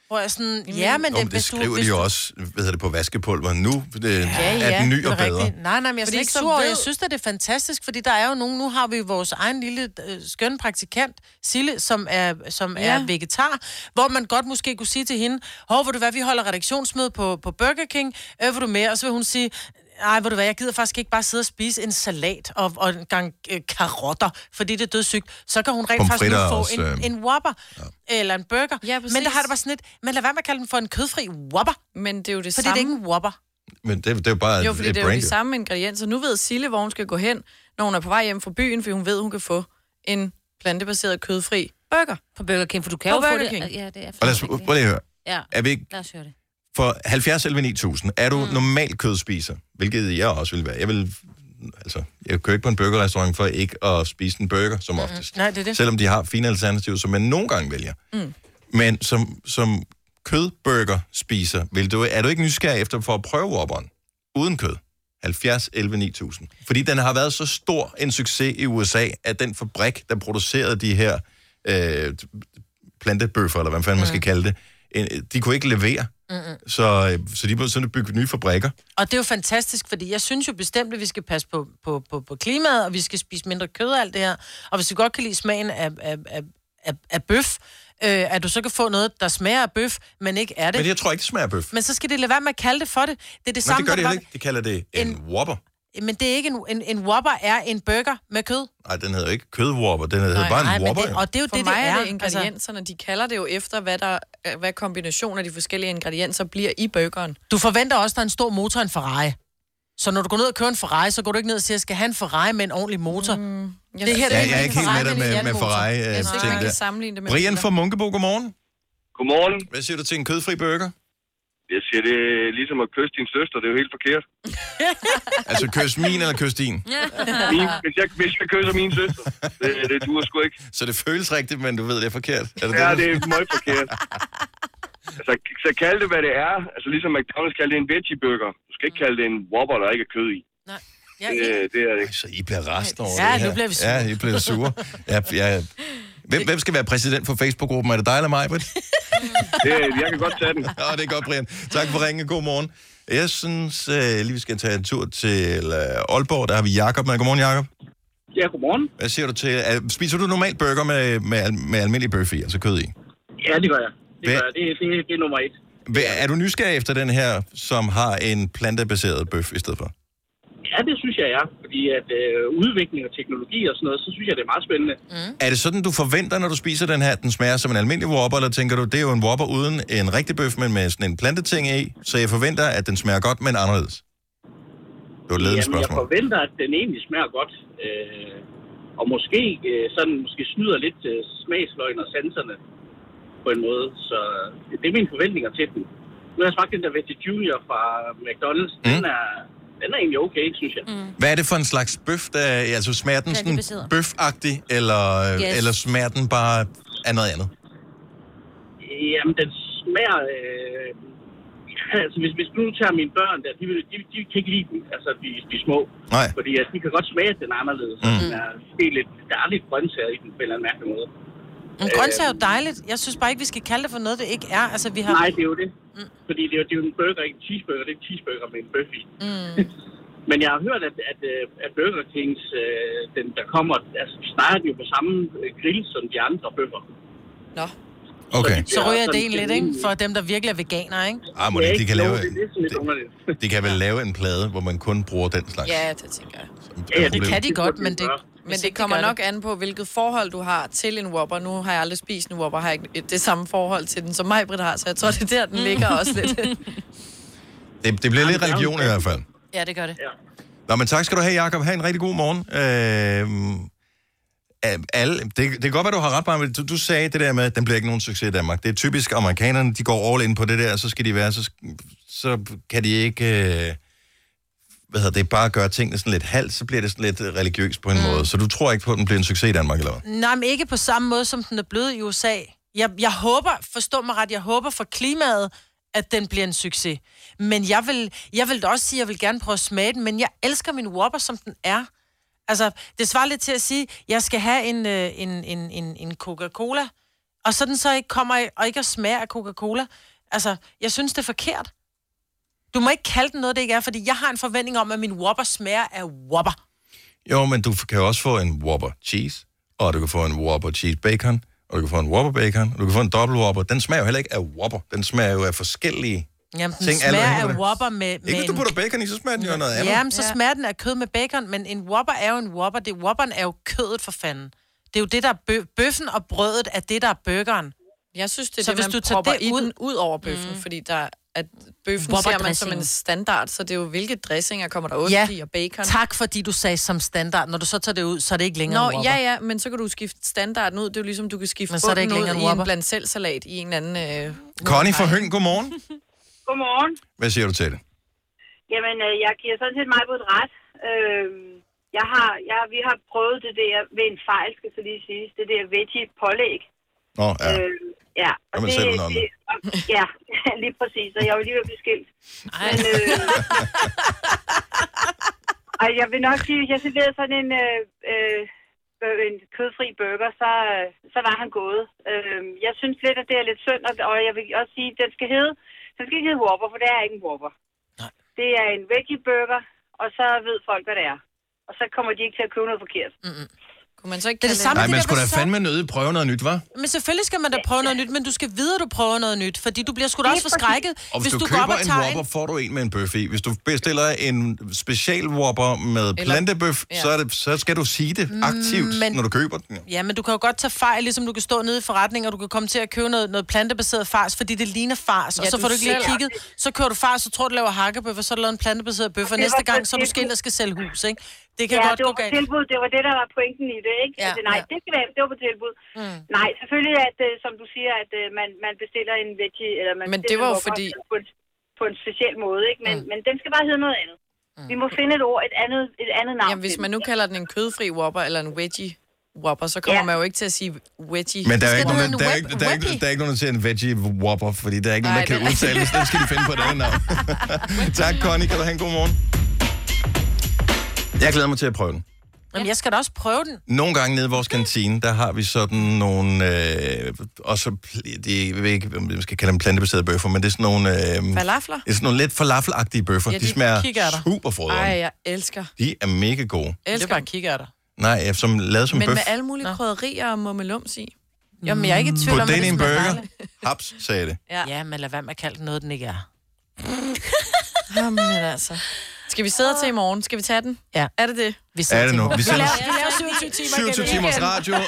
S3: Hvor jeg sådan, ja, men
S1: Nå, men
S3: det,
S1: det skriver de jo også hvad hedder det, på vaskepulver. Nu det, ja, er den ny
S3: det
S1: og bedre.
S3: rigtigt. Nej, nej, men jeg er
S4: Fordi
S3: slet ikke
S4: så
S3: sur. Ved...
S4: ved-
S3: Jeg synes, at det er fantastisk, fordi der er jo nogen, nu har vi jo vores egen lille øh, skønne praktikant, Sille, som er, som ja.
S4: Ja.
S3: er vegetar, hvor man godt måske kunne sige til hende, hov, hvor du hvad, vi holder redaktionsmøde på, på Burger King, øh, vil du med? Og så vil hun sige, Ej, ved du hvad, jeg gider faktisk ikke bare sidde og spise en salat og, og en gang øh, karotter, fordi det er dødssygt. Så kan hun rent faktisk nu
S1: Pomfritter er
S3: få
S1: også,
S3: en,
S1: øh,
S3: en Whopper ja. eller en burger. Ja, men der har det bare sådan lidt, men lad være med at kalde den for en kødfri Whopper.
S4: Men det er jo det
S3: fordi
S4: samme.
S3: det er ikke en Whopper.
S1: Men det, det er jo bare
S4: Jo,
S1: et,
S4: fordi
S1: Ah, et
S4: det er jo
S1: brand.
S4: de samme ingredienser. Nu ved Sille, hvor hun skal gå hen, når hun er på vej hjem fra byen, fordi hun ved, hun kan få en plantebaseret kødfri burger.
S2: På Burger King, for du kan
S4: på
S2: jo få
S4: Burger
S2: det-
S4: King.
S2: Ja, det er
S1: Og lad os, prøv lige at høre.
S2: Ja,
S1: Er vi ikke
S2: lad os høre det.
S1: For 70 11 9000, er du mm. normal kødspiser, hvilket jeg også vil være. Jeg vil, altså, jeg kører ikke på en burgerrestaurant for ikke at spise en burger,
S4: Mm.
S1: som oftest.
S3: Nej, det er det.
S1: Selvom de har fine alternativer, som man nogle gange vælger.
S3: Mm.
S1: Men som, som kødburger spiser, vil du, er du ikke nysgerrig efter for at prøve Whopperen uden kød? 70, 11, 9000. Fordi den har været så stor en succes i USA, at den fabrik, der producerede de her øh, plantebøffer, eller hvad fanden
S3: Mm.
S1: man skal kalde det, en- de kunne ikke levere.
S3: Mm-mm.
S1: Så, øh, så de blev sådan bygget nye fabrikker.
S3: Og det er jo fantastisk, fordi jeg synes jo bestemt, at vi skal passe på, på, på, på klimaet, og vi skal spise mindre kød og alt det her. Og hvis du godt kan lide smagen af, af, af, af, af bøf, øh, at du så kan få noget, der smager af bøf, men ikke er det.
S1: Men jeg tror ikke, det smager af bøf.
S3: Men så skal det lade være med at kalde det for det. Det er det
S1: Det
S3: samme,
S1: Men det gør
S3: der
S1: de
S3: var-
S1: heller ikke. De kalder det en, en Whopper.
S3: Men det er ikke en, en, en Whopper, er en burger med kød.
S1: Nej, den hedder ikke kød-Whopper. Den hedder nej, bare en
S3: nej, men
S1: Whopper.
S3: det-
S1: jo.
S3: og det er jo
S4: For
S3: det,
S4: mig
S3: det
S4: er
S3: er,
S4: det ingredienserne. De kalder det jo efter, hvad, der, hvad kombinationen af de forskellige ingredienser bliver i burgeren.
S3: Du forventer også, at der er en stor motor i en Ferrari. Så når du går ned og kører en Ferrari, så går du ikke ned og siger, skal jeg have en Ferrari med en ordentlig motor? Mm,
S1: Ja, jeg er ikke helt med dig med, med Ferrari.
S3: Jeg
S1: øh,
S3: synes ikke,
S1: ting
S3: man kan
S1: der.
S3: sammenligne det med
S1: Brian
S3: biler.
S1: fra Munkebo, godmorgen.
S19: Godmorgen.
S1: Hvad siger du til en kødfri burger?
S19: Jeg siger, det er ligesom at kysse din søster, det er jo helt forkert.
S1: Altså, kys min eller kys din?
S19: Min, hvis, jeg, hvis jeg kysser min søster, det, det duer sgu ikke.
S1: Så det føles rigtigt, men du ved, det er forkert. Er
S19: Ja,
S1: du-
S19: det er meget forkert. Altså, så kald det, hvad det er. Altså, ligesom McDonald's kalder det en veggie-burger. Du skal ikke kalde det en whopper, der ikke er kød i.
S3: Mm. Ja,
S19: Det, det er det ikke.
S1: Så I bliver rasende over
S19: Ja,
S1: det her.
S19: nu bliver vi sure.
S1: Ja, I bliver sure. Ja, ja. Hvem, hvem skal være præsident for Facebook-gruppen? Er det dig eller mig, Britt?
S19: Det, jeg kan godt tage den.
S1: Ja, det er godt, Brian. Tak for ringen. God morgen. Jeg synes øh, lige, vi skal tage en tur til øh, Aalborg. Der har vi Jakob med. Godmorgen, Jakob.
S21: Ja, godmorgen.
S1: Hvad siger du til? Er, spiser du normalt burger med, med, al- med almindelig bøf i, altså kød i?
S21: Ja, det gør jeg. Det,
S1: Hvad-
S21: gør jeg. det, det, det er nummer et.
S1: Hva- Er du nysgerrig efter den her, som har en plantebaseret bøf i stedet for?
S21: Ja, det synes jeg er, fordi at øh, udvikling og teknologi og sådan noget, så synes jeg, det er meget spændende. Mm.
S1: Er det sådan, du forventer, når du spiser den her, at den smager som en almindelig Whopper, eller tænker du, det er jo en Whopper uden en rigtig bøf, men med sådan en planteting i, så jeg forventer, at den smager godt, men anderledes? Det var et ledende
S21: Jamen, jeg
S1: spørgsmål.
S21: forventer, at den egentlig smager godt. Øh, og måske øh, sådan måske snyder lidt øh, smagsløgn og sanserne på en måde. Så øh, det, det er mine forventninger til den. Nu har jeg smagt den der Veggie Junior fra McDonald's. Mm. Den, er, den er egentlig okay, synes jeg. Mm.
S1: Hvad er det for en slags bøf? Der, altså smager den sådan
S21: Plantebaseret.
S1: bøfagtig, eller,
S21: Yes.
S1: yes. eller smager den bare af noget andet?
S21: Jamen, den smager... Øh, altså, hvis, hvis du nu tager mine børn der, de, vil, de, de kan ikke lide den, altså de, de små.
S1: Nej.
S21: Fordi at de kan godt smage, at den er anderledes.
S1: Mm.
S21: Mm. Den er, helt lidt, der er lidt grøntsager i den på en eller anden mærkelig måde. Øh,
S3: Men grøntsager er jo dejligt. Jeg synes bare ikke, vi skal kalde det for noget, det ikke er. Altså, vi har...
S21: Øhm. Nej, det er jo det. Mm. Fordi det er, jo, det er jo en burger, ikke en cheeseburger. Det er en cheeseburger med en bøf i.
S3: Mm.
S21: Men jeg har hørt, at, at, øh, at Burger Kings, øh, den, der kommer, altså, de snakker de jo på samme øh, grill som de andre bøffer.
S4: Nå.
S1: Okay.
S3: Så ryger jeg det ind lidt, ikke? For dem, der virkelig er veganere, ikke?
S1: Ah, må det ikke, de kan lave,
S21: Det er sådan lidt underligt.
S1: de kan vel lave en plade, hvor man kun bruger den slags.
S4: Ja, det tænker jeg.
S1: Ja, ja, det
S3: kan
S1: de
S3: godt, men det-
S4: men det kommer nok an på, hvilket forhold du har til en Whopper. Nu har jeg aldrig spist en Whopper, har jeg ikke det samme forhold til den, som mig, Britt, har, så jeg tror, det er der,
S3: Mm.
S4: den ligger også lidt.
S1: Det, det bliver lidt religion i hvert fald.
S3: Ja, det gør det. Ja.
S1: Nå, men tak skal du have, Jacob. Ha' en rigtig god morgen. Øh, alle, det, det kan godt være, du har ret, Marvind. Du, du sagde det der med, at den bliver ikke nogen succes i Danmark. Det er typisk amerikanerne, de går all in på det der, og så skal de være, så, sk- så kan de ikke, øh, hvad hedder det, bare gøre tingene sådan lidt halvt, så bliver det sådan lidt øh, religiøst på en mm. måde. Så du tror ikke på, at den bliver en succes i Danmark, eller hvad?
S3: Nej, men ikke på samme måde, som den er blevet i USA. Jeg, jeg håber, forstå mig ret, jeg håber for klimaet, at den bliver en succes. Men jeg vil, jeg vil da også sige, at jeg vil gerne prøve at smage den, men jeg elsker min Whopper, som den er. Altså, det svarer lidt til at sige, at jeg skal have en, øh, en, en, en, en Coca-Cola, og så den så ikke kommer i- og ikke at smage af Coca-Cola. Altså, jeg synes, det er forkert. Du må ikke kalde den noget, det ikke er, fordi jeg har en forventning om, at min Whopper smager af Whopper.
S1: Jo, men du kan jo også få en Whopper Cheese, og du kan få en Whopper Cheese Bacon, og du kan få en Whopper Bacon, og du kan få en Double Whopper. Den smager jo heller ikke af Whopper. Den smager jo af forskellige
S3: Jamen, den
S1: Tænk alle
S3: smager
S1: andre på
S3: af
S1: det.
S3: Whopper med... med
S1: Ikke hvis du
S3: en-
S1: putter bacon i, så smager den jo af noget andet.
S3: Jamen, så smager den af kød med bacon, men en Whopper er jo en Whopper. Det, Whopperen er jo kødet for fanden. Det er jo det, der er bø- bøffen og brødet er det, der er burgeren.
S4: Jeg synes, det er
S3: Så
S4: så det,
S3: hvis
S4: man
S3: du
S4: du
S3: tager
S4: propper
S3: det
S4: i
S3: ud-
S4: den ud over bøffen, mm. fordi der, at bøffen
S3: Whopper
S4: ser man som
S3: dressing.
S4: en standard, så det er jo, hvilke dressinger kommer der ost i og bacon.
S3: tak fordi du sagde som standard. Når du så tager det ud, så er det ikke længere
S4: Nå,
S3: en Whopper.
S4: ja, ja, men så kan du skifte standarden ud. Det er jo ligesom, du kan skifte
S3: Men
S4: men
S3: så er det ikke
S4: ud
S3: længere
S4: i
S3: en
S4: en
S3: Whopper.
S4: blandt selv salat i en anden... Øh,
S1: Connie fra Høng, godmorgen.
S7: Godmorgen.
S1: Hvad siger du til det?
S7: Jamen, øh, jeg giver sådan set meget på et ret. Øh, jeg har, jeg, vi har prøvet det der ved en fejl, skal så lige sige. Det der veggie pålæg.
S1: Nå, ja.
S7: Øh, ja.
S1: Kan man selv noget om det?
S7: ja, lige præcis. Og jeg var lige ved at blive skilt. Men, øh, og jeg vil nok sige, hvis jeg serverede sådan en, øh, øh, øh, en kødfri burger, så, øh, så var han gået. Øh, jeg synes lidt, at det er lidt synd, og, og jeg vil også sige, at den skal hedde, den skal ikke hedde Whopper, for det er ikke en Whopper. Det er en veggie burger, og så ved folk, hvad det er. Og så kommer de ikke til at købe noget forkert.
S4: Mm-mm. Kunne man så ikke
S3: det er det samme,
S1: Nej,
S3: det
S1: man
S3: der
S1: skulle da
S3: risotto.
S1: fandme nødt prøve noget nyt, var?
S3: Men selvfølgelig skal man da prøve noget nyt, men du skal vide, at du prøver noget nyt, fordi du bliver sgu da
S7: Lige
S3: også forskrækket,
S1: Og hvis, hvis du, du køber en Whopper, får du en med en bøf i. Hvis du bestiller en special Whopper med
S3: Eller-
S1: plantebøf,
S3: ja.
S1: så, er det, så skal du sige det aktivt,
S3: men-
S1: når du køber den.
S3: Ja, men du kan jo godt tage fejl, ligesom du kan stå nede i forretningen, og du kan komme til at købe noget, noget plantebaseret fars, fordi det ligner fars, og
S9: Ja,
S3: så
S9: du
S3: får du ikke lige
S9: sælger.
S3: kigget, så kører du fars, og tror, du laver hakkebøf, og så er der lavet en plantebaseret bøf, og
S7: Det
S3: næste
S7: var
S3: gang, så er du
S7: præcis-
S3: skilt og skal sælge hus, ikke? Det kan
S7: ja,
S3: godt
S7: det
S3: gå
S7: var på
S3: galt.
S7: tilbud. Det var det, der var pointen i det, ikke? Ja, altså, nej, ja. det skal være, det var på tilbud. Mm. Nej, selvfølgelig, at, øh, som du siger, at øh, man, man bestiller en veggie, eller man
S4: Men det
S7: bestiller
S4: var jo
S7: en wok
S4: fordi-
S7: på en, på en speciel måde, ikke? Men, mm. men den skal bare hedde noget andet. Mm. Vi må finde et ord, et andet, et andet navn.
S4: Jamen, hvis
S7: til
S4: man
S7: den.
S4: nu kalder den en kødfri whopper eller en veggie whopper, så kommer
S7: Ja.
S4: man jo ikke til at sige veggie.
S1: Men der er, jo ikke
S4: Skal
S1: nogen,
S4: du
S1: der, der, er
S4: have en
S1: ikke, der, er
S4: web-
S1: ikke, der er ikke nogen, der siger en veggie whopper, fordi der er ikke nogen,
S4: Nej,
S1: der kan
S4: det er rigtigt.
S1: udtale det, så den skal de finde på et andet navn. tak, Connie. Kan du have en god morgen? Jeg glæder mig til at prøve den.
S3: Jamen, jeg skal da også prøve den.
S1: Nogle gange nede i vores kantine, der har vi sådan nogle, øh, også, pl- de, jeg ved ikke, om man skal kalde dem plantebaserede bøffer, men det er sådan nogle, øh, det
S4: Falafler?
S1: er sådan nogle lidt falafelagtige bøffer.
S4: Ja,
S1: Ja, de,
S4: de
S1: de smager
S4: kikærter.
S1: super frødere.
S4: Ej, jeg elsker.
S1: De er mega gode.
S4: elsker. Det er bare
S3: kikærter.
S1: Nej, ja, som lavet som
S4: Men
S1: bøf.
S4: med alle mulige krydderier og mummelums i. Jamen, jeg er ikke i tvivl
S1: Put
S4: om, at
S1: den i
S4: det
S1: en
S4: smager
S1: burger.
S4: dejligt.
S1: Haps, sagde det.
S4: Ja.
S3: ja, men lad være med at kalde den noget, den ikke er.
S4: Jamen altså. Skal vi sidde til i morgen? Skal vi tage den?
S3: Ja.
S4: Er det det?
S3: Vi
S1: sidder Er det til i nu? morgen. Vi
S4: Vi
S1: sidder-
S4: laver, vi laver 27 timer
S1: 27
S4: igen.
S1: timers radio, og,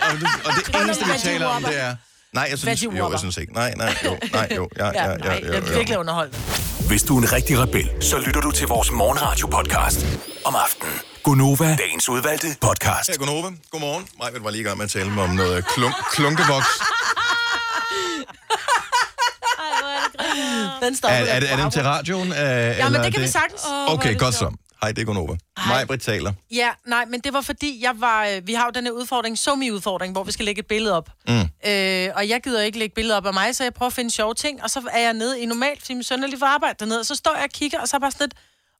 S1: og det
S4: Kun om
S1: eneste, vi
S4: veggie
S1: taler om, det
S4: whopper.
S1: er... Nej, jeg synes,
S4: Veggie
S1: jo,
S4: whopper.
S1: jeg synes ikke. Nej, nej, jo, nej, jo, ja, ja, ja,
S3: nej,
S1: jo,
S3: jeg er
S1: jo, jo.
S3: virkelig underholdt.
S6: Hvis du er en rigtig rebel, så lytter du til vores morgenradio-podcast om aftenen. Gunova, dagens udvalgte podcast.
S1: Ja, Gunova, godmorgen. Majbet var lige i gang med at tale om noget øh, klunk, klunkevoks.
S3: Den
S1: Er,
S3: stopper.
S1: er, det, er den til radioen? Øh, ja,
S3: det kan vi sagtens. Åh, hvor er
S1: Okay,
S3: det
S1: godt så.
S3: sjovt.
S1: Hej, det er Gunova. Majbet taler.
S3: Ja, nej, men det var fordi, jeg var, øh, vi har jo den her udfordring, somi-udfordring, hvor vi skal lægge et billede op.
S1: Mm.
S3: Øh, og jeg gider ikke lægge billeder op af mig, så jeg prøver at finde sjove ting, og så er jeg nede i normalt, fordi min søn er lige for arbejde dernede, og så står jeg og kigger, og så er jeg bare sådan lidt,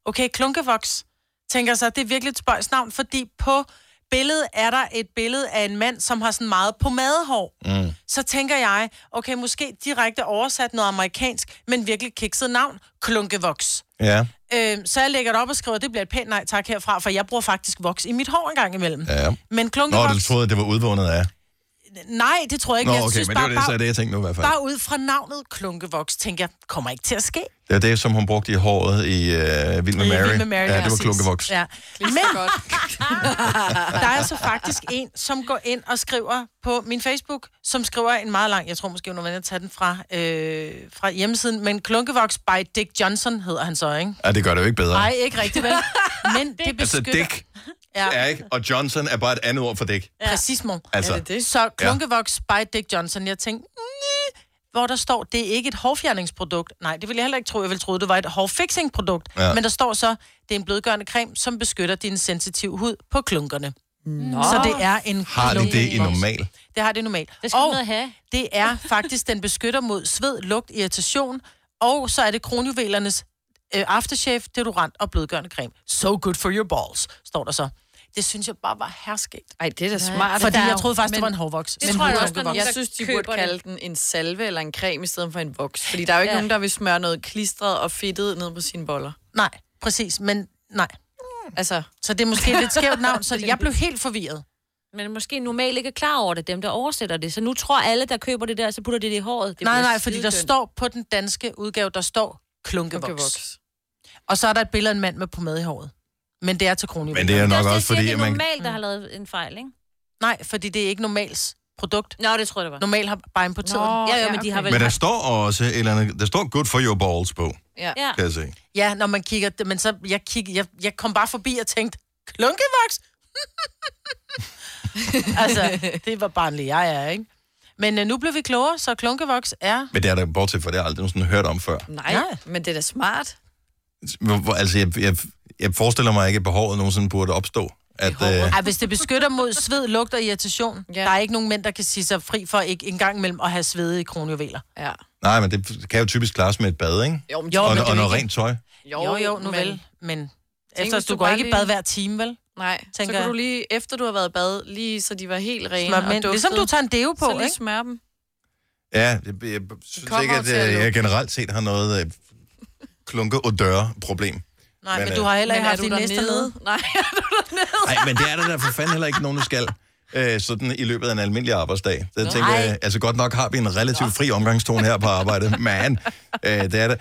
S3: okay, klunkevoks, tænker jeg så, det er virkelig et spøjs navn, fordi på billedet er der et billede af en mand, som har sådan meget pomadehår.
S22: Mm.
S3: Så tænker jeg, okay, måske direkte oversat noget amerikansk, men virkelig kikset navn, klunkevoks.
S1: Ja.
S3: Øh, så jeg lægger det op og skriver, det bliver et pænt nej tak herfra, for jeg bruger faktisk voks i mit hår en gang imellem.
S1: ja.
S3: Men
S1: Nå,
S3: klunkevoks,
S1: du troede, at det var udvundet af.
S3: nej, det tror jeg ikke.
S1: Nå,
S3: jeg
S1: okay, men det var det, så er det, jeg tænkte nu i hvert fald.
S3: Bare ud fra navnet klunkevoks, tænker jeg, kommer ikke til at ske.
S1: Det var det, som hun brugte i håret i øh, Vild med
S3: I
S1: Mary.
S3: Vild med Mary,
S1: ja, det var
S3: præcis.
S1: klunkevoks.
S3: Ja. Men der er så faktisk en, som går ind og skriver på min Facebook, som skriver en meget lang, jeg tror måske, nu er jeg tage den fra, øh, fra hjemmesiden, men Klunkevoks by Dick Johnson hedder han så, ikke?
S1: Ja, det gør det jo ikke bedre.
S3: Nej, ikke rigtigt, vel? Men det
S1: altså,
S3: beskytter...
S1: Dick
S3: Ja.
S1: er ikke, og Johnson er bare et andet ord for Dick.
S3: Ja. Præcis, mor.
S1: Altså. Er det det?
S3: Så Klunkevoks by Dick Johnson, jeg tænkte, "Næh." hvor der står, det er ikke et hårfjerningsprodukt. Nej, det ville jeg heller ikke tro. Jeg ville tro, det var et hårfixingprodukt.
S1: Ja.
S3: Ja. Men der står så, det er en blødgørende creme, som beskytter din sensitive hud på klunkerne. Nå. Så det er en
S1: Har de det i
S3: klunkevoks.
S1: normal?
S3: Det har det normalt. Det
S2: skal
S3: og
S2: man noget have.
S3: det er faktisk, den beskytter mod sved, lugt, irritation, og så er det kronjuvelernes øh, aftershave, deodorant og blødgørende creme. So good for your balls, står der så. Det synes jeg bare var herskægt.
S4: Ej, det er da smart.
S3: Fordi
S4: Der er
S3: jeg
S4: jo-
S3: troede faktisk, det
S4: men-
S3: var en hårvoks.
S4: Det tror jeg også,
S3: det
S4: men jeg synes, de burde kalde den en salve eller en creme i stedet for en voks. Fordi der er jo ikke
S3: Ja.
S4: ja. nogen, der vil smøre noget klistret og fedtet ned på sine boller.
S3: Nej, præcis, men nej.
S4: Altså,
S3: så det er måske et lidt skævt navn, så jeg blev helt forvirret.
S2: Men måske normalt ikke er klar over det, dem der oversætter det. Så nu tror alle, der køber det der, så putter de det i håret. Det
S3: Nej,
S2: bliver
S3: nej, fordi der
S2: skidedødt.
S3: står på den danske udgave, der står klunkevoks. Og så er der et billede af en mand med pomade i håret. Men det er til kronivoks.
S1: Men det er nok også fordi,
S2: Det er
S1: at man...
S2: normalt, der har lavet en fejl, ikke?
S3: Nej, fordi det er ikke normals produkt.
S2: Nå, det tror jeg, det var.
S3: Normalt har bare importeret.
S2: Nå,
S3: den.
S2: ja, ja, men de har vel...
S1: Men der står også et eller andet... Der står good for your balls på,
S3: Ja.
S1: kan jeg se.
S3: ja, når man kigger... Men så, jeg, kig, jeg, jeg kom bare forbi og tænkte, klunkevoks? altså, det var barnlig jeg er, ikke? Men øh, nu blev vi klogere, så klunkevoks er...
S1: Men det er der bortset fra, det har jeg aldrig nogensinde hørt om før.
S4: Nej, men det er da smart.
S1: Hvor- hvor- Altså, jeg, jeg, jeg forestiller mig ikke, at behovet nogensinde burde opstå. At, øh,
S3: Ej, hvis det beskytter mod sved, lugt og irritation. Ja. Der er ikke nogen mænd, der kan sige sig fri for ikke engang mellem at have svede i kronjuveler.
S4: Ja.
S1: nej, men det kan jo typisk klares med et bad, ikke?
S4: Jo,
S3: men- Jo,
S1: og,
S3: men det er
S1: og
S3: jo
S1: noget
S3: ikke-
S1: rent tøj.
S3: Jo, jo, jo nu
S4: men-
S3: vel. Men
S4: Tænk,
S3: efter,
S4: hvis
S3: du,
S4: du
S3: går
S4: bare
S3: ikke i
S4: lige-
S3: bad hver time, vel?
S4: Nej, så
S3: Tænker
S4: kan
S3: jeg.
S4: du lige, efter du har været i bad, lige så de var helt rene
S3: Smør dem
S4: og
S3: ind.
S4: duftede.
S3: Ligesom du tager en deo på,
S4: så lige
S3: ikke?
S4: smør dem.
S1: Ja, jeg, jeg, jeg synes
S4: kommer
S1: ikke,
S4: jo
S1: at
S4: til at
S1: øh, jeg
S4: lukke.
S1: generelt set har noget øh, klunke- og døre-problem.
S3: Nej, men,
S1: øh,
S3: men du har heller
S4: men
S3: ikke
S4: er
S3: haft
S4: du
S3: din
S4: dernede?
S3: næste nede.
S4: Nej, er du dernede?
S1: Nej, men det er der da for fanden heller ikke nogen, der skal. Øh, sådan i løbet af en almindelig arbejdsdag. Så jeg
S4: Nå.
S1: tænker,
S4: Ej.
S1: øh, altså godt nok har vi en relativt fri omgangstone her på arbejdet, men øh, det er det.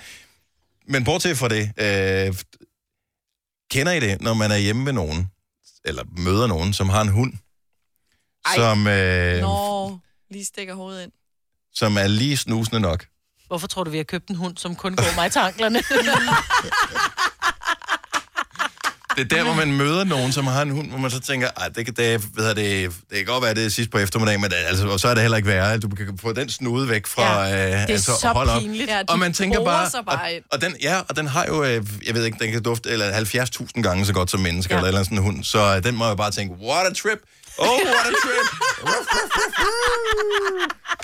S1: Men bortset fra det, øh, kender I det, når man er hjemme med nogen, eller møder nogen, som har en hund, Ej. som, øh,
S4: Nå, lige stikker hovedet ind.
S1: som er lige snusende nok?
S3: Hvorfor tror du, vi har købt en hund, som kun går mig til anklerne?
S1: Det er der, hvor man møder nogen, som har en hund, hvor man så tænker, "Ej, det kan, det, ved jeg, det, det kan godt være, det er sidst på eftermiddagen, men det, altså, og så er det heller ikke værre. Du kan få den snude væk fra... Ja, øh,
S4: det er
S1: altså,
S4: så
S1: hold op.
S4: pinligt. Ja, de
S1: og man tænker
S4: borer
S1: bare...
S4: sig bare
S1: og,
S4: ind.
S1: og, den, ja, og den har jo, øh, jeg ved ikke, den kan dufte eller 70.000 gange så godt som mennesker, ja. eller, et eller andet sådan en hund. Så øh, den må jo bare tænke, what a trip! Oh, what a trip!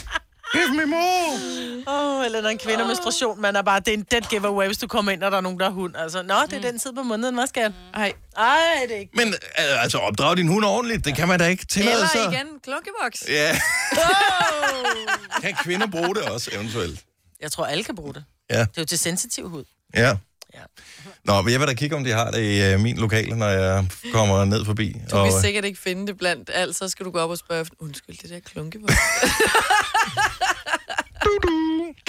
S1: Give me more!
S3: Åh, oh, eller der er en kvinde oh. menstruation, man er bare, det er en dead giveaway, hvis du kommer ind, og der er nogen, der har hund. Altså, nå, det er mm. den tid på måneden, hvad skal
S4: Ej.
S3: Ej, det er ikke.
S1: Men øh, altså, opdrag din hund ordentligt, det kan man da ikke tillade
S4: Eller
S1: sig.
S4: igen, klokkevoks.
S1: Ja,
S4: Oh!
S1: kan kvinder bruge det også, eventuelt?
S3: Jeg tror, alle kan bruge det.
S1: Ja.
S3: Det er jo til sensitiv hud.
S1: Ja. ja. Nå, men jeg vil da kigge, om de har det i øh, min lokale, når jeg kommer ned forbi.
S4: Du vil
S1: øh,
S4: sikkert ikke finde det blandt alt, så skal du gå op og spørge, undskyld, det der klunkevoks.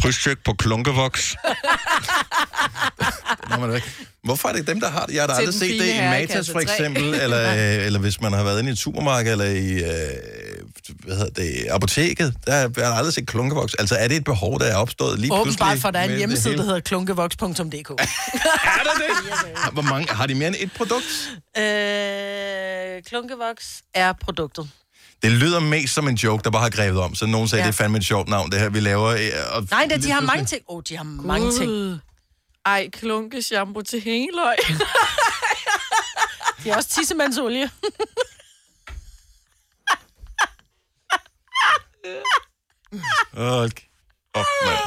S1: Krydstjek på klunkevoks. Nå, men, ikke. Hvorfor er det dem, der har det? Jeg har da
S6: Til
S1: aldrig
S6: den
S1: set
S6: fine
S1: det i
S6: herre i
S1: Matas,
S6: kasse
S1: for
S6: tre.
S1: eksempel, eller, øh, eller hvis man har været inde i et supermarked, eller i øh, hvad hedder det, apoteket. Der har jeg har aldrig set klunkevoks. Altså, er det et behov, der er opstået lige pludselig?
S3: Åbenbart, for der er en
S1: med
S3: hjemmeside,
S1: det
S3: der
S1: hele?
S3: hedder klunkevoks.dk.
S1: Er der det? Ah, Hvor mange, har de mere end et produkt?
S3: øh, klunkevoks er produktet.
S1: Det lyder mest som en joke, der bare har grebet om. Så nogen sagde, ja. det er fandme et sjovt navn, det her, vi laver. øh, Og
S3: Nej, da, de
S1: lige
S3: har
S1: pludselig-
S3: mange ting. Åh, oh, de har mange ting.
S4: Ej, klunke shampoo til hængeløg.
S3: De har også tissemandsolie.
S1: Hold op, mand.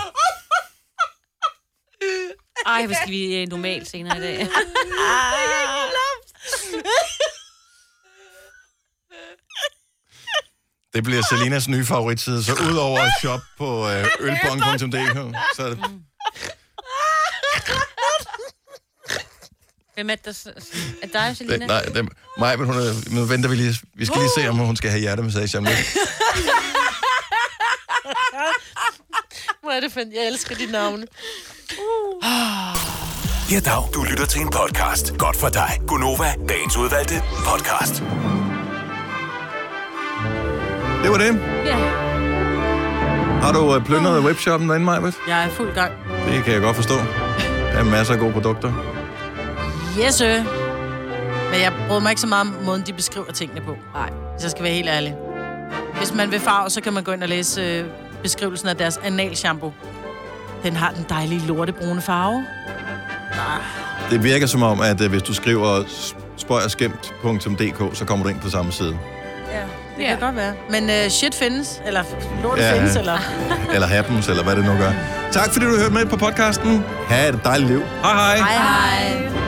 S2: Ej, hvor skal vi øh, normalt senere i dag.
S1: Det bliver Selinas nye favoritside, så udover at shoppe på øh, ølbong.dk, så er det...
S2: Hvem er det, der... s- s- Er det dig, Selina?
S1: det nej, det, mig, men hun er, nu venter vi lige. Vi skal lige se, om hun skal have hjertemassage om lidt.
S3: Hvor er det fedt. Jeg elsker de navne. Uh.
S6: Ja, dag. Du lytter til en podcast. Godt for dig. Gunova, dagens udvalgte podcast.
S1: Det var det.
S2: Ja.
S1: Har du øh, plyndret webshoppen derinde, Majbet?
S3: Jeg er i fuld gang.
S1: Det kan jeg godt forstå. Der er masser af gode produkter.
S3: Yes, sir. Men jeg bryder mig ikke så meget om måden, de beskriver tingene på. Nej. Hvis jeg skal være helt ærlig. Hvis man vil farve, så kan man gå ind og læse øh, beskrivelsen af deres analshampoo. Den har den dejlige lortebrune farve.
S1: Det virker som om, at øh, hvis du skriver spøjerskæmt.dk, så kommer du ind på samme side.
S3: Ja, det ja. kan godt være. Men øh, shit findes, eller lort
S1: Ja.
S3: ja. findes, eller...
S1: Eller happens, eller hvad det nu gør. Tak fordi du hørte med på podcasten. Ha' et dejligt liv. Hej hej.
S3: hej.